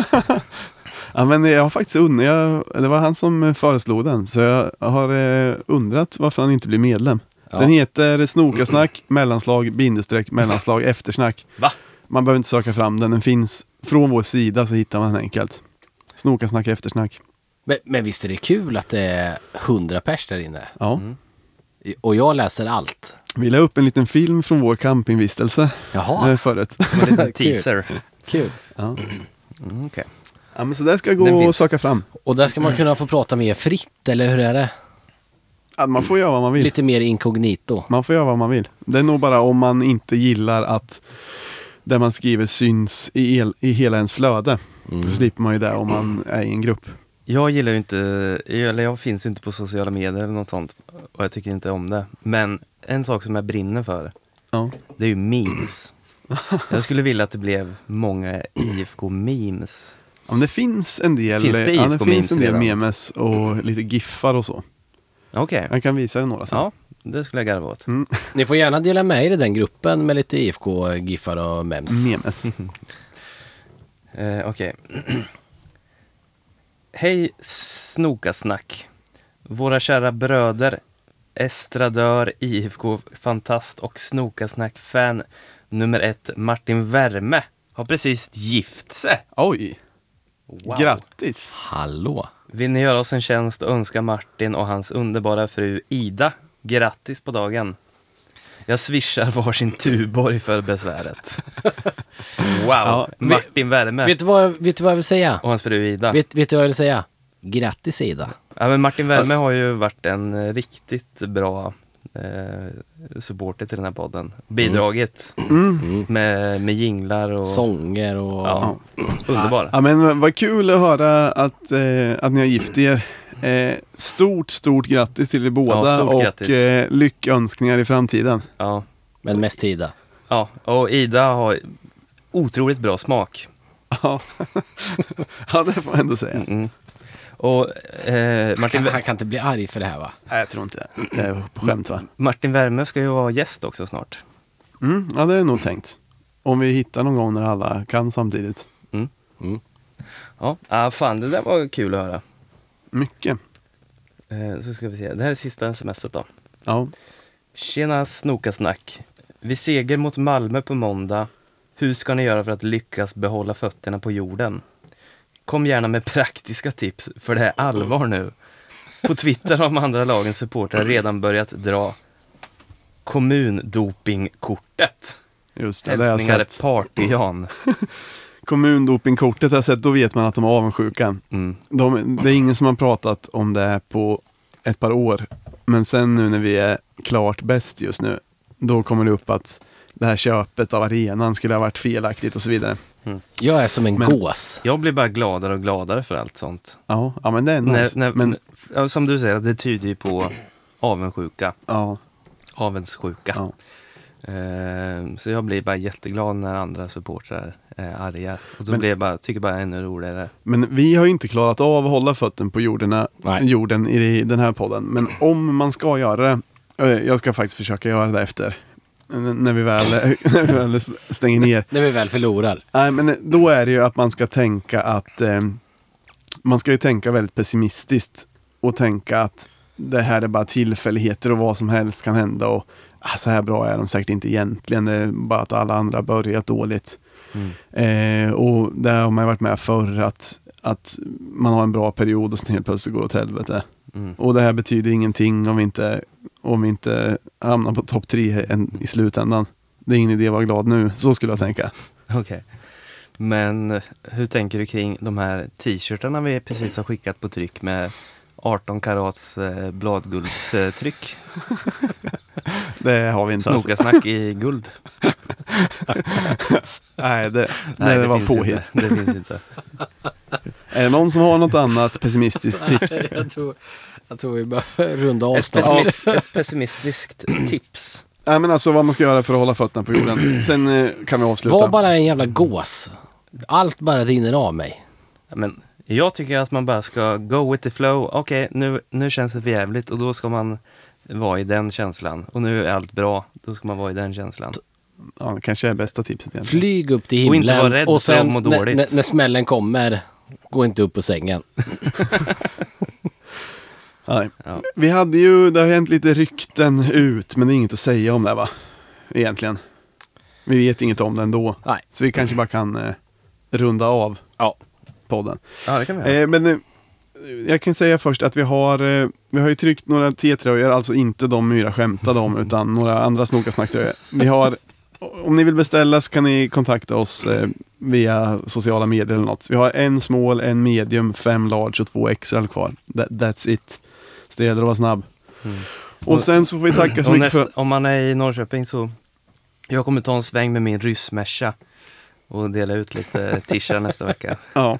[SPEAKER 1] Ja, men jag har faktiskt undrat, jag, det var han som föreslog den, så jag har eh, undrat varför han inte blir medlem.
[SPEAKER 3] Ja.
[SPEAKER 1] Den heter Snokasnack, mellanslag, bindestreck, mellanslag, eftersnack.
[SPEAKER 2] Va?
[SPEAKER 1] Man behöver inte söka fram den, den finns från vår sida så hittar man den enkelt. Snokasnack, eftersnack.
[SPEAKER 3] Men, men visst är det kul att det är 100 pers där inne?
[SPEAKER 1] Ja.
[SPEAKER 3] Och jag läser allt.
[SPEAKER 1] Vi la upp en liten film från vår campingvistelse
[SPEAKER 3] Jaha.
[SPEAKER 1] eh, förut.
[SPEAKER 2] Som en liten
[SPEAKER 3] Kul.
[SPEAKER 2] teaser.
[SPEAKER 3] Kul.
[SPEAKER 1] Ja.
[SPEAKER 2] Mm, okej.
[SPEAKER 1] Ja, men så där ska jag
[SPEAKER 2] Den
[SPEAKER 1] gå och
[SPEAKER 2] finns.
[SPEAKER 1] söka fram.
[SPEAKER 3] Och där ska man kunna få prata mer fritt, eller hur är det?
[SPEAKER 1] Ja, man får göra vad man vill.
[SPEAKER 3] Lite mer inkognito.
[SPEAKER 1] Man får göra vad man vill. Det är nog bara om man inte gillar att det man skriver syns i, el, i hela ens flöde.
[SPEAKER 2] Mm.
[SPEAKER 1] Så slipper man ju det om man är i en grupp.
[SPEAKER 2] Jag gillar ju inte, eller jag finns ju inte på sociala medier eller något sånt. Och jag tycker inte om det. Men en sak som jag brinner för,
[SPEAKER 1] Ja.
[SPEAKER 2] det är ju memes. Jag skulle vilja att det blev många IFK-memes.
[SPEAKER 1] Ja, Men det finns en del,
[SPEAKER 2] Finns det
[SPEAKER 1] ja, det
[SPEAKER 2] IFK
[SPEAKER 1] finns en del
[SPEAKER 2] redan?
[SPEAKER 1] memes och lite giffar och så.
[SPEAKER 2] Okej.
[SPEAKER 1] Jag kan visa dig några sen.
[SPEAKER 2] Ja, Mm. det skulle jag garva åt.
[SPEAKER 3] Ni får gärna dela med er i den gruppen med lite IFK-giffar och mems.
[SPEAKER 1] Memes.
[SPEAKER 2] Eh, Okej. Hej Snokasnack. Våra kära bröder, estradör, IFK-fantast och Snokasnack-fan nummer ett, Martin Värme, har precis gift sig.
[SPEAKER 1] Oj,
[SPEAKER 2] Wow.
[SPEAKER 1] grattis!
[SPEAKER 3] Hallå?
[SPEAKER 2] Vill ni göra oss en tjänst och önska Martin och hans underbara fru Ida grattis på dagen? Jag swishar varsin Tuborg för besväret. Wow, Martin Värme
[SPEAKER 3] Vet, du vad, jag- vet du vad jag vill säga?
[SPEAKER 2] och hans fru Ida.
[SPEAKER 3] Vet, vet du vad jag vill säga? Grattis Ida.
[SPEAKER 2] Ja, men Martin Värme har ju varit en eh, riktigt bra eh, supporter till den här podden. Bidragit
[SPEAKER 1] Mm.
[SPEAKER 2] med, med jinglar och...
[SPEAKER 3] Sånger och...
[SPEAKER 2] Ja, underbar.
[SPEAKER 1] Ja, men vad kul att höra att, eh, att ni har gift er. Eh, stort, stort grattis till er båda
[SPEAKER 2] stort
[SPEAKER 1] och
[SPEAKER 2] grattis.
[SPEAKER 1] eh, lyckönskningar i framtiden.
[SPEAKER 2] Ja.
[SPEAKER 3] Men mest Tida.
[SPEAKER 2] ja, och Ida har otroligt bra smak.
[SPEAKER 1] Ja, ja det får man ändå säga.
[SPEAKER 2] Mm. Och eh, Martin,
[SPEAKER 3] Han, han kan inte bli arg för det här va?
[SPEAKER 1] Nej, jag tror inte det. Det är på skämt va?
[SPEAKER 2] Martin Werme ska ju vara gäst också snart.
[SPEAKER 1] Mm, ja, det är nog tänkt. Om vi hittar någon gång när alla kan samtidigt.
[SPEAKER 2] Mm. Ja, ah, fan det där var kul att höra.
[SPEAKER 1] Mycket.
[SPEAKER 2] Eh, så ska vi se, det här är sista smset då.
[SPEAKER 1] Ja.
[SPEAKER 2] Tjena Snokasnack. Vi seger mot Malmö på måndag. Hur ska ni göra för att lyckas behålla fötterna på jorden? Kom gärna med praktiska tips, för det är allvar nu. På Twitter har de andra lagens supportrar redan börjat dra kommundopingkortet.
[SPEAKER 1] Just det, det har jag
[SPEAKER 2] Hälsningar
[SPEAKER 1] sett.
[SPEAKER 2] Party-Jan.
[SPEAKER 1] Kommundopingkortet har jag sett, då vet man att de är avundsjuka.
[SPEAKER 2] Mm.
[SPEAKER 1] De, det är ingen som har pratat om det här på ett par år. Men sen nu när vi är klart bäst just nu, då kommer det upp att det här köpet av arenan skulle ha varit felaktigt och så vidare.
[SPEAKER 3] Jag är som en
[SPEAKER 1] Men-
[SPEAKER 3] gås.
[SPEAKER 2] Jag blir bara gladare och gladare för allt sånt.
[SPEAKER 1] Ja, ja men det är nice.
[SPEAKER 2] När, när,
[SPEAKER 1] men,
[SPEAKER 2] ja, som du säger, det tyder ju på avundsjuka.
[SPEAKER 1] ja,
[SPEAKER 2] Avundsjuka.
[SPEAKER 1] ja.
[SPEAKER 2] Ehm, så jag blir bara jätteglad när andra supportrar är arga. Och så
[SPEAKER 1] Men-
[SPEAKER 2] blir jag bara, tycker bara ännu roligare.
[SPEAKER 1] men vi har ju inte klarat av att hålla fötten på jorderna,
[SPEAKER 3] Nej.
[SPEAKER 1] jorden i den här podden. Men om man ska göra det, eh, jag ska faktiskt försöka göra det efter. N- När vi väl, när vi väl stänger ner.
[SPEAKER 3] När vi väl förlorar.
[SPEAKER 1] Nej, men då är det ju att man ska tänka att eh, man ska ju tänka väldigt pessimistiskt och tänka att det här är bara tillfälligheter och vad som helst kan hända och ah, så här bra är de säkert inte egentligen. Det är bara att alla andra har börjat dåligt.
[SPEAKER 2] Mm.
[SPEAKER 1] Eh, och det har man ju varit med förr att, att man har en bra period och sen helt plötsligt går det åt helvete.
[SPEAKER 2] Mm.
[SPEAKER 1] Och det här betyder ingenting om vi inte, om vi inte hamnar på topp tre en- i slutändan. Det är ingen idé att vara glad nu, så skulle jag tänka.
[SPEAKER 2] Okej. Men hur tänker du kring de här t-shirtarna vi precis har skickat på tryck med 18 karats eh, bladguldstryck?
[SPEAKER 1] Det har vi inte alls.
[SPEAKER 2] Snokasnack i guld.
[SPEAKER 1] Nej, det, nej, det, var
[SPEAKER 2] finns
[SPEAKER 1] påhitt.
[SPEAKER 2] Inte. Det finns inte.
[SPEAKER 1] Är det någon som har något annat pessimistiskt tips?
[SPEAKER 3] Jag tror, jag tror vi behöver runda av
[SPEAKER 2] Ett,
[SPEAKER 3] snart.
[SPEAKER 2] pessimist, ett pessimistiskt tips.
[SPEAKER 1] Nej, men alltså vad man ska göra för att hålla fötterna på jorden. Sen eh, kan vi avsluta.
[SPEAKER 3] Var bara en jävla gås. Allt bara rinner av mig.
[SPEAKER 2] Ja, Men jag tycker att man bara ska go with the flow. Okej, nu, nu känns det för jävligt och då ska man vara i den känslan. Och nu är allt bra, då ska man vara i den känslan.
[SPEAKER 1] Ja, det kanske är bästa tipset egentligen.
[SPEAKER 3] Flyg upp till himlen.
[SPEAKER 2] Och inte vara rädd
[SPEAKER 3] och
[SPEAKER 2] för att må
[SPEAKER 3] när-
[SPEAKER 2] dåligt.
[SPEAKER 3] När, när smällen kommer, gå inte upp på sängen.
[SPEAKER 1] Nej.
[SPEAKER 2] Ja.
[SPEAKER 1] Vi hade ju, det har hänt lite rykten ut, men det är inget att säga om det va? Egentligen. Vi vet inget om det ändå.
[SPEAKER 3] Nej.
[SPEAKER 1] Så vi kanske bara kan eh, runda av
[SPEAKER 3] Ja.
[SPEAKER 1] podden.
[SPEAKER 2] Ja, det kan vi göra.
[SPEAKER 1] Eh, men eh, jag kan säga först att vi har, eh, vi har ju tryckt några T-tröjor, alltså inte de Myra skämtade om, utan några andra snokasnacktröjor. Vi har, om ni vill beställa så kan ni kontakta oss eh, via sociala medier eller något. Vi har en small, en medium, fem large och två XL kvar. That, that's it. Så det gäller att vara snabb. Och sen så får vi tacka så
[SPEAKER 2] Mm. Och
[SPEAKER 1] mycket
[SPEAKER 2] nästa,
[SPEAKER 1] för...
[SPEAKER 2] om man är i Norrköping så, jag kommer ta en sväng med min ryssmärsa och dela ut lite t-shirtar nästa vecka.
[SPEAKER 1] Ja.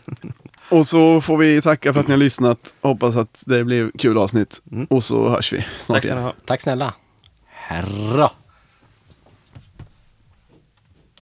[SPEAKER 1] Och så får vi tacka för att ni har lyssnat. Hoppas att det blev kul avsnitt. Och så hörs vi snart
[SPEAKER 2] Mm. Tack
[SPEAKER 1] igen.
[SPEAKER 2] ska ni ha.
[SPEAKER 3] Tack snälla. Herra.